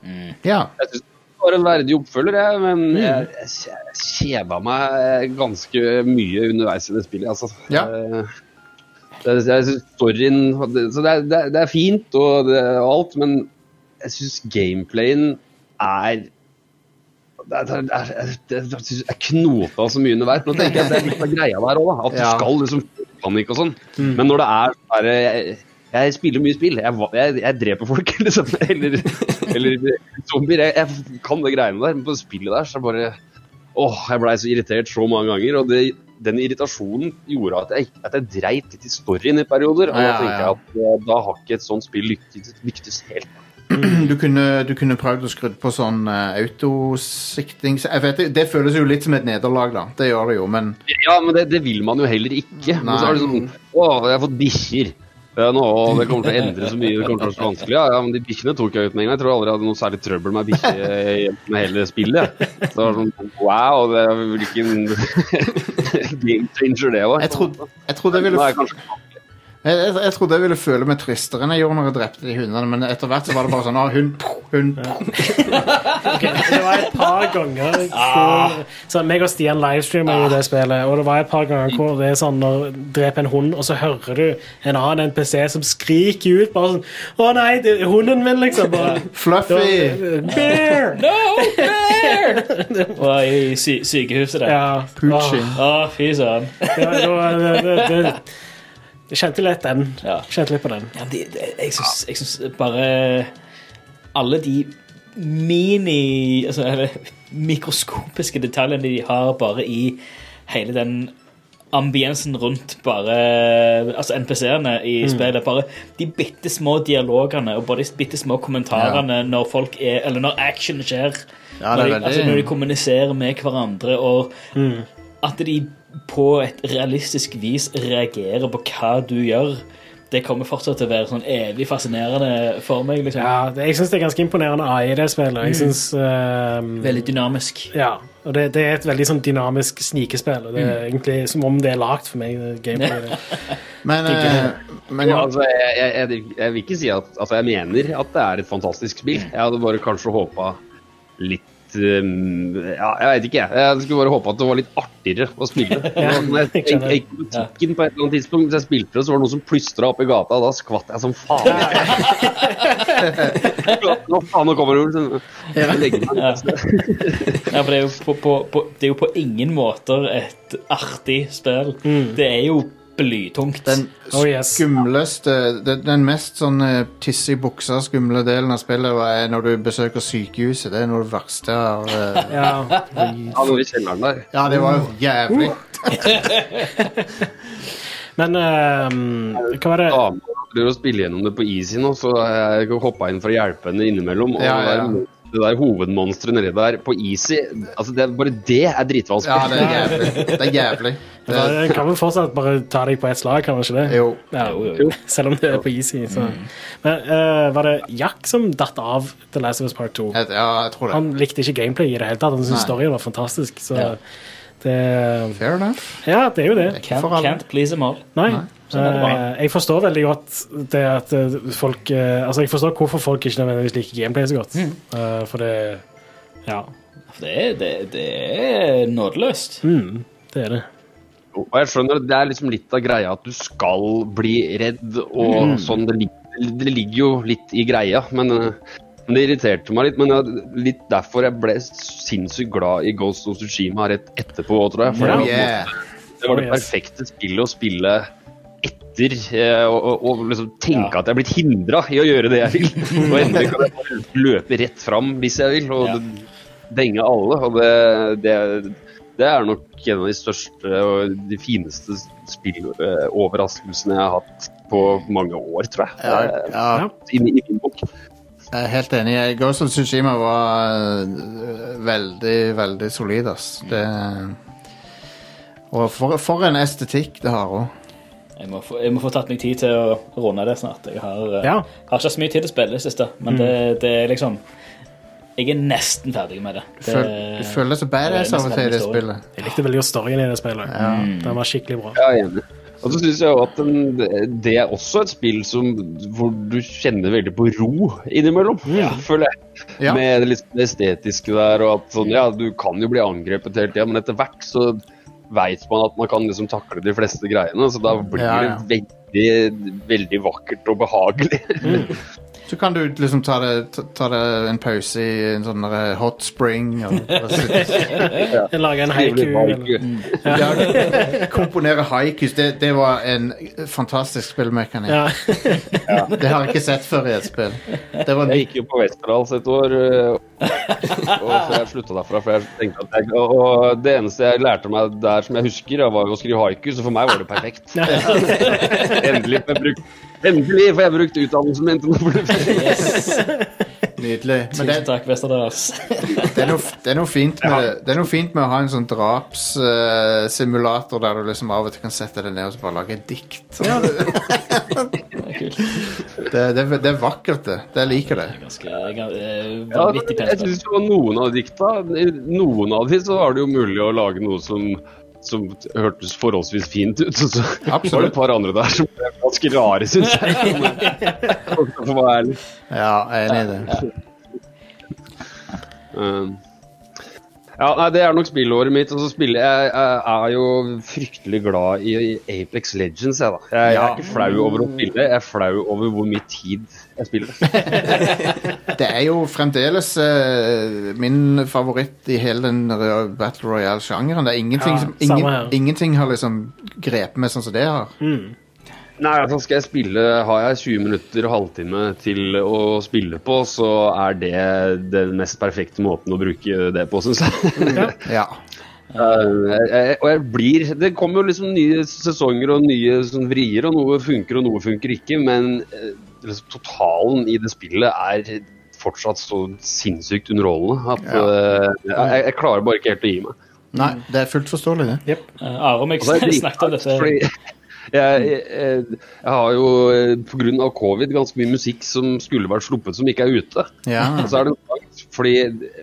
Speaker 5: det
Speaker 1: Ja.
Speaker 5: jeg syns det var en verdig oppfølger, jeg, men jeg, jeg kje- kjeda meg ganske mye underveis i det spillet. altså.
Speaker 1: Ja.
Speaker 5: Eh, Det, jeg synes storyen hadde- så det, er- det, er- det er fint og, det, og alt, men jeg syns gameplayen er det er, det er, det er, det er knota så mye underveis. Nå tenker jeg at det er litt av greia der òg, at du
Speaker 1: Ja. Mm.
Speaker 5: skal liksom panikk og sånn. Men når det er sånn der, jeg, jeg spiller mye spill. Jeg, va- jeg, jeg dreper folk, *laughs* liksom. Eller, eller zombier. Jeg, jeg kan det greiene der. Men på det spillet der så er det bare Åh, jeg blei så irritert så mange ganger. Og det, den irritasjonen gjorde at jeg, at jeg dreit litt i storyen i perioder. Og da
Speaker 1: Ja,
Speaker 5: tenker
Speaker 1: ja.
Speaker 5: jeg at eh, da har ikke et sånt spill lyktes, lyktes helt.
Speaker 1: Du kunne, du kunne prøvd å skru på sånn eh, autosikting så jeg vet, det- Det føles jo litt som et nederlag, da. Det gjør det jo, men
Speaker 5: Ja, men det, det vil man jo heller ikke. Men så er det sånn Å, jeg har fått bikkjer. Ja, nå, å, det kommer til å endre så mye. Det kommer til å være så vanskelig. Ja, ja, men de bikkjene tok jeg ut med en gang. Jeg tror aldri jeg hadde noe særlig trøbbel med bikkje med hele spillet. jeg. Så det var sånn Wow, det er hvilken *laughs* game changer det var.
Speaker 1: jeg trodde, jeg trodde jeg
Speaker 5: Nå
Speaker 1: ville
Speaker 5: er jeg kanskje
Speaker 1: Jeg, jeg, jeg trodde jeg ville føle meg tristere enn jeg gjorde når jeg drepte de hundene, men etter hvert så var det bare sånn ah, hund, pow, hund, pow.
Speaker 3: Det var et par ganger hvor, så sånn, meg og Stian livestreamer jo det spillet, og det var et par ganger hvor det er sånn når du dreper en hund, og så hører du en annen NPC som skriker ut bare sånn Å nei, det er hunden min, liksom. Bare, det
Speaker 1: Fluffy!
Speaker 3: var, Bear!
Speaker 2: No, bear! Var i sy sykehuset der.
Speaker 3: Ja. Ah,
Speaker 1: Poochie.
Speaker 2: Å, fy søren.
Speaker 3: Åh, det var- det, var- det, det, Jeg kjente litt den.
Speaker 2: Ja.
Speaker 3: Kjente litt på den.
Speaker 2: Ja, men det, det, jeg syns- jeg syns bare Alle de mini altså, Eller mikroskopiske detaljene de har bare i hele den ambiensen rundt bare Altså NPC-ene
Speaker 1: Mm.
Speaker 2: i spillet. Bare de bitte små dialogene og bare de bitte små kommentarene når folk er Eller når action skjer.
Speaker 1: Ja, det er
Speaker 2: når, de,
Speaker 1: veldig-
Speaker 2: altså, når de kommuniserer med hverandre og at de på et realistisk vis reagerer på hva du gjør, det kommer fortsatt til å være sånn evig fascinerende for meg. liksom.
Speaker 3: Ja, det- jeg syns det er ganske imponerende AI i det spillet. Jeg synes, ehm,
Speaker 2: Veldig dynamisk.
Speaker 3: ja, og det, det er et veldig sånn dynamisk snikespill. Og det er egentlig som om det er lagd for meg. det gameplayet.
Speaker 1: Men, eh, men
Speaker 5: Ja,
Speaker 1: ja,
Speaker 5: altså, jeg, jeg, jeg, jeg vil ikke si at altså, Jeg mener at det er et fantastisk spill. Jeg hadde bare kanskje håpa litt um, Ja, jeg veit ikke, jeg. Jeg skulle bare håpa at det var litt artigere å *laughs* spille. Når jeg- jeg jeg gikk på butikken på et eller annet tidspunkt, hvis jeg spilte det, så var det noen som plystra opp i gata, og da skvatt jeg som *laughs* faen. Nå faen, nå kommer hun. Jeg legger meg.
Speaker 2: Ja, for det er, jo på, på, på, det er jo på ingen måter et artig spill. Det er jo blytungt.
Speaker 1: Mm. den
Speaker 3: Oh, yes.
Speaker 1: skumleste den, den mest sånn eh, tisse i buksa skumle delen av spillet er når du besøker sykehuset. Det er noe av det verste av eh,
Speaker 3: Ja.
Speaker 5: Ja, nå er vi i kjelleren der.
Speaker 1: Ja, det var jo jævlig.
Speaker 3: Men ehm, hva var det
Speaker 5: dame prøver å spille gjennom det på easy nå, så jeg hoppa inn for å hjelpe henne innimellom. Og
Speaker 1: Ja, ja, ja.
Speaker 5: det der- det der hovedmonsteret nedi der på easy, altså det, er- bare det er
Speaker 1: Ja,
Speaker 5: dritvanskelig.
Speaker 1: det er jævlig. Det er jævlig. Det,
Speaker 3: Den kan vel fortsatt bare ta deg på ett slag, kan den ikke det?
Speaker 1: jo.
Speaker 3: Ja,
Speaker 2: Jo, jo, jo.
Speaker 3: Selv om det er på easy. Så. Men eh, var det Jack som datt av The Last of Us Part 2?
Speaker 1: Jeg, ja, jeg tror det.
Speaker 3: Han likte ikke gameplay i det hele tatt. Han syntes
Speaker 1: Nei.
Speaker 3: storyen var fantastisk. Så
Speaker 2: Ja.
Speaker 3: det eh,
Speaker 1: Fair enough.
Speaker 3: Ja, det er jo det.
Speaker 2: Can't,
Speaker 1: for alle.
Speaker 2: can't please them all.
Speaker 3: Nei.
Speaker 2: sånn er det bare.
Speaker 3: Eh, jeg forstår veldig godt det at eh, folk eh, Altså, jeg forstår hvorfor folk ikke nødvendigvis liker gameplay så godt. Eh, for det Ja,
Speaker 2: For Det er, det, det er nådeløst.
Speaker 1: Mm.
Speaker 3: Mm, det er det.
Speaker 5: Og jeg skjønner at det er liksom litt av greia at du skal bli redd
Speaker 1: Mm.
Speaker 5: og sånn. Det, lig- det ligger jo litt i greia, men, eh, men det irriterte meg litt. Men jeg, litt derfor jeg ble sinnssykt glad i Ghost of Tsushima rett etterpå, tror jeg. For
Speaker 3: Ja.
Speaker 1: Oh,
Speaker 5: det var-
Speaker 1: yeah.
Speaker 5: Det var det
Speaker 3: Oh, yes.
Speaker 5: perfekte spillet å spille etter eh, og, og, og liksom tenke
Speaker 2: Ja.
Speaker 5: at jeg er blitt hindra i å gjøre det jeg
Speaker 2: *laughs*
Speaker 5: vil. Og endelig kan jeg bare løpe rett fram hvis jeg vil, og
Speaker 2: Ja.
Speaker 5: denge alle. Og det, det, det er nok en av de største og de fineste spilloverraskelsene jeg har hatt på mange år, tror jeg. Eh,
Speaker 1: Ja, ja,
Speaker 5: I, min- i min bok.
Speaker 1: jeg er helt enig. Ghost of Tsushima var eh, veldig, veldig solid, ass. Det, og for, for en estetikk det har òg.
Speaker 2: Jeg må, få, jeg må få tatt meg tid til å runde det snart. Jeg har, eh,
Speaker 3: Ja.
Speaker 2: har ikke hatt så mye tid til å spille i det siste,
Speaker 1: Mm.
Speaker 2: men det, det er liksom Jeg er nesten ferdig med det. det
Speaker 1: Føl, du føler deg så badass
Speaker 2: det er
Speaker 1: av og til i det
Speaker 2: nesten
Speaker 1: spillet.
Speaker 3: Jeg likte veldig godt storyen i det spillet.
Speaker 2: Mm.
Speaker 3: Den var skikkelig bra.
Speaker 5: Ja, jeg er enig. Og så synes jeg jo at den, det er også et spill som, hvor du kjenner veldig på ro innimellom, føler jeg.
Speaker 1: Mm. Ja.
Speaker 5: Med liksom det estetiske der, og at sånn, ja, du kan jo bli angrepet hele tida, men etter hvert så veit man at man kan liksom takle de fleste greiene, så da blir
Speaker 1: Ja, ja. Mm.
Speaker 5: det veldig, veldig vakkert og behagelig. *laughs*
Speaker 1: Så kan du liksom ta det, ta, ta det en pause i en sånn der hot spring og, og sitte-
Speaker 3: Jeg lager en haiku.
Speaker 5: Trivelig valg.
Speaker 3: eller-
Speaker 1: ja, Komponere haikus. Det, det var en fantastisk spillmekanikk.
Speaker 3: *laughs* Ja.
Speaker 1: Det har jeg ikke sett før i et spill. Det var
Speaker 5: Jeg gikk jo på Westerdals et år, øh, og så jeg slutta derfra. For jeg tenkte at jeg, og- og det eneste jeg lærte meg der som jeg husker, da, var jo å skrive haiku, så for meg var det perfekt. *laughs* Endelig får jeg brukt, endelig får jeg brukt utdannelsen min til noe fornuftig.
Speaker 1: nydelig. Men det,
Speaker 2: Tusen takk, Westerdals.
Speaker 1: det, er noe, det, er noe fint med, det er noe fint med å ha en sånn drapssimulator der du liksom av og til kan sette deg ned og så bare lage et dikt. *laughs* Det, det, det er vakkert, det. Det jeg liker det.
Speaker 2: Ganske eh,
Speaker 5: Ja,
Speaker 2: vanvittig
Speaker 5: jeg
Speaker 2: penspill.
Speaker 5: syns jo noen av dikta i Noen av de så var det jo mulig å lage noe som som hørtes forholdsvis fint ut. Og så var det
Speaker 1: Absolutt.
Speaker 5: et par andre der som ble ganske rare, syns jeg. For å være ærlig.
Speaker 1: Ja, jeg er enig i det.
Speaker 5: Um, ja, nei, Det er nok spillåret mitt. Og så spiller jeg, jeg er jo fryktelig glad i Apex Legends, jeg, da. Jeg, jeg
Speaker 1: Ja.
Speaker 5: er ikke flau over å spille, jeg er flau over hvor mye tid jeg
Speaker 1: *laughs*
Speaker 5: spiller.
Speaker 1: Det er jo fremdeles eh, min favoritt i hele den ro- Battle Royale-sjangeren. Det er ingenting
Speaker 3: Ja,
Speaker 1: som
Speaker 3: samme
Speaker 1: ingen,
Speaker 3: her.
Speaker 1: Ingenting har liksom grepet meg sånn som det har.
Speaker 5: Nei, altså skal jeg spille Har jeg 20 minutter og halvtime til å spille på, så er det den mest perfekte måten å bruke det på, syns jeg. *laughs*
Speaker 1: Ja.
Speaker 5: Eh, jeg- og jeg blir Det kommer jo liksom nye sesonger og nye sånn, vrier, og noe funker og noe funker ikke, men eh, liksom, totalen i det spillet er fortsatt så sinnssykt underholdende at eh, jeg, jeg klarer bare ikke helt å gi meg.
Speaker 1: Nei, Mm. det er fullt forståelig, det.
Speaker 2: Eh, Are og meg
Speaker 5: Og det er dritfett,
Speaker 2: *laughs* snakket om dette.
Speaker 5: Fordi *laughs* jeg, jeg, jeg, jeg har jo eh, på grunn av covid ganske mye musikk som skulle vært sluppet, som ikke er ute.
Speaker 1: Ja.
Speaker 5: Og så er det en dag, fordi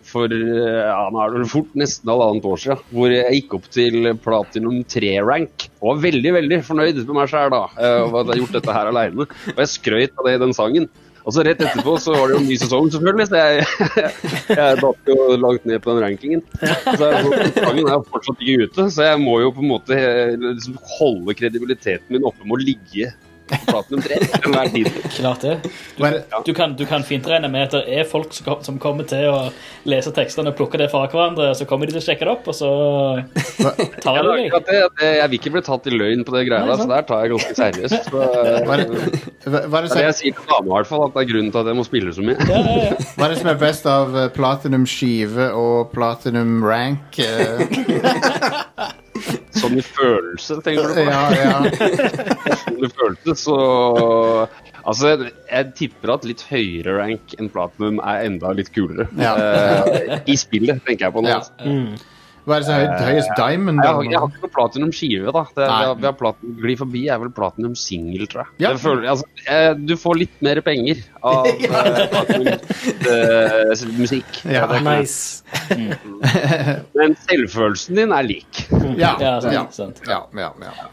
Speaker 5: for eh, ja, nå er det vel fort nesten halvannet år siden, hvor jeg gikk opp til platinum 3-rank og var veldig, veldig fornøyd med meg sjøl da, eh, over at jeg har gjort dette her aleine. Og jeg skrøt av det i den sangen. Og så rett etterpå så var det jo en ny sesong, selvfølgelig, så jeg, *laughs* jeg datt jo langt ned på den rankingen. Så jeg- så sangen er jo fortsatt ikke ute, så jeg må jo på en måte eh, liksom holde kredibiliteten min oppe med å ligge på platinum 3 til enhver tid.
Speaker 2: Klart det. Du,
Speaker 1: Men-
Speaker 2: du, kan, du kan fint regne med at det er folk som, kom- som kommer til å lese tekstene og plukke det fra hverandre, og så kommer de til å sjekke det opp, og så tar
Speaker 5: Ja,
Speaker 2: de
Speaker 5: det er
Speaker 2: deg.
Speaker 5: akkurat det, at jeg, jeg vil ikke bli tatt i løgn på det greia der, så der tar jeg ganske seriøst. Så,
Speaker 1: Hva er
Speaker 5: eh,
Speaker 1: *laughs* det, hva- hva er det,
Speaker 5: det er det jeg
Speaker 1: som,
Speaker 5: sier til dama i hvert fall, at det er grunnen til at jeg må spille så mye.
Speaker 2: Ja, ja, ja.
Speaker 1: hva er det som er best av eh, platinum skive og platinum rank? eh?
Speaker 5: *laughs* Sånn i følelse, tenker du på.
Speaker 1: Ja, ja.
Speaker 5: *laughs* Sånn i følelse, så Altså, jeg, jeg tipper at litt høyere rank enn platinum er enda litt kulere.
Speaker 1: Ja.
Speaker 5: Eh, I spillet, tenker jeg på nå.
Speaker 1: Ja. Mm. Hva er det som er høy- høyest diamond?
Speaker 5: Jeg har,
Speaker 1: eller
Speaker 5: jeg
Speaker 1: noe?
Speaker 5: har ikke noe platinum skive, da. Det,
Speaker 1: Nei.
Speaker 5: vi har, vi har platinum, gli forbi er vel platinum single, tror jeg.
Speaker 1: Ja.
Speaker 5: Det føler, altså, eh, du får litt mer penger
Speaker 1: *laughs*
Speaker 5: av eh, platinum eh, musikk.
Speaker 1: Ja.
Speaker 3: Nice.
Speaker 5: Men selvfølelsen din er lik.
Speaker 1: Ja,
Speaker 2: Ja, sant,
Speaker 1: ja,
Speaker 2: sant.
Speaker 1: ja, ja, ja.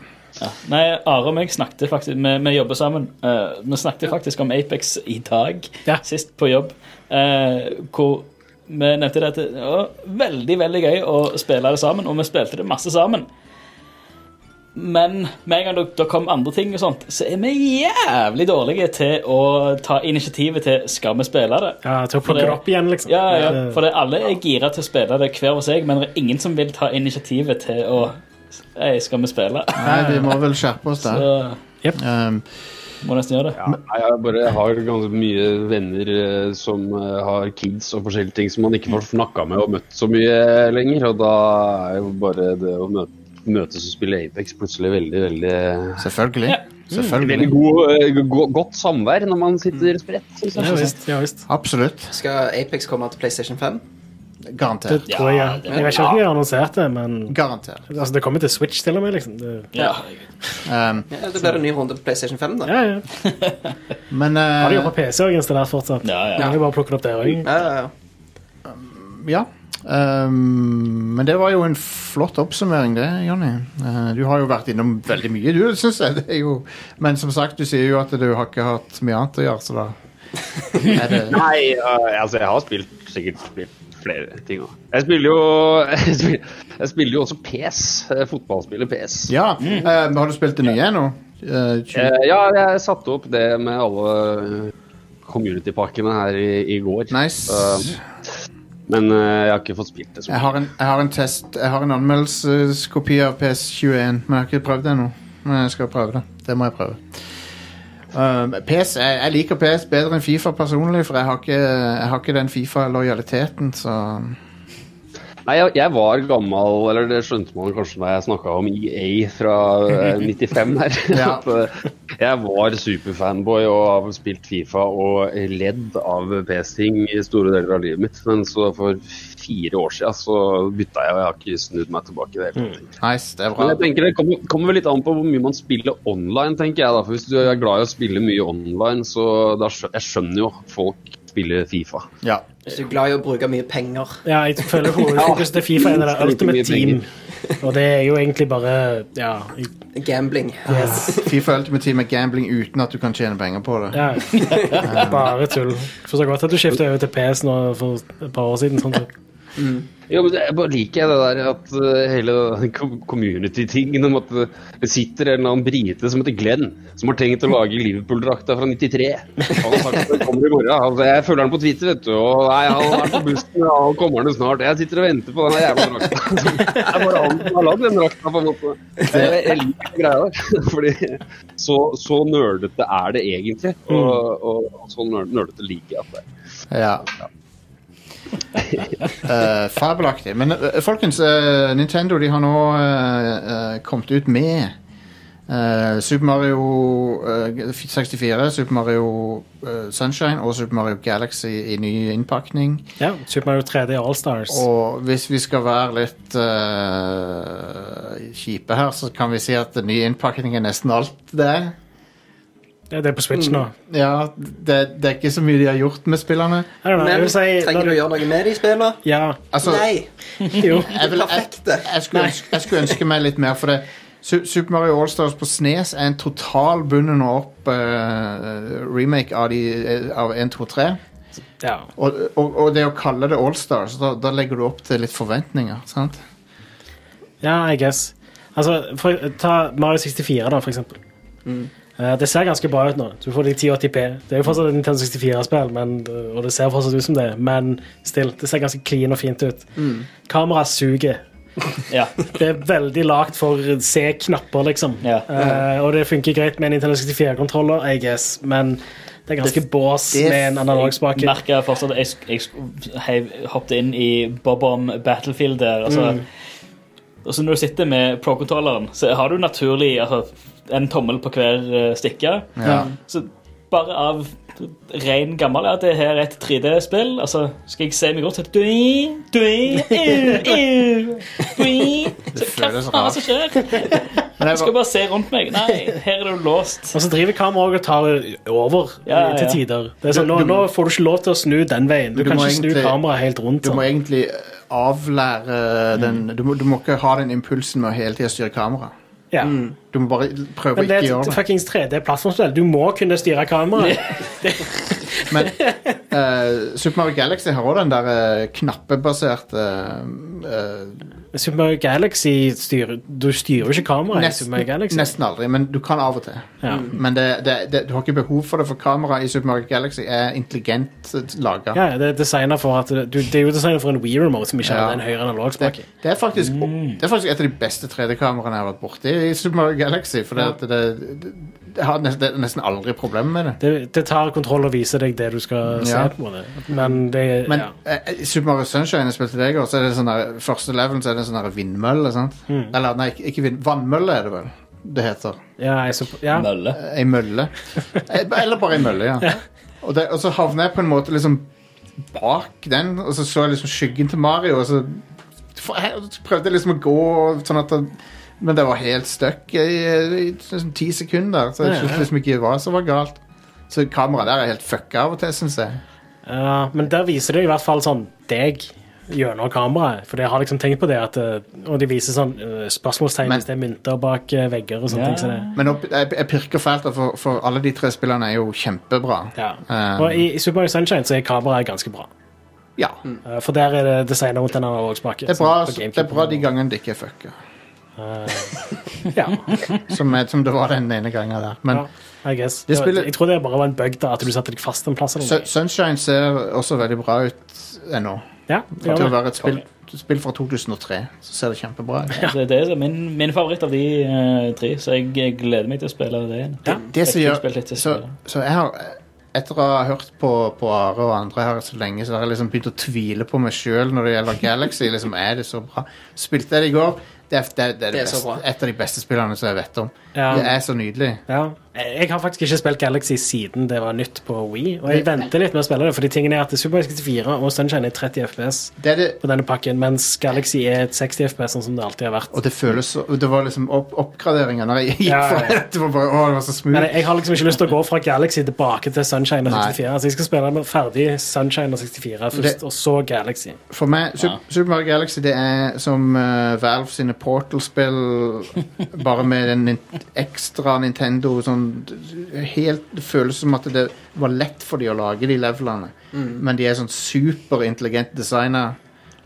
Speaker 2: Nei, Are og meg snakket faktisk Vi, vi jobber sammen. Eh, vi snakket faktisk om Apex i dag,
Speaker 3: Ja.
Speaker 2: sist på jobb, eh, hvor vi nevnte det at det var veldig, veldig gøy å spille det sammen, og vi spilte det masse sammen. Men med en gang det, det kom andre ting, og sånt, så er vi jævlig dårlige til å ta initiativet til skal vi spille det.
Speaker 3: Ja, til å plukke det opp igjen, liksom.
Speaker 2: Ja, ja, ja. For det, alle er gira til å spille det hver for seg, men det er ingen som vil ta initiativet til å Hei, skal vi spille?
Speaker 1: Nei, vi må vel skjerpe oss der.
Speaker 2: Så
Speaker 1: Um,
Speaker 2: må nesten gjøre det.
Speaker 5: Nei, jeg, bare, jeg har ganske mye venner eh, som eh, har kids og forskjellige ting som man ikke får snakka med og møtt så mye eh, lenger. Og da er jo bare det å møte, møtes og spille Apex plutselig veldig, veldig eh,
Speaker 1: selvfølgelig.
Speaker 5: Veldig
Speaker 1: Selvfølgelig.
Speaker 5: god, eh, go- godt samvær når man sitter spredt. synes jeg.
Speaker 3: Ja visst. Ja, visst.
Speaker 1: Absolutt.
Speaker 4: Skal Apex komme til PlayStation 5?
Speaker 3: Det
Speaker 1: Garantert.
Speaker 3: tror jeg. Jeg vet ikke om de har annonsert det, men
Speaker 1: Garantert.
Speaker 3: altså, det kommer til Switch til og med, liksom. Det,
Speaker 2: Ja.
Speaker 1: Um,
Speaker 4: Ja, det blir en ny runde på PlayStation 5, da.
Speaker 3: ja, ja.
Speaker 1: men
Speaker 3: Har
Speaker 1: eh,
Speaker 3: de jo på PC og installert fortsatt?
Speaker 2: Ja, Mm. ja.
Speaker 3: Kan de bare plukke det opp der også?
Speaker 4: Ja, ja, ja.
Speaker 1: Ja. Um, men det var jo en flott oppsummering, det, Jonny. Eh, du har jo vært innom veldig mye, du, syns jeg. Det er jo... Men som sagt, du sier jo at du har ikke hatt mye annet å gjøre, så da er det
Speaker 5: Nei, eh, altså jeg har spilt, sikkert spilt flere ting òg. Jeg spiller jo *laughs* jeg spiller, jeg spiller jo også PS. eh, Fotballspiller PS.
Speaker 1: Ja. eh, har du spilt det nye ennå? Eh, tjue-
Speaker 5: Eh, ja, jeg satte opp det med alle eh, community-pakkene her i, i går.
Speaker 1: Nice.
Speaker 5: Eh, men eh, jeg har ikke fått spilt det. så
Speaker 1: Jeg har en, jeg har en test Jeg har en anmeldelseskopi av PS21, men jeg har ikke prøvd det ennå. Men jeg skal prøve det. Det må jeg prøve. Um, PS, jeg, jeg liker PS bedre enn Fifa personlig, for jeg har ikke, jeg har ikke den Fifa-lojaliteten, så
Speaker 5: Nei, jeg, jeg var gammel, eller det skjønte man kanskje da jeg snakka om EA fra eh, 95 her. *laughs*
Speaker 1: Ja.
Speaker 5: At, eh, jeg var superfanboy og har spilt Fifa og ledd av PS-ting i store deler av livet mitt. Men så for fire år siden så bytta jeg, og jeg har ikke snudd meg tilbake. i Det, hele tatt.
Speaker 1: nice. Det er
Speaker 5: Men
Speaker 1: bra.
Speaker 5: jeg tenker det kommer, kommer vel litt an på hvor mye man spiller online, tenker jeg. da, for Hvis du er glad i å spille mye online, så da skjø- jeg skjønner jo at folk spiller Fifa.
Speaker 1: Ja.
Speaker 4: Hvis du er glad i å bruke mye penger
Speaker 3: *laughs* Ja, jeg føler hovedfokuset til Fifa er det der Ultimate Team. Og det er jo egentlig bare Ja.
Speaker 4: Gambling.
Speaker 3: Yes.
Speaker 1: Fifa Ultimate Team er gambling uten at du kan tjene penger på det.
Speaker 2: *laughs*
Speaker 3: ja. Bare tull. Forstår godt at du skiftet over til PS nå for et par år siden. Sånn.
Speaker 5: Jo, men jeg bare liker jeg det der at eh, hele den co- community-tingen om at eh, det sitter en eller annen brite som heter Glenn, som har tenkt å lage Liverpool-drakta fra 93. Han har sagt at den kommer i morgen. Altså, jeg følger han på Twitter, vet du. Og nei, han er på bussen, og han kommer han jo snart. Jeg sitter og venter på den her jævla drakta. *laughs* Det er bare han som har lagd den drakta, på en måte. Jeg, jeg liker den greia der. *laughs* Fordi så, så nerdete er det egentlig. Og, og, og så nerd- nerdete liker jeg at det er.
Speaker 1: Ja. *laughs* Eh, fabelaktig. Men eh, folkens, eh, Nintendo de har nå eh, eh, kommet ut med eh, Super Mario eh, 64, Super Mario eh, Sunshine og Super Mario Galaxy i ny innpakning.
Speaker 3: Ja, Super Mario 3D Allstars.
Speaker 1: Og hvis vi skal være litt eh, kjipe her, så kan vi si at den nye innpakningen er nesten alt det er.
Speaker 3: Ja, det er på Switch nå.
Speaker 1: Ja, det, det er ikke så mye de har gjort med spillene.
Speaker 3: I don't know, jeg
Speaker 4: Men
Speaker 3: vil si,
Speaker 4: trenger du å gjøre noe med de spillene?
Speaker 3: Ja,
Speaker 1: Altså,
Speaker 4: Nei!
Speaker 3: *laughs* jo.
Speaker 1: jeg vil, jeg,
Speaker 4: Perfekte.
Speaker 1: jeg, skulle ønske, jeg skulle ønske meg litt mer, for det Su- Super Mario Allstars på Snes er en total bunnen og opp eh, remake av, de, eh, av 1, 2, 3.
Speaker 3: Ja.
Speaker 1: Og, og, og det å kalle det Allstars, da, da legger du opp til litt forventninger. sant?
Speaker 3: ja, I guess. Altså, for, ta Mario 64 da, for eksempel.
Speaker 4: Mm.
Speaker 3: Eh, det ser ganske bra ut nå. Du får de 1080p. Det er jo fortsatt et Nintendo 64-spill, men- og det ser fortsatt ut som det, men still, det ser ganske clean og fint ut.
Speaker 4: Mm.
Speaker 3: Kamera suger.
Speaker 2: Ja.
Speaker 3: Det er veldig lagt for C-knapper, liksom.
Speaker 2: Ja.
Speaker 3: Eh, og det funker greit med en Nintendo 64-kontroller, I guess, men det er ganske bås
Speaker 1: det-
Speaker 3: med en analog
Speaker 2: Jeg
Speaker 3: spake.
Speaker 2: merker fortsatt at jeg, sk- jeg sk- heiv, hoppet inn i Bob-Omb Battlefield der. Altså, Og så når du sitter med pro-kontrolleren, så har du naturlig altså, en tommel på hver eh, stikke.
Speaker 1: Ja.
Speaker 2: Så bare av ren gammel ja, det her er et 3D-spill. Altså, skal jeg se meg rundt, så dui, dui, au, au, dui.
Speaker 1: Det
Speaker 2: Så Hva
Speaker 1: føles
Speaker 2: faen er det
Speaker 1: rart.
Speaker 2: som skjer?
Speaker 1: Men
Speaker 2: Jeg
Speaker 1: jeg,
Speaker 2: skal
Speaker 1: var-
Speaker 2: bare se rundt meg. Nei, her er du låst.
Speaker 3: Og så driver kameraet og tar over eh,
Speaker 2: Ja, ja,
Speaker 3: til
Speaker 2: ja.
Speaker 3: tider. Det er sånn, nå, nå får du ikke lov til å snu den veien. Du,
Speaker 1: Du
Speaker 3: kan
Speaker 1: må
Speaker 3: ikke snu
Speaker 1: egentlig-
Speaker 3: kameraet helt rundt.
Speaker 1: du må
Speaker 3: Sånn.
Speaker 1: egentlig eh, avlære den du må, du må ikke ha den impulsen med å hele tida styre kameraet.
Speaker 3: Ja.
Speaker 1: Mm, Du må bare prøve å
Speaker 3: Men det
Speaker 1: ikke
Speaker 3: er
Speaker 1: gjøre
Speaker 3: et
Speaker 1: det.
Speaker 3: fuckings 3D-plattformspill. Du må kunne styre kameraet.
Speaker 2: *laughs*
Speaker 1: Men eh, Super Mario Galaxy har òg den der eh, knappebaserte eh,
Speaker 3: Super Mario Galaxy styrer Du styrer jo ikke kameraet. i Super Mario Galaxy.
Speaker 1: nesten aldri, men du kan av og til. Mm.
Speaker 3: Ja.
Speaker 1: Men det, det, det, du har ikke behov for det, for kameraet i Super Mario Galaxy er intelligent eh, laga.
Speaker 3: Ja, ja, det er designet for at du, Det er jo designet for en Wii Remote som ikke
Speaker 1: Ja.
Speaker 3: hadde en høyere
Speaker 1: Det,
Speaker 3: analogspake.
Speaker 1: det, er faktisk,
Speaker 3: Mm.
Speaker 1: det er faktisk et av de beste 3D-kameraene jeg har vært borti i Super Mario Galaxy. For det, at det, det, det har nesten, det er nesten aldri problemer med det.
Speaker 3: Det, det tar kontroll og viser deg det du skal se.
Speaker 1: Ja.
Speaker 3: på en måte. Men det
Speaker 1: Men
Speaker 3: ja.
Speaker 1: eh, i Super Mario Sunshine jeg spilte deg også, så er det sånn der, første levelen så er det en sånn der vindmølle. sant?
Speaker 3: Mm.
Speaker 1: Eller nei, ikke- ikke vind, vannmølle er det vel det heter.
Speaker 3: Ja, jeg så, ja.
Speaker 2: Mølle.
Speaker 1: Ei mølle. Eh, Eller bare ei mølle, ja. Og, det, og så havna jeg på en måte liksom bak den, og så så jeg liksom skyggen til Mario, og så for- jeg prøvde jeg liksom å gå sånn at det, Men det var helt stuck i, i, liksom ti sekunder, så jeg
Speaker 3: Ja, ja.
Speaker 1: skjønte liksom ikke hva som var galt. Så kameraet der er helt fucka av og til, syns jeg.
Speaker 3: Ja, Eh, men der viser det i hvert fall sånn deg gjennom kameraet. For jeg har liksom tenkt på det at eh, Og de viser sånn eh, spørsmålstegn
Speaker 1: Men-
Speaker 3: hvis det er mynter bak eh, vegger og sånne
Speaker 2: Ja.
Speaker 3: ting. Så det,
Speaker 1: Men opp, jeg, jeg pirker fælt, da, for, for alle de tre spillene er jo kjempebra.
Speaker 3: ja.
Speaker 1: Eh,
Speaker 3: Og i, i Super Mario Sunshine så er kameraet ganske bra.
Speaker 1: ja.
Speaker 3: Eh, For der er det designet rundt en analogspake.
Speaker 1: Det er bra,
Speaker 3: sånn, på
Speaker 1: det
Speaker 3: GameCube.
Speaker 1: er bra de gangene det ikke er fucka,
Speaker 3: Eh, Ja,
Speaker 1: som, er- som det var den ene gangen der. Men
Speaker 3: ja, I guess.
Speaker 1: Det spiller-
Speaker 3: Jeg tror det bare var en bug, da, at du satte deg fast en plass. Eller
Speaker 1: Sun-
Speaker 3: noe.
Speaker 1: Sunshine ser også veldig bra ut ennå.
Speaker 3: Ja,
Speaker 1: For til å
Speaker 3: gjør det.
Speaker 1: være et spill, spill fra 2003 så ser det kjempebra ut.
Speaker 2: Så det er min, min favoritt av de eh, tre, så jeg, jeg gleder meg til å spille det igjen.
Speaker 1: Det, det som
Speaker 2: Jeg
Speaker 1: gjør
Speaker 2: har spilt litt til
Speaker 1: Så,
Speaker 2: spillet.
Speaker 1: så jeg har etter å ha hørt på, på Are og andre her så lenge, så har jeg liksom begynt å tvile på meg sjøl når det gjelder Galaxy. Liksom, er det så bra? Spilte jeg det i går? Det er, det, er- det er, det
Speaker 4: Det er så
Speaker 1: beste,
Speaker 4: bra.
Speaker 1: et av de beste spillene som jeg vet om.
Speaker 3: Ja.
Speaker 1: Det er så nydelig.
Speaker 3: Ja. Jeg jeg har faktisk ikke spilt Galaxy siden det var nytt på Wii, og jeg venter litt med å spille det, fordi tingene er at Super Mario 64 og Sunshine er 30 FPS.
Speaker 1: Det er det,
Speaker 3: på denne pakken, mens Galaxy er et 60 FPS, sånn som det alltid har vært.
Speaker 1: og det føles så Det var liksom opp, oppgraderinger når jeg gikk
Speaker 3: Ja, ja,
Speaker 1: for
Speaker 3: ja.
Speaker 1: det. Det var bare, å, det var så
Speaker 3: Men
Speaker 1: smooth.
Speaker 3: jeg, jeg har liksom ikke lyst til å gå fra Galaxy tilbake til Sunshine og
Speaker 1: Nei.
Speaker 3: 64. Altså, jeg skal spille med ferdig Sunshine og 64 først,
Speaker 1: Det-
Speaker 3: og så Galaxy.
Speaker 1: For meg, Sup- Super Mario Galaxy det er som eh, Valve sine Portal-spill, bare med en nin- ekstra Nintendo sånn helt, Det føles som at det
Speaker 4: Mm,
Speaker 1: var lett for de å lage de levelene, men de er sånn superintelligent designa.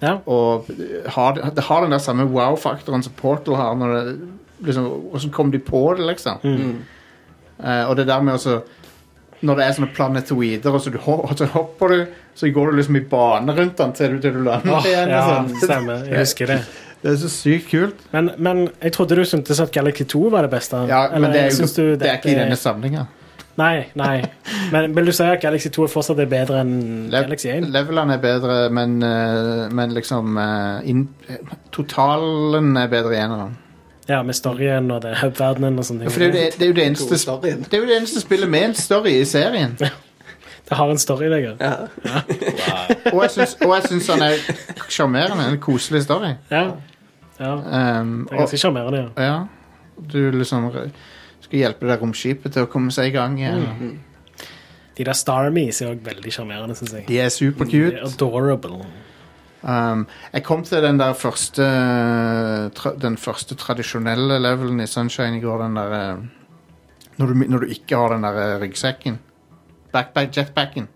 Speaker 3: Ja.
Speaker 1: Og eh, har, det har den der samme wow-faktoren som Portal har. Når det, liksom, hvordan kom de på det, liksom?
Speaker 3: Mm.
Speaker 4: mm.
Speaker 1: Eh, og det der med også Når det er sånne planetoider, og så, du, hop- og så hopper du, så går du liksom i bane rundt den til du, til du lander igjen. og
Speaker 3: Ja,
Speaker 1: sånn.
Speaker 3: stemmer. Jeg husker det.
Speaker 1: *laughs* Det er så sykt kult.
Speaker 3: Men, men jeg trodde du syntes at Galaxy 2 var det beste.
Speaker 1: Ja,
Speaker 3: Eller
Speaker 1: men det er, jo,
Speaker 3: syns du
Speaker 1: det er
Speaker 3: dette
Speaker 1: ikke i denne samlinga.
Speaker 3: Nei, nei. Men vil du si at Galaxy 2 fortsatt er bedre enn
Speaker 1: Lev-
Speaker 3: Galaxy 1?
Speaker 1: Levelene er bedre, men, eh, men liksom eh, inn- eh, Totalen er bedre i eneren.
Speaker 3: Ja, med storyen og det, hub-verdenen og sånne
Speaker 1: For det er jo
Speaker 3: ting.
Speaker 1: det, det, er jo det, eneste, sp-
Speaker 4: Storyen.
Speaker 1: det er jo det eneste spillet med en story i serien.
Speaker 3: Det har en story, Vegard.
Speaker 4: Ja.
Speaker 1: Og jeg syns- og jeg syns han er sjarmerende. En koselig story.
Speaker 3: Ja. ja.
Speaker 1: Um,
Speaker 3: Det er
Speaker 1: og,
Speaker 3: ganske sjarmerende, ja.
Speaker 1: ja, du liksom re- skal hjelpe det romskipet til å komme seg i gang igjen.
Speaker 3: Mm. De der Starmies er òg veldig sjarmerende, syns jeg.
Speaker 1: De er
Speaker 3: De er
Speaker 1: supercute.
Speaker 3: Adorable.
Speaker 1: Um, jeg kom til den der første tra, Den første tradisjonelle levelen i Sunshine i går, den der eh, når, du, når du ikke har den der eh, ryggsekken. Backpack, jetpacken.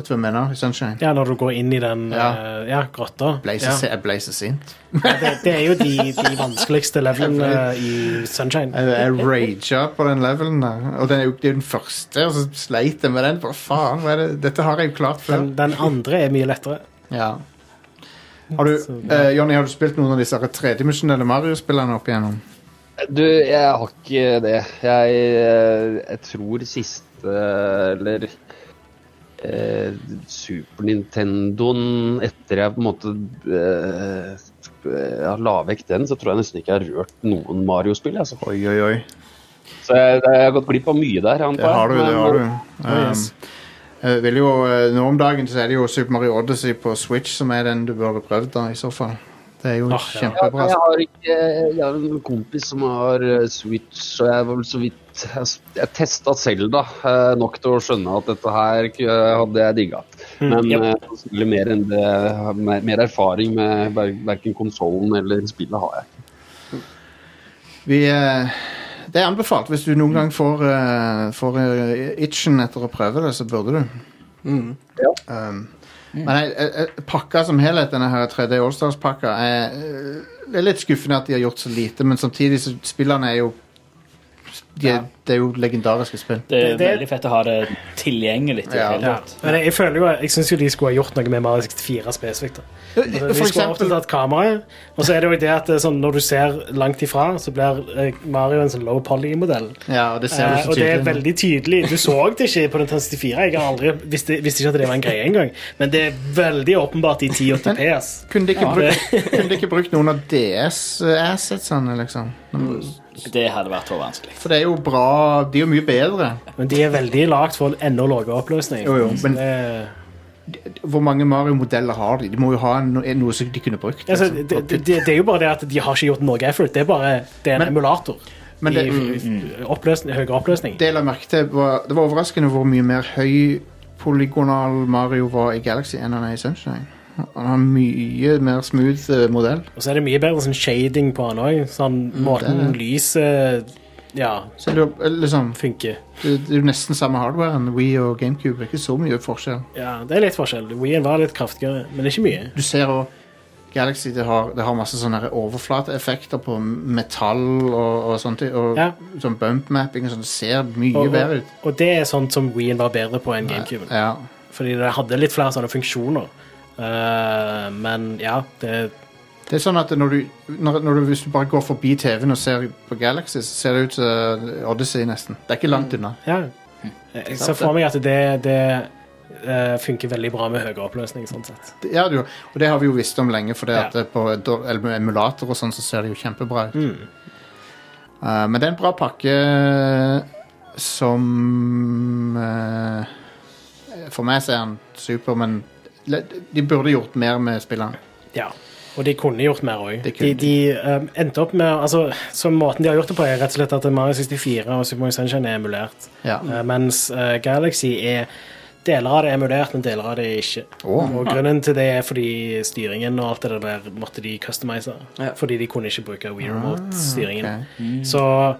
Speaker 1: Vet du hva jeg mener i Sunshine?
Speaker 3: Mm. Ja, når du går inn i den ja.
Speaker 1: Ja.
Speaker 3: ja, grotta.
Speaker 1: Ble så
Speaker 3: Ja.
Speaker 1: si- Jeg ble så sint.
Speaker 3: Det, det er jo de, de vanskeligste
Speaker 1: *laughs*
Speaker 3: levelene i Sunshine.
Speaker 1: Jeg, jeg raga på den levelen der. Og den er jo, det er jo den første, og så sleit jeg med den. Hva faen, hva er det? Dette har jeg jo klart før.
Speaker 3: Den, den andre er mye lettere.
Speaker 1: Ja. Har du, eh, Jonny, har du spilt noen av disse her tredimensjonelle Mario-spillene opp igjennom?
Speaker 5: Du, jeg har ikke det. Jeg, eh, jeg tror siste eh, Eller eh, Super Nintendoen Etter jeg på en måte eh, ja, la vekk den, så tror jeg nesten ikke jeg har rørt noen Mario-spill. Altså.
Speaker 1: Oi, oi, oi.
Speaker 5: Så jeg, jeg har gått glipp av mye der. antar
Speaker 1: Det
Speaker 5: jeg.
Speaker 1: har du, det
Speaker 5: Men-
Speaker 1: har du.
Speaker 3: Oh,
Speaker 1: Um,
Speaker 3: yes.
Speaker 1: jeg vil jo, eh, nå om dagen så er det jo Super Mario Odyssey på Switch som er den du burde prøvd, da, i så fall. Det er jo
Speaker 3: Ah, ja.
Speaker 5: Ja,
Speaker 1: kjempebra.
Speaker 5: jeg har ikke Jeg har en kompis som har eh, Switch, og jeg var vel så vidt Jeg, jeg testa Selda eh, nok til å skjønne at dette her k- hadde jeg digga. Men
Speaker 3: jep.
Speaker 5: eh, selvfølgelig mer, enn det, mer, mer erfaring med ver verken konsollen eller spillet har jeg. ikke.
Speaker 1: Vi, eh, det er anbefalt. Hvis du noen gang får, eh, får eh, itchen etter å prøve det, så burde du.
Speaker 4: Mm.
Speaker 1: Um, men jeg, jeg, jeg, pakka som helhet, denne her 3D Allstars-pakka, er, eh, det er litt skuffende at de har gjort så lite, men samtidig så spillene er jo de, er- Det er jo legendariske spill.
Speaker 2: Det er
Speaker 3: Det- det-
Speaker 2: veldig fett å ha det tilgjengelig. i det
Speaker 1: Ja.
Speaker 2: hele
Speaker 3: Ja.
Speaker 2: tatt.
Speaker 3: Men jeg, jeg føler jo, jeg syns jo de skulle ha gjort noe med Mario 64 spesifikt. da. Altså,
Speaker 1: For
Speaker 3: de skulle ha
Speaker 1: eksempel
Speaker 3: oppdatert kameraet. Og så er det jo det at eh, sånn, når du ser langt ifra, så blir eh, Mario en sånn low poly-modell.
Speaker 1: Ja, og det ser du
Speaker 3: Eh,
Speaker 1: så
Speaker 3: og det er
Speaker 1: tydelig.
Speaker 3: veldig tydelig. Du så det ikke på den 64. Jeg har aldri visste, visste ikke at det var en greie engang. Men det er veldig åpenbart i 1080 PS.
Speaker 1: Kunne de ikke,
Speaker 3: Ja,
Speaker 1: brukt, kunne de ikke brukt noen av DS-assetsene, liksom?
Speaker 2: Det hadde vært for vanskelig.
Speaker 1: For det er jo bra De er jo mye bedre.
Speaker 3: Men de er veldig lagt for en enda lavere oppløsning.
Speaker 1: Jo, jo,
Speaker 3: Så
Speaker 1: men-
Speaker 3: det-
Speaker 1: Hvor mange Mario-modeller har de? De må jo ha no noe som de kunne brukt.
Speaker 3: altså,
Speaker 1: liksom.
Speaker 3: det, det, det er jo bare det at de har ikke gjort noe effort. Det er bare det er en
Speaker 1: Men-
Speaker 3: emulator.
Speaker 1: Men det, Mm.
Speaker 3: i oppløsning, høyere oppløsning.
Speaker 1: det jeg la merke til, var, det var overraskende hvor mye mer høypolygonal Mario var i Galaxy enn han er i Sunshine. Han har mye mer smooth eh, modell.
Speaker 3: Og så er det mye bedre sånn shading på han òg. Sånn måten
Speaker 1: Mm, det er det.
Speaker 3: lyset ja,
Speaker 1: Så det, er jo, eh, liksom,
Speaker 3: funker.
Speaker 1: det, det er jo nesten samme hardware enn Wii og GameCube. Ikke så mye forskjell.
Speaker 3: Ja, det er litt forskjell. Wien var litt kraftigere, men ikke mye.
Speaker 1: Du ser også Galaxy det har, det har masse sånne her overflateeffekter på metall og, og sånt. Og
Speaker 3: Ja.
Speaker 1: sånn bump mapping og sånn. Det ser mye
Speaker 3: Og, og,
Speaker 1: bedre ut.
Speaker 3: og det er sånt som Wien var bedre på enn GameCube.
Speaker 1: Ja.
Speaker 3: Fordi det hadde litt flere sånne funksjoner. Eh, men ja, det
Speaker 1: Det er sånn at når du, når, når du, hvis du bare går forbi TV-en og ser på Galaxy, så ser det ut som eh, Odyssey nesten. Det er ikke langt unna.
Speaker 3: Ja. Jeg ser for meg at det, det eh, funker veldig bra med høyere oppløsning. sånn sett.
Speaker 1: Det- Ja, du, og det har vi jo visst om lenge, for det
Speaker 3: Ja.
Speaker 1: at det på do- eller med emulator og sånn så ser det jo kjempebra ut.
Speaker 3: Mm.
Speaker 1: Uh, men det er en bra pakke eh, som eh, For meg så er den super, men le- de burde gjort mer med spillene.
Speaker 3: Ja. Og de kunne gjort mer òg.
Speaker 1: De
Speaker 3: De,
Speaker 1: kunne.
Speaker 3: de eh, endte opp med altså, så Måten de har gjort det på, er rett og slett at Mario 64 og Super Mario Sunshine er emulert.
Speaker 1: Ja.
Speaker 3: Eh, mens eh, Galaxy er Deler av det er emulert, men deler av det er ikke.
Speaker 1: Åh.
Speaker 3: Og Grunnen til det er fordi styringen og alt det der måtte de customize.
Speaker 4: Ja.
Speaker 3: Fordi de kunne ikke bruke Wii
Speaker 1: Ah,
Speaker 3: Remote-styringen.
Speaker 1: ok.
Speaker 3: Så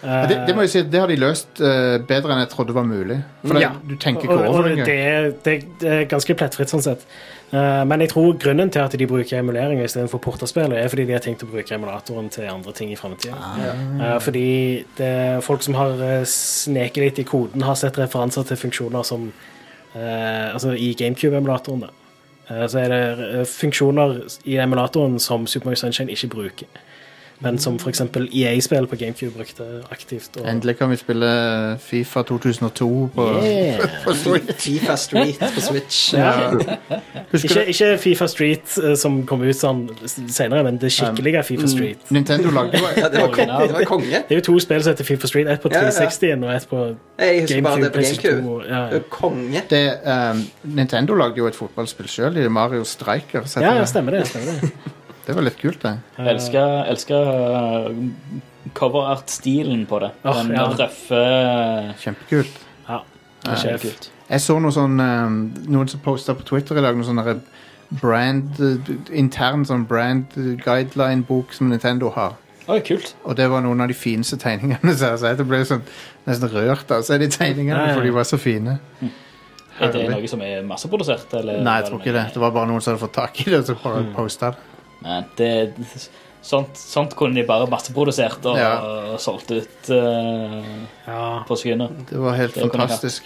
Speaker 1: Ja, Det, det må jeg si, at det har de løst eh, bedre enn jeg trodde var mulig. For det,
Speaker 3: Mm. Ja.
Speaker 1: du tenker ikke
Speaker 3: Og, og
Speaker 1: over det
Speaker 3: det,
Speaker 1: engang.
Speaker 3: er- det, det er ganske plettfritt, sånn sett. Eh, men jeg tror grunnen til at de bruker emulering istedenfor porterspill, er fordi de har tenkt å bruke emulatoren til andre ting i framtida. fordi det er folk som har eh, sneket litt i koden, har sett referanser til funksjoner som eh, Altså i GameCube-emulatoren, da. Eh, så er det eh, funksjoner i emulatoren som Super Mario Sunshine ikke bruker. Men som f.eks. EA-spill på GameCube brukte aktivt. Og,
Speaker 1: Endelig kan vi spille eh, Fifa 2002 på,
Speaker 3: Yeah.
Speaker 1: på Switch.
Speaker 4: Fifa Street på Switch.
Speaker 3: Ja.
Speaker 1: Husker
Speaker 3: Ikke, ikke Fifa Street eh, som kom ut sånn senere, men det skikkelige
Speaker 4: Mm.
Speaker 3: Fifa Street.
Speaker 1: du Nintendo lagde jo
Speaker 4: Ja, det var konge. Det var konge.
Speaker 3: Det er jo to spill som heter Fifa Street. Ett på
Speaker 4: Ja, ja.
Speaker 3: 360-en og ett på
Speaker 4: Jeg husker
Speaker 3: GameCube.
Speaker 4: bare det på
Speaker 3: PlayStation
Speaker 4: GameCube.
Speaker 3: 2, ja,
Speaker 4: Det
Speaker 3: ja.
Speaker 4: var konge.
Speaker 1: det, eh, Nintendo lagde jo et fotballspill sjøl, i Mario Striker. så
Speaker 3: ja, ja,
Speaker 1: det,
Speaker 3: stemmer det. Stemmer det.
Speaker 4: *laughs*
Speaker 1: det var litt kult, det.
Speaker 3: Eh.
Speaker 2: Jeg elsker, elsker eh, coverart-stilen på det.
Speaker 3: Eh, Åh,
Speaker 2: Den
Speaker 3: ja.
Speaker 2: røffe eh,
Speaker 1: Kjempekult.
Speaker 3: Ja, det er sjef.
Speaker 2: Kult.
Speaker 1: Jeg så noe sånn eh, Noen som posta på Twitter i dag noe sånn derre brand eh, Intern sånn brand guideline-bok som Nintendo har.
Speaker 2: Oi, kult.
Speaker 1: Og det var noen av de fineste tegningene. *laughs* Så jeg- så jeg ble sånn, nesten rørt av å se de tegningene,
Speaker 3: Ja, ja. Hm.
Speaker 1: for de var så fine.
Speaker 2: Er det
Speaker 1: Herlig.
Speaker 2: noe som er masseprodusert?
Speaker 3: eh,
Speaker 2: Eller
Speaker 1: Nei, jeg tror ikke det. Det var bare noen som hadde fått tak i det, og så bare
Speaker 3: Hm.
Speaker 1: posta det.
Speaker 2: Nei, det, sånt, sånt kunne de bare masseprodusert og,
Speaker 1: Ja.
Speaker 2: og solgt ut eh,
Speaker 3: Ja.
Speaker 2: på sekunder.
Speaker 1: Det var helt
Speaker 2: Det kunne jeg
Speaker 1: fantastisk.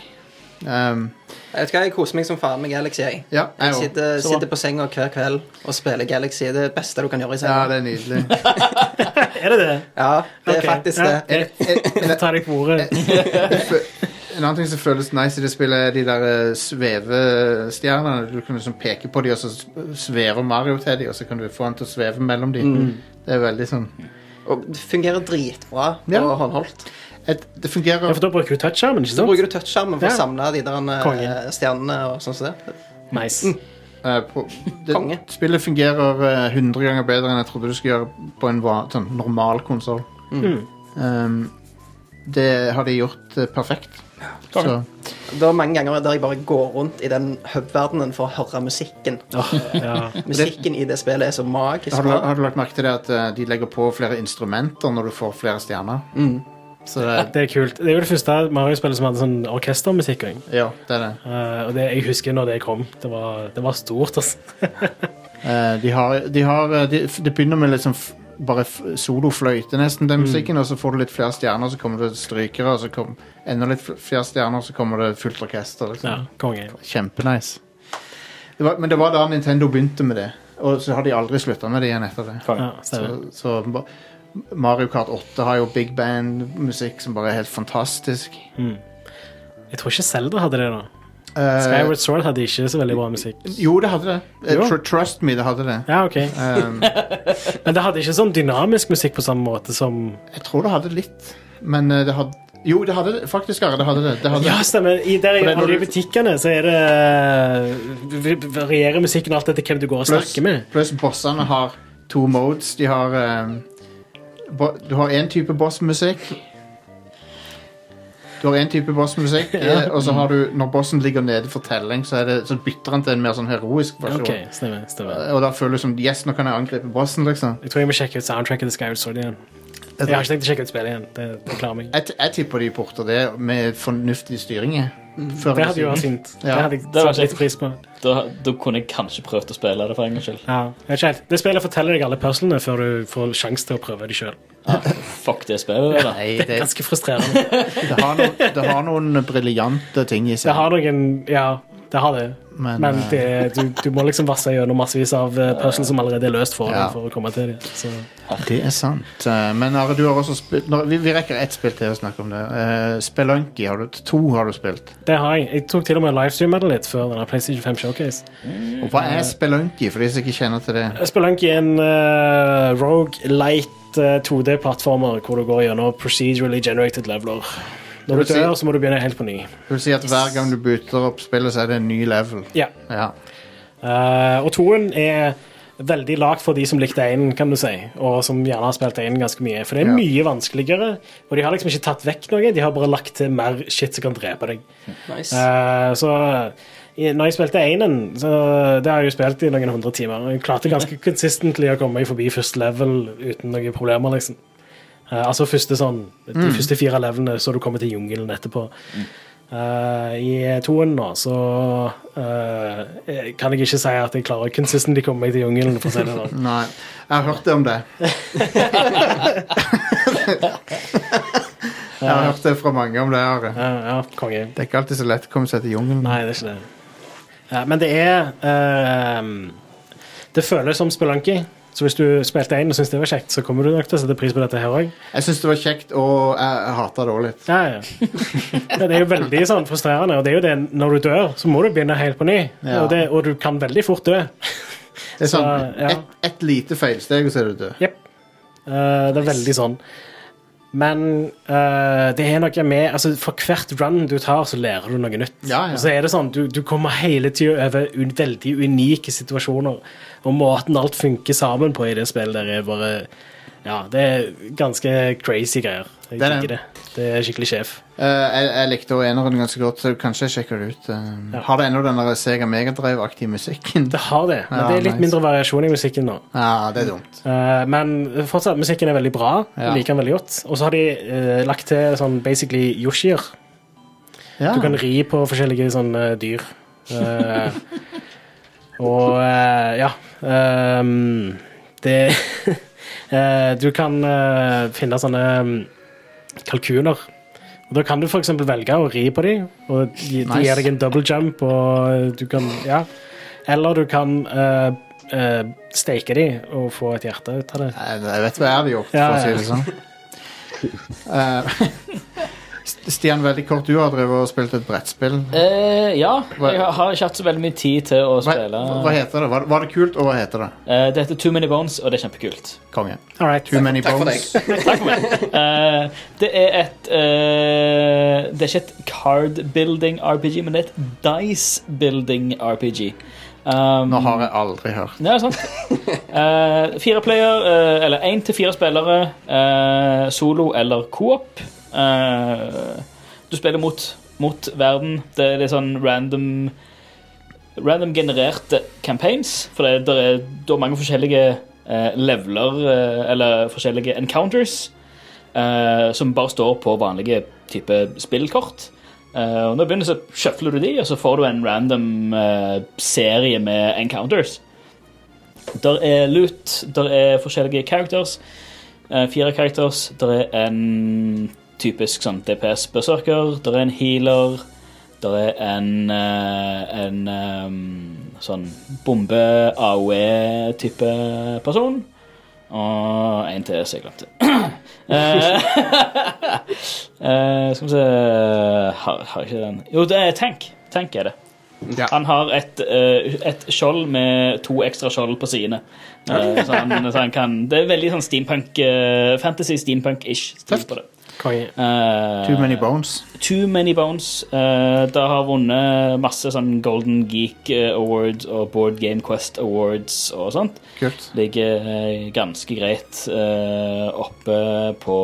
Speaker 1: Um,
Speaker 4: Jeg vet hva, jeg koser meg som faen med Galaxy. Jeg,
Speaker 1: ja, jeg
Speaker 4: jeg
Speaker 1: òg.
Speaker 4: sitter,
Speaker 2: Så bra.
Speaker 4: sitter på senga hver kveld og spiller Galaxy. Det er det beste du kan gjøre
Speaker 1: Ja,
Speaker 4: i senga.
Speaker 1: det er
Speaker 4: *laughs*
Speaker 1: nydelig.
Speaker 3: Er det det?
Speaker 4: Ja,
Speaker 3: Ok.
Speaker 4: det er faktisk
Speaker 3: Ja,
Speaker 4: det.
Speaker 1: En, en,
Speaker 3: Jeg tar deg på ordet.
Speaker 4: Eh,
Speaker 1: en annen ting som føles nice i det spillet, er de der eh, svevestjernene. Du kan liksom peke på dem, og så svever Mario til dem, og så kan du få han til å sveve mellom dem.
Speaker 3: Mm.
Speaker 1: Det er veldig sånn
Speaker 4: Og det fungerer dritbra på
Speaker 1: Ja.
Speaker 4: håndholdt.
Speaker 1: et, Det
Speaker 3: Ja,
Speaker 1: fungerer
Speaker 3: for da bruker du touch-skjermen, ikke
Speaker 4: Så
Speaker 3: sant?
Speaker 4: bruker du touchskjermen for
Speaker 3: Ja.
Speaker 4: å samle de der eh,
Speaker 3: Konge.
Speaker 4: stjernene og sånn som det.
Speaker 3: Nice.
Speaker 1: eh, på,
Speaker 4: Konge.
Speaker 1: det, Spillet fungerer eh, 100 ganger bedre enn jeg trodde du skulle gjøre på en va- sånn normal konsoll.
Speaker 3: Mm.
Speaker 1: Um, det har de gjort eh, perfekt. Så,
Speaker 4: Det er mange ganger der jeg bare går rundt i den hub-verdenen for å høre musikken.
Speaker 3: Ja.
Speaker 4: Musikken i det spillet er så magisk.
Speaker 1: har, du,
Speaker 4: bra.
Speaker 1: har du lagt merke til det at eh, de legger på flere instrumenter når du får flere stjerner?
Speaker 3: Mm.
Speaker 1: Så det,
Speaker 3: Det er kult. Det er jo det første Mario-spillet som hadde sånn orkestermusikk. også.
Speaker 1: ja, det er det.
Speaker 3: Eh, og det, jeg husker når det kom. Det var, det var stort, altså.
Speaker 1: Eh, de har, de har eh, de, Det begynner med liksom f- bare f- solofløyte, nesten,
Speaker 3: Mm.
Speaker 1: den musikken, og så får du litt flere stjerner, så kommer det strykere, og så kom, enda litt fl- flere stjerner, så kommer det fullt orkester. Liksom.
Speaker 3: Ja, konge.
Speaker 1: Kjempenice. Det var, men det var da Nintendo begynte med det, og så har de aldri slutta med det igjen etter det.
Speaker 3: Ja,
Speaker 1: Så,
Speaker 3: stemmer.
Speaker 1: så ba- Mario Kart 8 har jo big band-musikk som bare er helt fantastisk.
Speaker 3: Jeg tror ikke Zelda hadde det, da.
Speaker 1: Eh,
Speaker 3: Skyward Sword hadde ikke så veldig bra musikk.
Speaker 1: jo, det hadde det. Eh,
Speaker 3: Jo.
Speaker 1: tr trust me, det hadde det.
Speaker 3: Ja, ok.
Speaker 1: Um,
Speaker 3: *laughs* Men det hadde ikke sånn dynamisk musikk på samme måte som
Speaker 1: Jeg tror det hadde litt, men eh, det hadde Jo, det hadde det. Faktisk, Are, det hadde det. det hadde,
Speaker 3: Ja, stemmer.
Speaker 1: For
Speaker 3: I, der
Speaker 1: det
Speaker 3: jeg
Speaker 1: er når
Speaker 3: handler i
Speaker 1: du-
Speaker 3: butikkene, så er det v- v- varierer musikken alt etter hvem du går og
Speaker 1: Pluss,
Speaker 3: snakker med.
Speaker 1: pluss bossene har to modes. De har eh, bo, Du har én type bossmusikk. Du har én type
Speaker 3: *laughs*
Speaker 1: bossmusikk, eh, og så har du Når bossen ligger nede for telling, så, er det, så bytter han til en mer sånn heroisk versjon.
Speaker 3: Ok, stemmer, stemmer.
Speaker 1: Og da føler du som Yes, nå kan jeg angripe bossen, liksom.
Speaker 3: Jeg tror jeg må sjekke ut soundtracket til Skyward Sword igjen. Jeg har ikke tenkt å sjekke ut spillet igjen. Det, det klarer meg.
Speaker 1: Jeg, t- jeg tipper de porter det med fornuftig styring. jeg. Før
Speaker 3: Mm, Det
Speaker 1: eller
Speaker 3: hadde jo
Speaker 1: siden.
Speaker 3: vært fint. Det
Speaker 1: Ja.
Speaker 3: hadde jeg
Speaker 2: var
Speaker 3: satt litt
Speaker 2: kjekt.
Speaker 3: pris på.
Speaker 2: Da, da kunne jeg kanskje prøvd å spille det for en gangs skyld.
Speaker 3: Ja, jeg vet ikke helt. Det spillet forteller deg alle puzzlene før du får sjanse til å prøve dem sjøl.
Speaker 2: Fuck det spillet, det da.
Speaker 1: Nei,
Speaker 3: Det
Speaker 1: det,
Speaker 3: er ganske frustrerende.
Speaker 1: det, har noen, det har noen briljante ting i
Speaker 3: Det
Speaker 1: seg.
Speaker 3: har noen Ja, det har det.
Speaker 1: Men,
Speaker 3: Men
Speaker 1: eh,
Speaker 3: det, du, du må liksom vasse gjennom massevis av eh, puzzles som allerede er løst for
Speaker 1: Ja.
Speaker 3: deg, for å komme til dem. Så
Speaker 1: Det er sant. Eh, Men Are, du har også spilt når, vi, vi rekker ett spill til å snakke om det. Uh, Spelunky, har du, to har du spilt.
Speaker 3: det har jeg. Jeg tok til og med livestreama det litt før denne PlayStation 5 Showcase.
Speaker 1: Og hva er Spelunky, for de som ikke kjenner til det?
Speaker 3: Spelunky er en uh, rogue light 2D-plattformer hvor du går gjennom procedurally generated leveler.
Speaker 1: Det
Speaker 3: Når du
Speaker 1: vil si-
Speaker 3: dør, så må du begynne helt på ny.
Speaker 1: Det vil si at hver gang du booter opp spillet, så er det en ny level.
Speaker 3: Ja.
Speaker 1: Ja.
Speaker 3: Eh, og toen er veldig lagt for de som likte én, kan du si, og som gjerne har spilt én ganske mye. For det er
Speaker 1: Ja.
Speaker 3: mye vanskeligere, og de har liksom ikke tatt vekk noe, de har bare lagt til mer shit som kan drepe deg.
Speaker 4: Nice.
Speaker 3: Eh, så i- når jeg spilte Einen, så det har jeg jo spilt i noen hundre timer. og Jeg klarte ganske konsistentlig å komme meg forbi første level uten noen problemer, liksom. Eh, altså første sånn, de første fire levelene, så du kommer til jungelen etterpå. Eh, I toen nå, så eh, kan jeg ikke si at jeg klarer consistently å komme meg til jungelen. for å si
Speaker 1: *laughs*
Speaker 3: det sånn.
Speaker 1: Nei. Jeg har hørt det om det.
Speaker 3: *laughs*
Speaker 1: jeg har hørt det fra mange om det. Are.
Speaker 3: Eh, ja, konge.
Speaker 1: Det er ikke alltid så lett å komme seg til jungelen.
Speaker 3: Nei, det er ikke det. Ja, men det er ehm, Det føles som spelanki. Så hvis du spilte én og syntes det var kjekt, så kommer du nok til å sette pris på dette her òg.
Speaker 1: Jeg syns det var kjekt, og jeg hata det òg litt.
Speaker 3: Ja, ja. Men Det er jo veldig sånn frustrerende, og det er jo det når du dør, så må du begynne helt på ny.
Speaker 1: Ja.
Speaker 3: Og, det, og du kan veldig fort dø.
Speaker 1: Det er
Speaker 3: Så,
Speaker 1: sånn,
Speaker 3: ja.
Speaker 1: ett ett lite feilsteg, og så er du død.
Speaker 3: Jepp. Eh, det er veldig sånn. Men eh, det er noe med altså For hvert run du tar, så lærer du noe nytt.
Speaker 1: Ja, ja.
Speaker 3: Og så er det sånn, Du, du kommer hele tida over un veldig unike situasjoner. Og måten alt funker sammen på i det spillet der, er bare Ja, det er ganske crazy greier. Jeg
Speaker 1: Det er
Speaker 3: digger
Speaker 1: det.
Speaker 3: det. Det er skikkelig sjef.
Speaker 1: Eh, jeg, jeg likte også eneren ganske godt, så kanskje jeg sjekker det ut. eh.
Speaker 3: Ja.
Speaker 1: Har det ennå den der Sega Megadrive-aktige musikken?
Speaker 3: *laughs* Det har det, men
Speaker 1: Ja,
Speaker 3: det er litt
Speaker 1: nice.
Speaker 3: mindre variasjon i musikken nå.
Speaker 1: Ja, det er dumt.
Speaker 3: Eh, men fortsatt, musikken er veldig bra. Jeg
Speaker 1: Ja.
Speaker 3: liker den veldig godt. Og så har de eh, lagt til sånn basically yoshier.
Speaker 1: Ja.
Speaker 3: Du kan ri på forskjellige sånne dyr. Eh, og eh, ja ehm, Det *laughs* eh, Du kan eh, finne sånne mm, kalkuner. Og Da kan du f.eks. velge å ri på dem, og de, de
Speaker 1: Nice.
Speaker 3: gir deg en double jump. Og du kan, ja. Eller du kan eh, eh, steike dem og få et hjerte ut av det.
Speaker 1: Nei, Jeg vet hva jeg hadde gjort,
Speaker 3: Ja,
Speaker 1: for å si
Speaker 3: ja.
Speaker 1: det sånn. Eh, *laughs* St- Stian, veldig kort, du har drevet og spilt et brettspill.
Speaker 2: Eh, ja,
Speaker 1: Hva-
Speaker 2: jeg har- har ikke hatt så veldig mye tid til å
Speaker 1: Hva,
Speaker 2: spille.
Speaker 1: hva heter det? Var, var det kult, og hva heter det?
Speaker 2: Eh, det heter Too Many Bones, og det er kjempekult.
Speaker 1: Konge.
Speaker 3: All right.
Speaker 1: Too many
Speaker 4: takk for
Speaker 1: bones.
Speaker 2: Eh, det er et eh, Det er ikke et card building RPG, men det er et dice building RPG. Um,
Speaker 1: Nå har jeg aldri hørt.
Speaker 2: Ja, sant. Eh, fire player, eh, eller én til fire spillere, eh, solo eller coop. Eh, du spiller mot, mot verden. Det er litt sånn random Random genererte campaigns, for det, der er, det er mange forskjellige eh, leveler, eh, eller forskjellige encounters, eh, som bare står på vanlige type spillkort. Eh, og når du begynner, så shuffler du de, og så får du en random eh, serie med encounters. Der er loot, der er forskjellige characters. eh, fire characters. Der er en typisk sånn DPS-berserker. Der er en healer. Der er en, eh, en eh, sånn bombe-AOE-type person. Og en til som jeg glemte. *clears throat* Eh, *laughs* eh, skal vi se har, har jeg ikke den Jo, det er Tank. Tank er det.
Speaker 1: Ja.
Speaker 2: Han har et, eh, et skjold med to ekstra skjold på sidene. Eh, så, han, så han kan Det er veldig sånn steampunk eh, fantasy, steampunk-ish stil på det.
Speaker 3: Konge.
Speaker 2: Eh,
Speaker 1: Too many bones.
Speaker 2: Too Many Bones. Uh, det har vunnet masse sånn Golden Geek eh, Awards og Board Game Quest Awards og sånt.
Speaker 1: Kult.
Speaker 2: Ligger eh, ganske greit eh, oppe på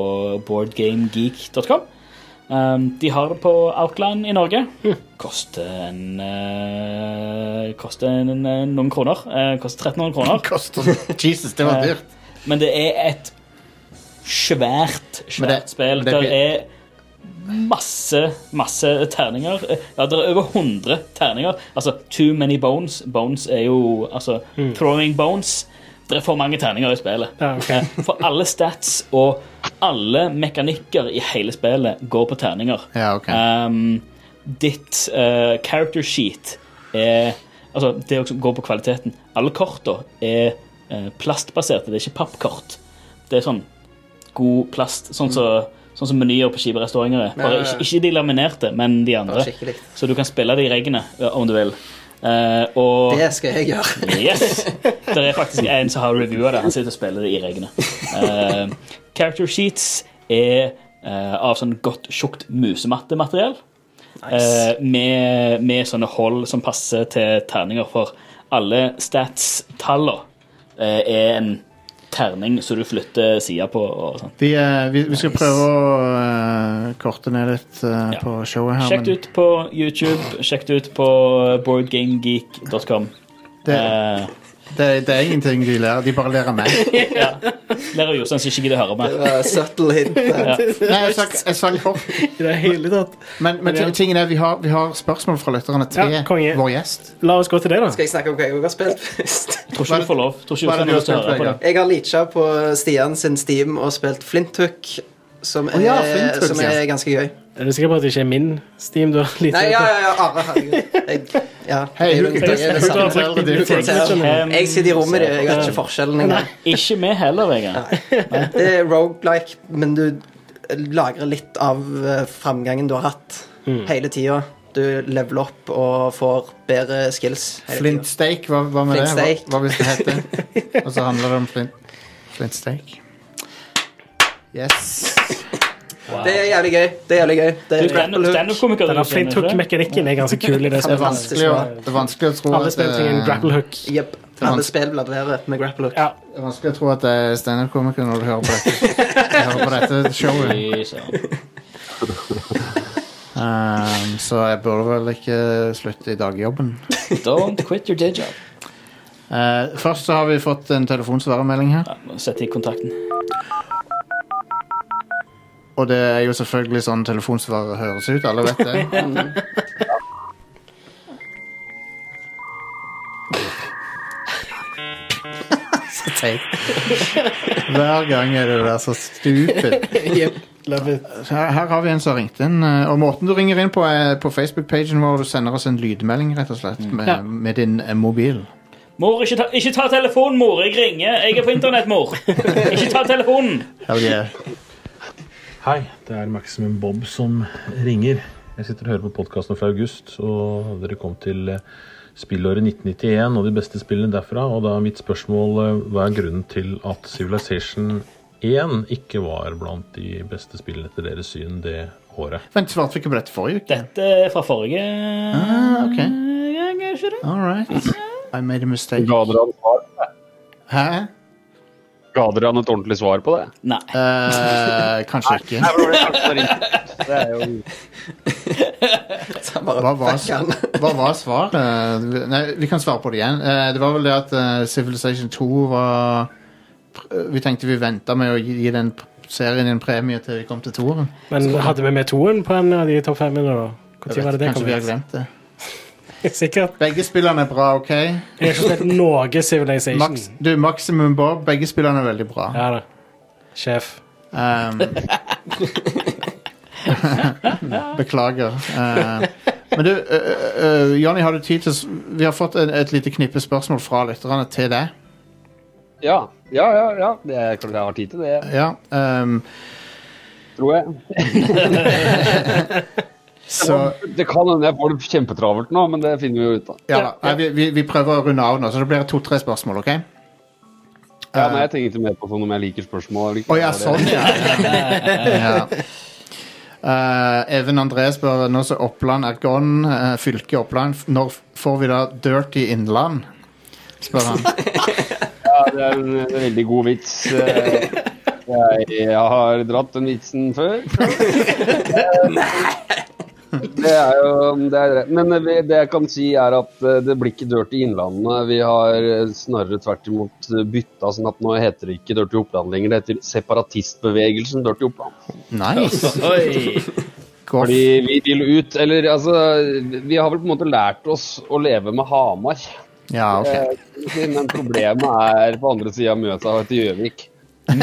Speaker 2: boardgamegeek.com. Um, de har det på Outland i Norge. Koster en eh, Koster en, en, noen kroner. Eh, *laughs* koster 1300 kroner.
Speaker 1: Koster Jesus, det var
Speaker 2: Eh,
Speaker 1: dyrt.
Speaker 2: Men det er et svært,
Speaker 1: Men
Speaker 2: svært
Speaker 1: det-
Speaker 2: spill.
Speaker 1: men det
Speaker 2: det er masse, masse terninger. Ja, det er over 100 terninger. Altså, too many bones. Bones er jo Altså, throwing bones. Det er for mange terninger i spillet.
Speaker 3: Hmm. Ja, ok.
Speaker 2: Eh, For alle stats og alle mekanikker i hele spillet går på terninger.
Speaker 1: Ja, ok.
Speaker 2: Um, ditt eh, character sheet er Altså, det også går på kvaliteten. Alle korta er eh, plastbaserte, det er ikke pappkort. Det er sånn god plast, sånn som Sånn som menyer på kjipe restauranter er. Bare ikke, ikke de laminerte, men de
Speaker 4: Bare
Speaker 2: andre.
Speaker 4: skikkelig.
Speaker 2: Så du kan spille det i regnet eh, om du vil. Eh, og
Speaker 4: Det skal jeg gjøre.
Speaker 2: Yes! Det er faktisk en som har reviewa det. Han sitter og spiller det i regnet. Eh, character sheets er eh, av sånn godt, tjukt musemattemateriell. Eh, med, med sånne hold som passer til terninger, for alle stats-tallene eh, er en terning som du flytter sida på. og sånn.
Speaker 1: Vi, eh, vi, vi skal
Speaker 2: Nice.
Speaker 1: prøve å eh, korte ned litt eh,
Speaker 2: Ja.
Speaker 1: på showet her.
Speaker 2: Sjekk det ut på YouTube, sjekk det ut på boardgamegeek.com.
Speaker 1: det,
Speaker 2: Eh,
Speaker 1: Det, det er ingenting de lærer. De bare lærer
Speaker 3: *laughs*
Speaker 1: meg.
Speaker 2: Lærer Jostein som ikke gidder høre
Speaker 4: Det
Speaker 2: mer.
Speaker 4: var subtle
Speaker 1: *laughs*
Speaker 4: hint. der.
Speaker 1: Nei, jeg sang, jeg sang for.
Speaker 3: I det hele tatt.
Speaker 1: Men, men
Speaker 3: Ja.
Speaker 1: tingen er, vi har, vi har spørsmål fra lytterne til
Speaker 3: Ja, konge.
Speaker 1: vår gjest.
Speaker 3: La oss gå til det, da.
Speaker 4: Skal jeg snakke om hva jeg også har spilt først?
Speaker 2: Tror ikke
Speaker 1: Hva er
Speaker 2: du får lov. Tror ikke
Speaker 1: hva er det
Speaker 2: Jostein
Speaker 1: du
Speaker 2: har
Speaker 1: har
Speaker 2: lyst
Speaker 1: spilt,
Speaker 2: til å høre på det.
Speaker 1: Vegard?
Speaker 4: Jeg har leacha på Stian sin Steam og spilt Flinthook, som er,
Speaker 1: Å ja, Flinthook,
Speaker 4: som
Speaker 1: ja.
Speaker 4: er ganske gøy.
Speaker 3: Er du sikker på at det ikke er min Steam du har litt
Speaker 4: Nei, ja, ja, ja, Are, herregud. Jeg, ja,
Speaker 1: Hei,
Speaker 4: jeg,
Speaker 1: who can
Speaker 4: jeg, jeg,
Speaker 1: who can tell the difference?
Speaker 2: Em,
Speaker 4: jeg sitter i rommet ditt, jeg vet ikke forskjellen engang.
Speaker 2: Ikke vi heller, Vegard.
Speaker 4: Det er roguelike, men du lagrer litt av eh, framgangen du har hatt hele tida. Du leveler opp og får bedre skills. hele tiden.
Speaker 1: Flintsteak, hva, hva med det?
Speaker 4: Flintsteak.
Speaker 1: Hva, hva hvis det heter?
Speaker 4: *laughs*
Speaker 1: Og så handler det om flint, flintsteak. Yes.
Speaker 4: Det er jævlig gøy. Det er jævlig gøy. Det er grapple hook.
Speaker 2: Standup-komiker.
Speaker 3: Den flinthook-mekanikken er ganske kul i
Speaker 1: Det
Speaker 3: det
Speaker 1: er
Speaker 3: spillet.
Speaker 1: vanskelig å, det er vanskelig å tro
Speaker 3: Alle
Speaker 1: at eh, det,
Speaker 3: spiller ting en grapple hook.
Speaker 4: Jepp. Alle spill bladerer
Speaker 3: *laughs*
Speaker 4: med grapple hook.
Speaker 3: Ja.
Speaker 1: det er vanskelig å tro at det er standup-komiker når du hører på dette, hører på dette
Speaker 4: *laughs*
Speaker 1: showet. Um, så jeg burde vel ikke slutte i dagjobben.
Speaker 2: Don't quit your day job.
Speaker 1: Eh, først så har vi fått en telefonsvaremelding her.
Speaker 2: Ja, må Sette i kontakten.
Speaker 1: Og det er jo selvfølgelig sånn telefonsvarer høres ut. Alle vet det. så teit. Hver gang er det der så stupid.
Speaker 3: Love it.
Speaker 1: Her, her har vi en som har ringt inn. eh, Og måten du ringer inn på, er på Facebook-pagen vår. Du sender oss en lydmelding, rett og slett, med,
Speaker 3: Ja.
Speaker 1: med din eh, mobil.
Speaker 2: Mor, ikke ta, ikke ta telefonen, mor! Jeg ringer. Jeg er på internett, mor. Ikke ta telefonen!
Speaker 1: Hell yeah.
Speaker 7: Hei, det er Maximum Bob som ringer. Jeg sitter og hører på podkasten fra august, og dere kom til eh, spillåret 1991 og de beste spillene derfra. Og da er mitt spørsmål eh, hva er grunnen til at Civilization 1 ikke var blant de beste spillene etter deres syn det året?
Speaker 1: Vent, svarte vi ikke på dette forrige uke?
Speaker 2: Dette er fra forrige
Speaker 1: Ah, ok.
Speaker 2: gang, er ikke det?
Speaker 1: All right. I made a mistake.
Speaker 5: Ga dere han svar på det?
Speaker 1: Hæ?
Speaker 5: Ga dere han et ordentlig svar på det?
Speaker 2: Nei.
Speaker 1: Eh, kanskje ikke.
Speaker 5: Nei, for det var kanskje riktig. Det er jo
Speaker 4: Så bare
Speaker 1: Hva var,
Speaker 4: fuck han.
Speaker 1: hva var svaret? Eh, Nei, vi kan svare på det igjen. Eh, Det var vel det at eh, Civilization 2 var pr- eh, Vi tenkte vi venta med å gi gi den p- serien en premie til vi kom til toeren.
Speaker 3: Men hadde vi med toen på en av de topp femmene, da?
Speaker 1: Jeg
Speaker 3: Når
Speaker 1: vet,
Speaker 3: var det det
Speaker 1: Kanskje
Speaker 3: kom
Speaker 1: vi har
Speaker 3: ut?
Speaker 1: glemt det.
Speaker 3: *laughs* Sikkert.
Speaker 1: Begge spillerne er bra, OK?
Speaker 3: Jeg har ikke spilt noe Civilization.
Speaker 1: Max, du, Maximum Bob, begge spillerne er veldig bra.
Speaker 3: Ja da. Sjef.
Speaker 1: Um, Beklager. Eh, men du, eh, eh, Jonny, har du tid til å s- Vi har fått et, et lite knippe spørsmål fra lytterne til deg.
Speaker 5: Ja, ja, ja. ja. Det er klart jeg har tid til det,
Speaker 1: Ja, ehm,
Speaker 5: tror jeg.
Speaker 1: så
Speaker 5: Det kan hende jeg får det kjempetravelt nå, men det finner vi jo ut av.
Speaker 1: ja, da. Nei, vi- vi, vi prøver å runde av nå, så det blir to-tre spørsmål, OK?
Speaker 5: Ja, nei, jeg tenkte mer på sånn om jeg liker spørsmål eller ikke.
Speaker 1: Å ja, sånn, ja. ja. Eh, Even André spør nå som Oppland er gone, eh, fylket Oppland, f- når f- får vi da Dirty Innland? Spør han.
Speaker 5: Ja, det er en en veldig god vits. Eh, Jeg, jeg har dratt den vitsen før. Eh, Det er jo det er, Men eh, vi- det jeg kan si, er at eh, det blir ikke Dirty Innlandet. Vi har eh, snarere tvert imot eh, bytta, sånn at nå heter det ikke Dirty Oppland lenger. Det heter Separatistbevegelsen Dirty Oppland.
Speaker 1: Nice!
Speaker 2: Oi.
Speaker 1: Går
Speaker 5: Fordi vi vil ut Eller altså, vi har vel på en måte lært oss å leve med Hamar.
Speaker 1: Ja, ok.
Speaker 5: Eh, Men problemet er på andre sida av Mjøsa og til Gjøvik. Og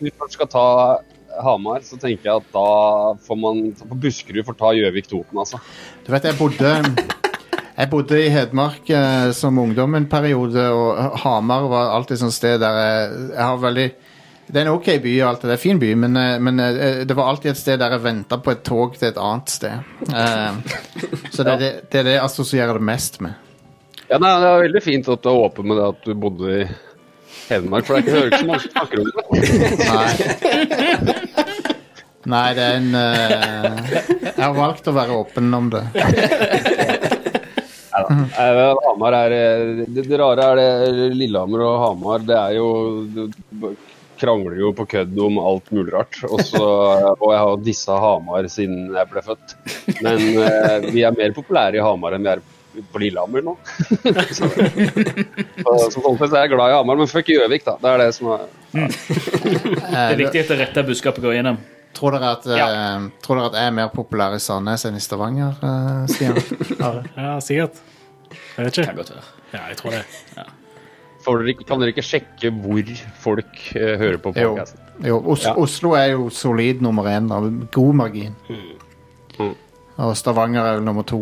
Speaker 5: hvis man skal ta Hamar, så tenker jeg at da får man På Buskerud får ta Gjøvik-Toten, altså.
Speaker 1: Du vet, jeg bodde Jeg bodde i Hedmark eh, som ungdom en periode, og Hamar var alltid sånn sted der jeg, jeg har veldig det er en ok by, og alt det, det er en fin by, men, eh, men eh, det var alltid et sted der jeg venta på et tog til et annet sted. Eh, så det er det, det er det jeg assosierer det mest med.
Speaker 5: Ja, nei, Det er veldig fint at du er åpen med det at du bodde i Hedmark, for det er ikke- det hører ikke så mange som snakker om det.
Speaker 1: Nei, Nei det er en eh, Jeg har valgt å være åpen om det.
Speaker 5: Eh, Hamar er eh, det, det rare er det Lillehammer og Hamar, det er jo du b- Krangler jo på kødd om alt mulig rart. Og, så, og jeg har eh, jo dissa Hamar siden jeg ble født. Men eh, vi er mer populære i Hamar enn vi er på Lillehammer nå. *laughs* så, så, så sånn sett er jeg glad i Hamar, men fuck Gjøvik, da. Det er det som er
Speaker 2: Det er
Speaker 1: Eh,
Speaker 2: viktig at det rette budskapet går gjennom.
Speaker 1: tror, dere at, eh, tror dere at jeg er mer populær i Sandnes enn i Stavanger, eh, Stian?
Speaker 3: Ja, sikkert. Jeg vet
Speaker 2: Kan
Speaker 3: ikke.
Speaker 2: godt være.
Speaker 3: Ja, jeg tror det.
Speaker 5: Får dere ikke- Kan dere ikke sjekke hvor folk eh, hører på
Speaker 1: Jo.
Speaker 5: podkasten?
Speaker 1: jo Os
Speaker 5: Ja.
Speaker 1: Oslo er jo solid nummer én, av god margin.
Speaker 5: Mm.
Speaker 1: Og Stavanger er jo nummer to.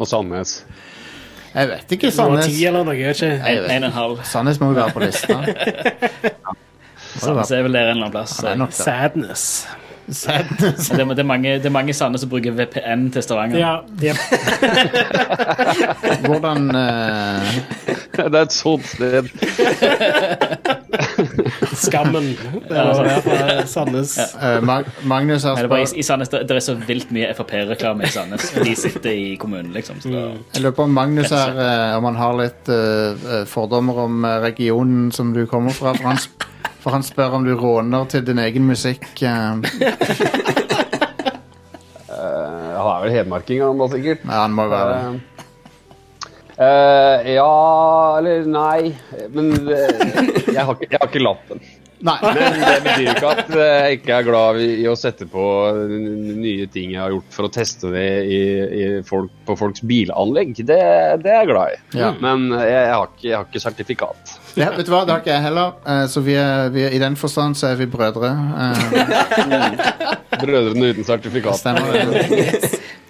Speaker 5: Og Sandnes. *laughs*
Speaker 1: Jeg vet ikke,
Speaker 3: Nummer
Speaker 1: Sandnes.
Speaker 3: ti eller noe, jeg vet ikke.
Speaker 1: Jeg vet.
Speaker 2: En og en halv.
Speaker 1: Sandnes må jo være på
Speaker 2: *laughs*
Speaker 1: lista. Må jo
Speaker 2: Sandnes
Speaker 1: være-
Speaker 2: er vel der en eller annen plass.
Speaker 1: Det er nok det.
Speaker 3: Sadness.
Speaker 1: Sandnes.
Speaker 2: Men Det, er- det, er mange, det er mange Sandnes som bruker VPN til Stavanger.
Speaker 3: Ja, jep.
Speaker 1: Hvordan eh,
Speaker 5: Det er et sånt sted. Eh,
Speaker 1: *laughs*
Speaker 3: Skammen. Det var der fra Sandnes.
Speaker 1: eh, Mag Magnus her
Speaker 2: Nei, det, er
Speaker 1: spør
Speaker 2: bare, Altså, i, i Sandnes, det, det er så vilt mye Frp-reklame i *laughs* Sandnes. De sitter i kommunen, liksom. Så det,
Speaker 1: Jeg lurer på om Magnus her eh, Om han har litt eh, eh, fordommer om eh, regionen som du kommer fra. For han, sp- for han spør om du råner til din egen musikk. eh.
Speaker 5: Eh, Han er vel hedmarking, han da, sikkert.
Speaker 1: ja, han må jo være
Speaker 5: *laughs*
Speaker 1: det.
Speaker 5: Eh, eh, ja eller nei Men eh, jeg, har ikke, jeg har ikke lappen.
Speaker 1: Nei.
Speaker 5: Men det betyr jo ikke at eh, jeg ikke er glad i i å sette på n- n- nye ting jeg har gjort for å teste det i, i folk, på folks bilanlegg. Det, det er jeg glad i.
Speaker 1: Ja.
Speaker 5: Men eh, jeg, jeg, har ikke, jeg har ikke sertifikat.
Speaker 1: Ja, vet du hva, det har ikke jeg heller. Eh, så vi er, vi er, i den forstand så er vi brødre. Eh,
Speaker 5: Brødrene uten
Speaker 1: det
Speaker 5: sertifikat.
Speaker 1: stemmer det.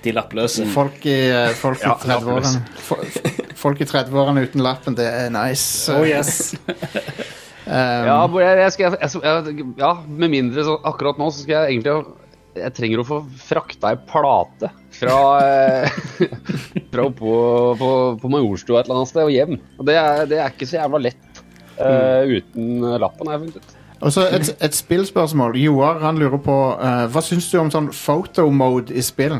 Speaker 2: de lappløse.
Speaker 1: Folk i, eh, folk i
Speaker 5: Ja,
Speaker 1: 30-årene fo- Folk i 30-årene uten lappen, det er nice.
Speaker 3: Oh yes.
Speaker 1: Eh,
Speaker 5: Ja, hvor jeg, jeg skal, jeg, jeg, ja, med mindre så akkurat nå så skal jeg egentlig ha- Jeg trenger å få frakta ei plate fra, eh, *laughs* fra oppå på, på Majorstua et eller annet sted og hjem. Og det er, det er ikke så jævla lett eh, uten lappen, har jeg funnet ut.
Speaker 1: Og så et, et spillspørsmål. Joar han lurer på eh, hva syns du om sånn photo-mode i spill?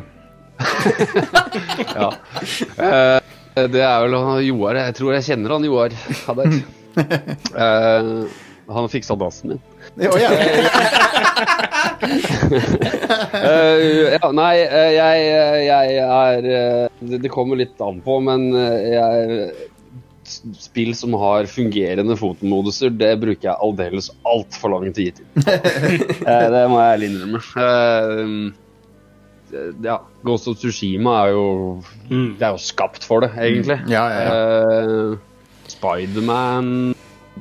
Speaker 5: Ja. Eh, det er vel han Joar. Jeg tror jeg kjenner han Joar Haddad. Eh, han fiksa dansen min.
Speaker 1: Å ja.
Speaker 5: Eh, ja, nei, eh, jeg, jeg er eh, det, det kommer litt an på, men eh, jeg s- Spill som har fungerende fotomoduser, det bruker jeg aldeles altfor lang tid til. Eh, det må jeg ærlig innrømme. Eh, eh, ja, Ghost of Tsushima er jo Det er jo skapt for det, egentlig.
Speaker 1: *laughs* Ja, ja, ja.
Speaker 5: Eh, Spiderman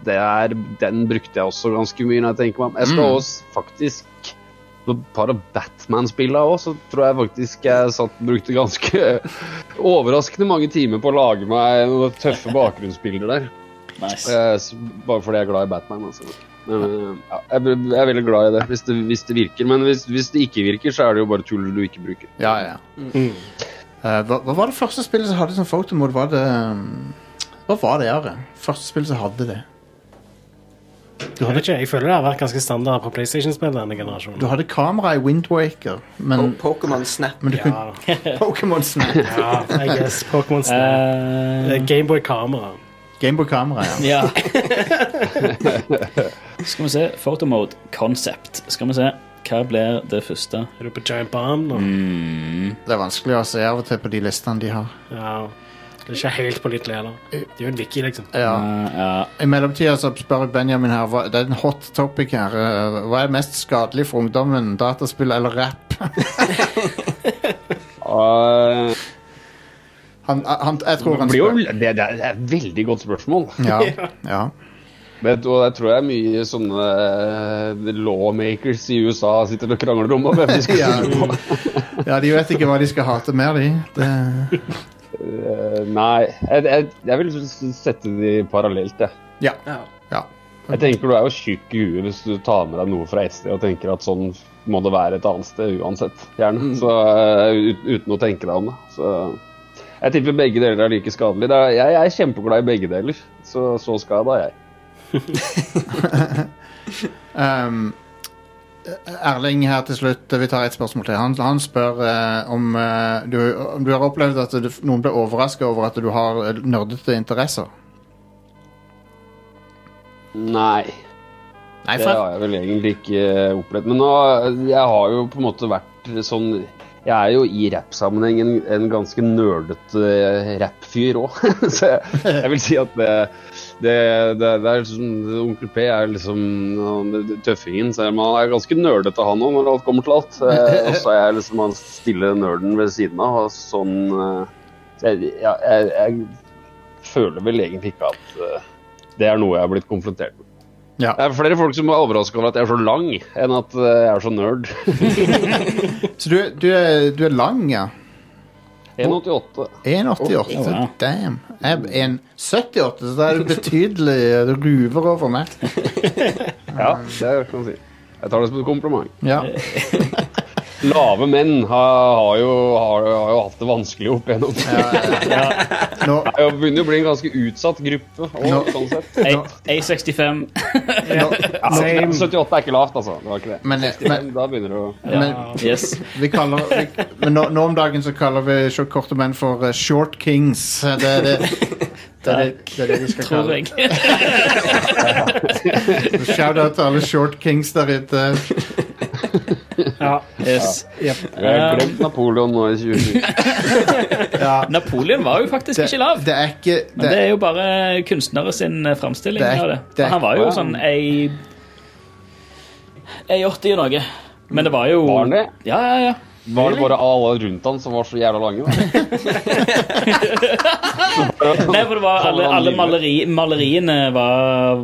Speaker 5: det er- Den brukte jeg også ganske mye når jeg tenker meg om. Jeg skal
Speaker 1: Mm.
Speaker 5: også faktisk på et par av Batman-spillene òg, så tror jeg faktisk jeg satt, brukte ganske *laughs* overraskende mange timer på å lage meg noen tøffe bakgrunnsbilder der.
Speaker 2: Nice.
Speaker 5: Eh, s- Bare fordi jeg er glad i Batman. Altså. Men, eh, ja, jeg bl- jeg er veldig glad i det hvis det, hvis det virker. Men hvis, hvis det ikke virker, så er det jo bare tull du ikke bruker.
Speaker 1: ja, ja. Eh, hva, hva var det første spillet som hadde sånn photo-mode? Var det um, Hva var det, Are? Første spillet som hadde det?
Speaker 3: Du hadde ikke, jeg føler det har vært ganske standard på PlayStation-spill denne generasjonen.
Speaker 1: Du hadde kamera i Windwaker, men,
Speaker 4: Og Pokémon Snap.
Speaker 1: Mm. men du kunne
Speaker 3: Ja,
Speaker 1: Pokémon Snap.
Speaker 3: ja I guess Pokémon Snap.
Speaker 2: Eh,
Speaker 3: Gameboy-kamera.
Speaker 1: Gameboy-kamera, ja.
Speaker 2: *laughs* ja. Skal vi se. Photomode concept. Skal vi se. Hva blir det første? Eh,
Speaker 3: Er du på Giant Bomb nå?
Speaker 2: Mm.
Speaker 1: Det er vanskelig å se av og til på de listene de har.
Speaker 3: Ja. Det er ikke helt pålitelig heller. Det er jo en wiki, liksom.
Speaker 1: Ja.
Speaker 2: Eh, ja.
Speaker 1: I mellomtida så spør Benjamin her hva, Det er en hot topic her. eh, Hva er mest skadelig for ungdommen? Dataspill eller rap?
Speaker 5: Eh,
Speaker 1: Han, eh, han, jeg tror
Speaker 5: det,
Speaker 1: han
Speaker 5: blir jo,
Speaker 1: spør.
Speaker 5: det, det er et veldig godt spørsmål. *laughs*
Speaker 1: Ja, ja.
Speaker 5: Vet du, og jeg tror jeg er mye sånne eh, lawmakers i USA sitter og krangler om hvem de skal
Speaker 1: *laughs* Ja.
Speaker 5: stemme på.
Speaker 1: ja, de vet ikke hva de skal hate mer, de. Det,
Speaker 5: Eh, nei, jeg, jeg, jeg vil liksom s- sette de parallelt, jeg.
Speaker 1: ja.
Speaker 4: Ja.
Speaker 1: ja.
Speaker 5: Jeg tenker Du er jo tjukk i huet hvis du tar med deg noe fra et sted og tenker at sånn må det være et annet sted uansett. gjerne. Så, eh, ut, uten å tenke deg om det. Så, jeg tipper begge deler er like skadelig. Det er, jeg, jeg er kjempeglad i begge deler. Så, så skada er jeg.
Speaker 1: Um, Erling her til slutt, vi tar et spørsmål til. Han, han spør eh, om, eh, du, om du har opplevd at du, noen ble overraska over at du har eh, nerdete interesser.
Speaker 5: Nei.
Speaker 1: Nei,
Speaker 5: eh, Det har jeg vel egentlig ikke opplevd. Men nå, jeg har jo på en måte vært sånn jeg er jo i rappsammenheng en, en ganske nerdete eh, rappfyr òg. *laughs* Så jeg, jeg vil si at det, det, det, det er liksom, Onkel P er liksom han- det- det- tøffingen. Så man er ganske nerdete han òg, når alt kommer til alt. Eh, Og så er jeg liksom han stille nerden ved siden av. Og sånn eh, så jeg, ja, jeg, jeg føler vel egentlig ikke at eh, det er noe jeg har blitt konfrontert med.
Speaker 1: Ja.
Speaker 5: Det er flere folk som er overraska over at jeg er så lang, enn at eh, jeg er så nerd. *laughs*
Speaker 1: Så du, du, er, du er lang, ja.
Speaker 5: 1,88.
Speaker 1: 1,88.
Speaker 2: Oh, wow.
Speaker 1: Damn. Jeg er 1,78, så da er du betydelig Du ruver over meg.
Speaker 5: Ja, det kan man si. Jeg tar det som et kompliment.
Speaker 1: Ja.
Speaker 5: Lave menn har, har, jo, har, har jo hatt det vanskelig opp igjennom. *laughs*
Speaker 1: Nå,
Speaker 5: Jeg begynner jo å bli en ganske utsatt gruppe.
Speaker 1: Ja.
Speaker 5: Og, sånn sett.
Speaker 2: A65.
Speaker 5: Ja, 78 er ikke lavt, altså. Det var ikke det.
Speaker 1: men, eh, men,
Speaker 5: Men da begynner det å
Speaker 1: men
Speaker 2: Yes.
Speaker 1: vi kaller vi, Men nå, nå om dagen så kaller vi short- korte menn for eh, short kings. Det er det, det, er det, det, er det vi skal
Speaker 2: Tror
Speaker 1: kalle
Speaker 2: jeg.
Speaker 1: det. Shout-out til alle short kings der ute.
Speaker 3: Ja.
Speaker 2: Yes.
Speaker 5: Jeg har glemt Napoleon nå i 2020.
Speaker 1: Ja.
Speaker 2: Napoleon var jo faktisk ikke lav.
Speaker 1: det er ikke
Speaker 2: Men det er jo bare kunstnere sin eh, framstilling
Speaker 1: Det er-
Speaker 2: av det.
Speaker 1: det er-
Speaker 2: han var jo sånn ei Ei 80 og noe. Men det var jo
Speaker 5: Var han det?
Speaker 2: Ja, ja, ja.
Speaker 5: Var det bare alle rundt han som var så jævla lange?
Speaker 2: *laughs*
Speaker 5: Da?
Speaker 2: Nei, for det
Speaker 5: Sånn
Speaker 2: var alle, alle maleri, maleriene var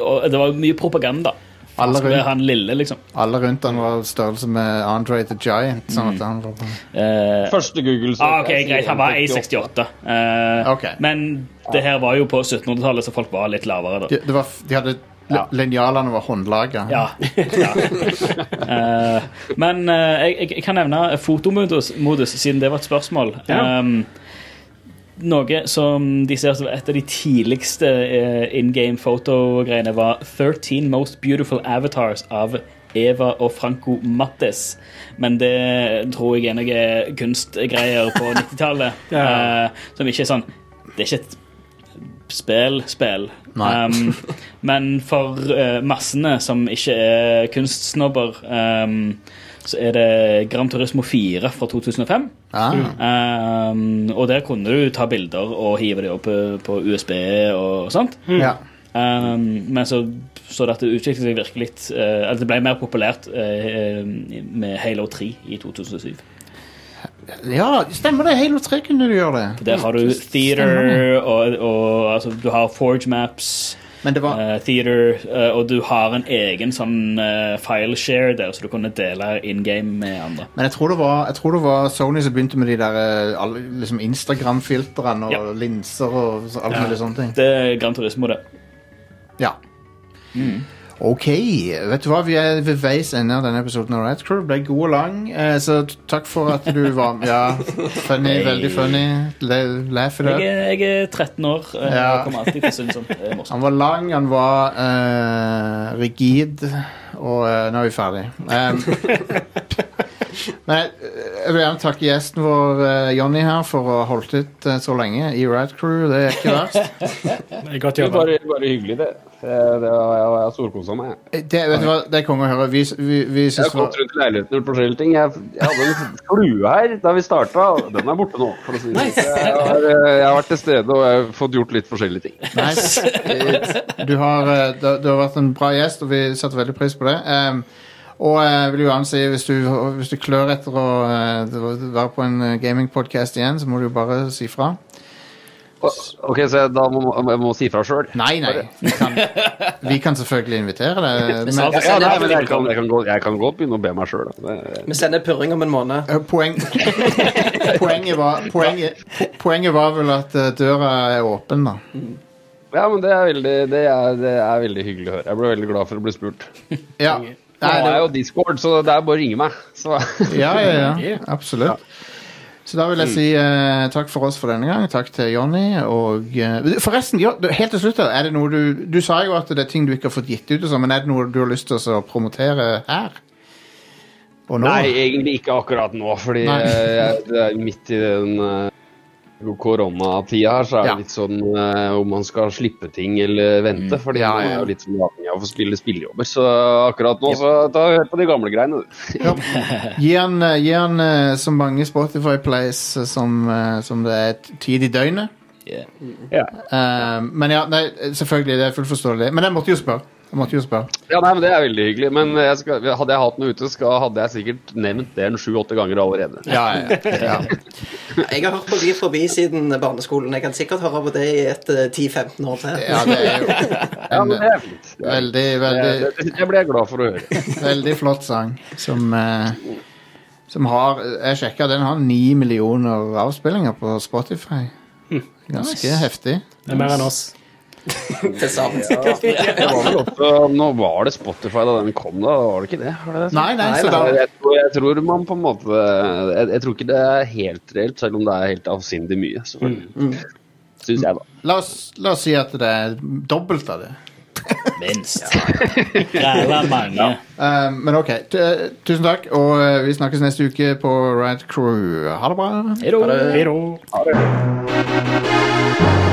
Speaker 2: og Det var mye propaganda. Han
Speaker 1: Alle
Speaker 2: skulle være
Speaker 1: rundt,
Speaker 2: han lille, liksom.
Speaker 1: alle rundt han var størrelse med Andre the Giant. Sånn
Speaker 2: Mm.
Speaker 1: at han var
Speaker 2: Eh,
Speaker 5: Første Google søk.
Speaker 2: ah, ok, Greit, han var A68. Eh,
Speaker 1: Ok.
Speaker 2: Men det her var jo på 1700-tallet, så folk var litt lavere. da
Speaker 1: de, det var, f- de hadde
Speaker 2: Ja.
Speaker 1: Linjalene var håndlaga.
Speaker 2: Ja. ja. Eh, men eh, jeg, jeg- jeg kan nevne fotomodus, modus, siden det var et spørsmål.
Speaker 3: Ja.
Speaker 2: Ehm, noe som de ser som et av de tidligste in game foto-greiene, var 13 Most Beautiful Avatars av Eva og Franco Mattes. Men det tror jeg er noe kunstgreier på 90-tallet.
Speaker 3: Ja.
Speaker 2: eh, som ikke er sånn Det er ikke et spill, spill.
Speaker 1: Nei.
Speaker 2: Um, men for eh, massene som ikke er kunstsnobber, um, så er det Gran Turismo 4 fra 2005. Mm.
Speaker 1: Ah.
Speaker 2: Um, og der kunne du ta bilder og hive dem opp eh, på USB og sånt.
Speaker 1: Ja.
Speaker 2: Um, men så så det at det utviklet seg virkelig eh, At det ble mer populært eh, med Halo 3 i 2007.
Speaker 1: ja, stemmer det. Halo 3 kunne du gjøre det.
Speaker 2: Der har du theater og, og altså, du har Forge Maps.
Speaker 1: Men det var
Speaker 2: Eh, theater, eh, og du har en egen sånn eh, file share der, så du kunne dele in game med andre.
Speaker 1: men jeg tror, det var, jeg tror det var Sony som begynte med de der eh, alle- liksom Instagram-filtrene og
Speaker 2: Ja.
Speaker 1: linser og så- alt mulig sånne ting.
Speaker 2: Det er Gran Turismo, det.
Speaker 1: Ja.
Speaker 2: Mm.
Speaker 1: OK. Vet du hva, vi er ved veis ende av denne episoden. av Red Crew Det ble god og lang, eh, så t- takk for at du var med. Ja, funny,
Speaker 2: Hey.
Speaker 1: veldig funny. Le laugh it
Speaker 2: Jeg
Speaker 1: up.
Speaker 2: er, jeg er 13 år eh, og
Speaker 1: Ja.
Speaker 2: kommer alltid til å synes sånt er morsomt.
Speaker 1: Han var lang, han var eh, rigid, og eh, nå er vi ferdig.
Speaker 5: *laughs*
Speaker 1: Em, men jeg, jeg vil gjerne takke gjesten vår, eh, Jonny, her, for å ha holdt ut eh, så lenge i Rad Crew. Det er ikke verst.
Speaker 3: Det er Godt
Speaker 5: Det er
Speaker 3: jobba.
Speaker 5: bare, bare hyggelig, det. Det, det har jeg jeg har storkosa meg. jeg.
Speaker 1: Eh, Det, vet du hva, det er konge å høre. Vi, vi, vi
Speaker 5: Jeg har
Speaker 1: syns det
Speaker 5: gått
Speaker 1: var
Speaker 5: rundt i leiligheten og gjort forskjellige ting. Jeg, jeg hadde en flue her da vi starta. Den er borte nå. For å si. det. Så jeg, har, eh, jeg har vært til stede og jeg har fått gjort litt forskjellige ting.
Speaker 1: nice. Du har, eh, du, du har vært en bra gjest, og vi setter veldig pris på det. Em, og eh, jeg vil jo gjerne si, hvis du, hvis du klør etter å eh, være på en gamingpodkast igjen, så må du jo bare si fra.
Speaker 5: Og, ok, Så jeg, da må jeg må si fra sjøl.
Speaker 1: Nei, nei. Vi kan, vi kan selvfølgelig invitere deg. Men
Speaker 5: Ja, nei, men jeg kan, jeg, kan gå- jeg kan godt begynne å be meg sjøl.
Speaker 4: Vi sender purring om en måned.
Speaker 1: eh, poeng, *laughs* poenget, var, poenget, po- poenget var vel at eh, døra er åpen, da.
Speaker 5: Ja, men det er, veldig, det, er, det er veldig hyggelig å høre. Jeg ble veldig glad for å bli spurt.
Speaker 1: Ja.
Speaker 5: Nå
Speaker 1: Nei,
Speaker 5: er
Speaker 1: det,
Speaker 5: jo Discord, så det er bare å ringe meg. Så
Speaker 1: ja, ja, ja. Absolutt. Så da vil jeg si eh, takk for oss for denne gang. Takk til Jonny. Og eh, forresten, ja, du- helt til slutt, her, er det noe du Du sa jo at det er ting du ikke har fått gitt ut, og sånn, men er det noe du har lyst til å promotere her? Og nå?
Speaker 5: Nei, egentlig ikke akkurat nå, fordi
Speaker 1: Nei.
Speaker 5: eh, jeg, det er midt i den eh, koronatida her, så er det
Speaker 1: Ja.
Speaker 5: litt sånn eh, om man skal slippe ting eller vente. Fordi
Speaker 1: Mm. Ja,
Speaker 5: man
Speaker 1: ja.
Speaker 5: er jo litt sånn avhengig av å få spille spillejobber. Så akkurat nå, så ta hør på de gamle greiene. du.
Speaker 1: *laughs* Gi han, eh, gi han eh, så mange Spotify plays eh, som, eh, som det er t- tid i døgnet.
Speaker 2: Yeah.
Speaker 1: Eh, men ja, nei, selvfølgelig, det er fullt forståelig. Men jeg måtte jo spørre. Jeg måtte jo spørre.
Speaker 5: Ja, nei, men Det er veldig hyggelig. Men jeg skal, hadde jeg hatt noe ute, skal, hadde jeg sikkert nevnt det en sju-åtte ganger allerede.
Speaker 1: Ja, ja, ja.
Speaker 4: Jeg har hørt på By forbi siden barneskolen. Jeg kan sikkert høre på det i et eh, 10-15 år til.
Speaker 1: ja det er jo
Speaker 5: Ja,
Speaker 1: en
Speaker 5: men det er fint. Det, er-
Speaker 1: veldig, veldig
Speaker 5: det, det, det ble jeg glad for å høre.
Speaker 1: Veldig flott sang som, eh, som har Jeg sjekka, den har ni millioner avspillinger på Spotify.
Speaker 5: Hm.
Speaker 1: Ganske heftig.
Speaker 3: Det er mer enn oss.
Speaker 4: Til sammen.
Speaker 5: Det var vel også, nå var det Spotify da den kom, da? Var det ikke det? Var det det?
Speaker 1: Nei, nei,
Speaker 4: Nei,
Speaker 1: så
Speaker 4: nei,
Speaker 1: da
Speaker 5: Jeg tror, jeg tror man på en måte jeg, jeg tror ikke det er helt reelt, selv om det er helt avsindig
Speaker 1: Mm,
Speaker 5: mye. selvfølgelig. Synes jeg, da.
Speaker 1: la oss, la oss si at det er dobbelt av det.
Speaker 2: *laughs* Minst. Græla mange.
Speaker 1: Eh, men OK. tu- eh, Tusen takk, og eh, vi snakkes neste uke på Rad Crew. Ha det bra.
Speaker 2: Hei da.
Speaker 3: Hei da.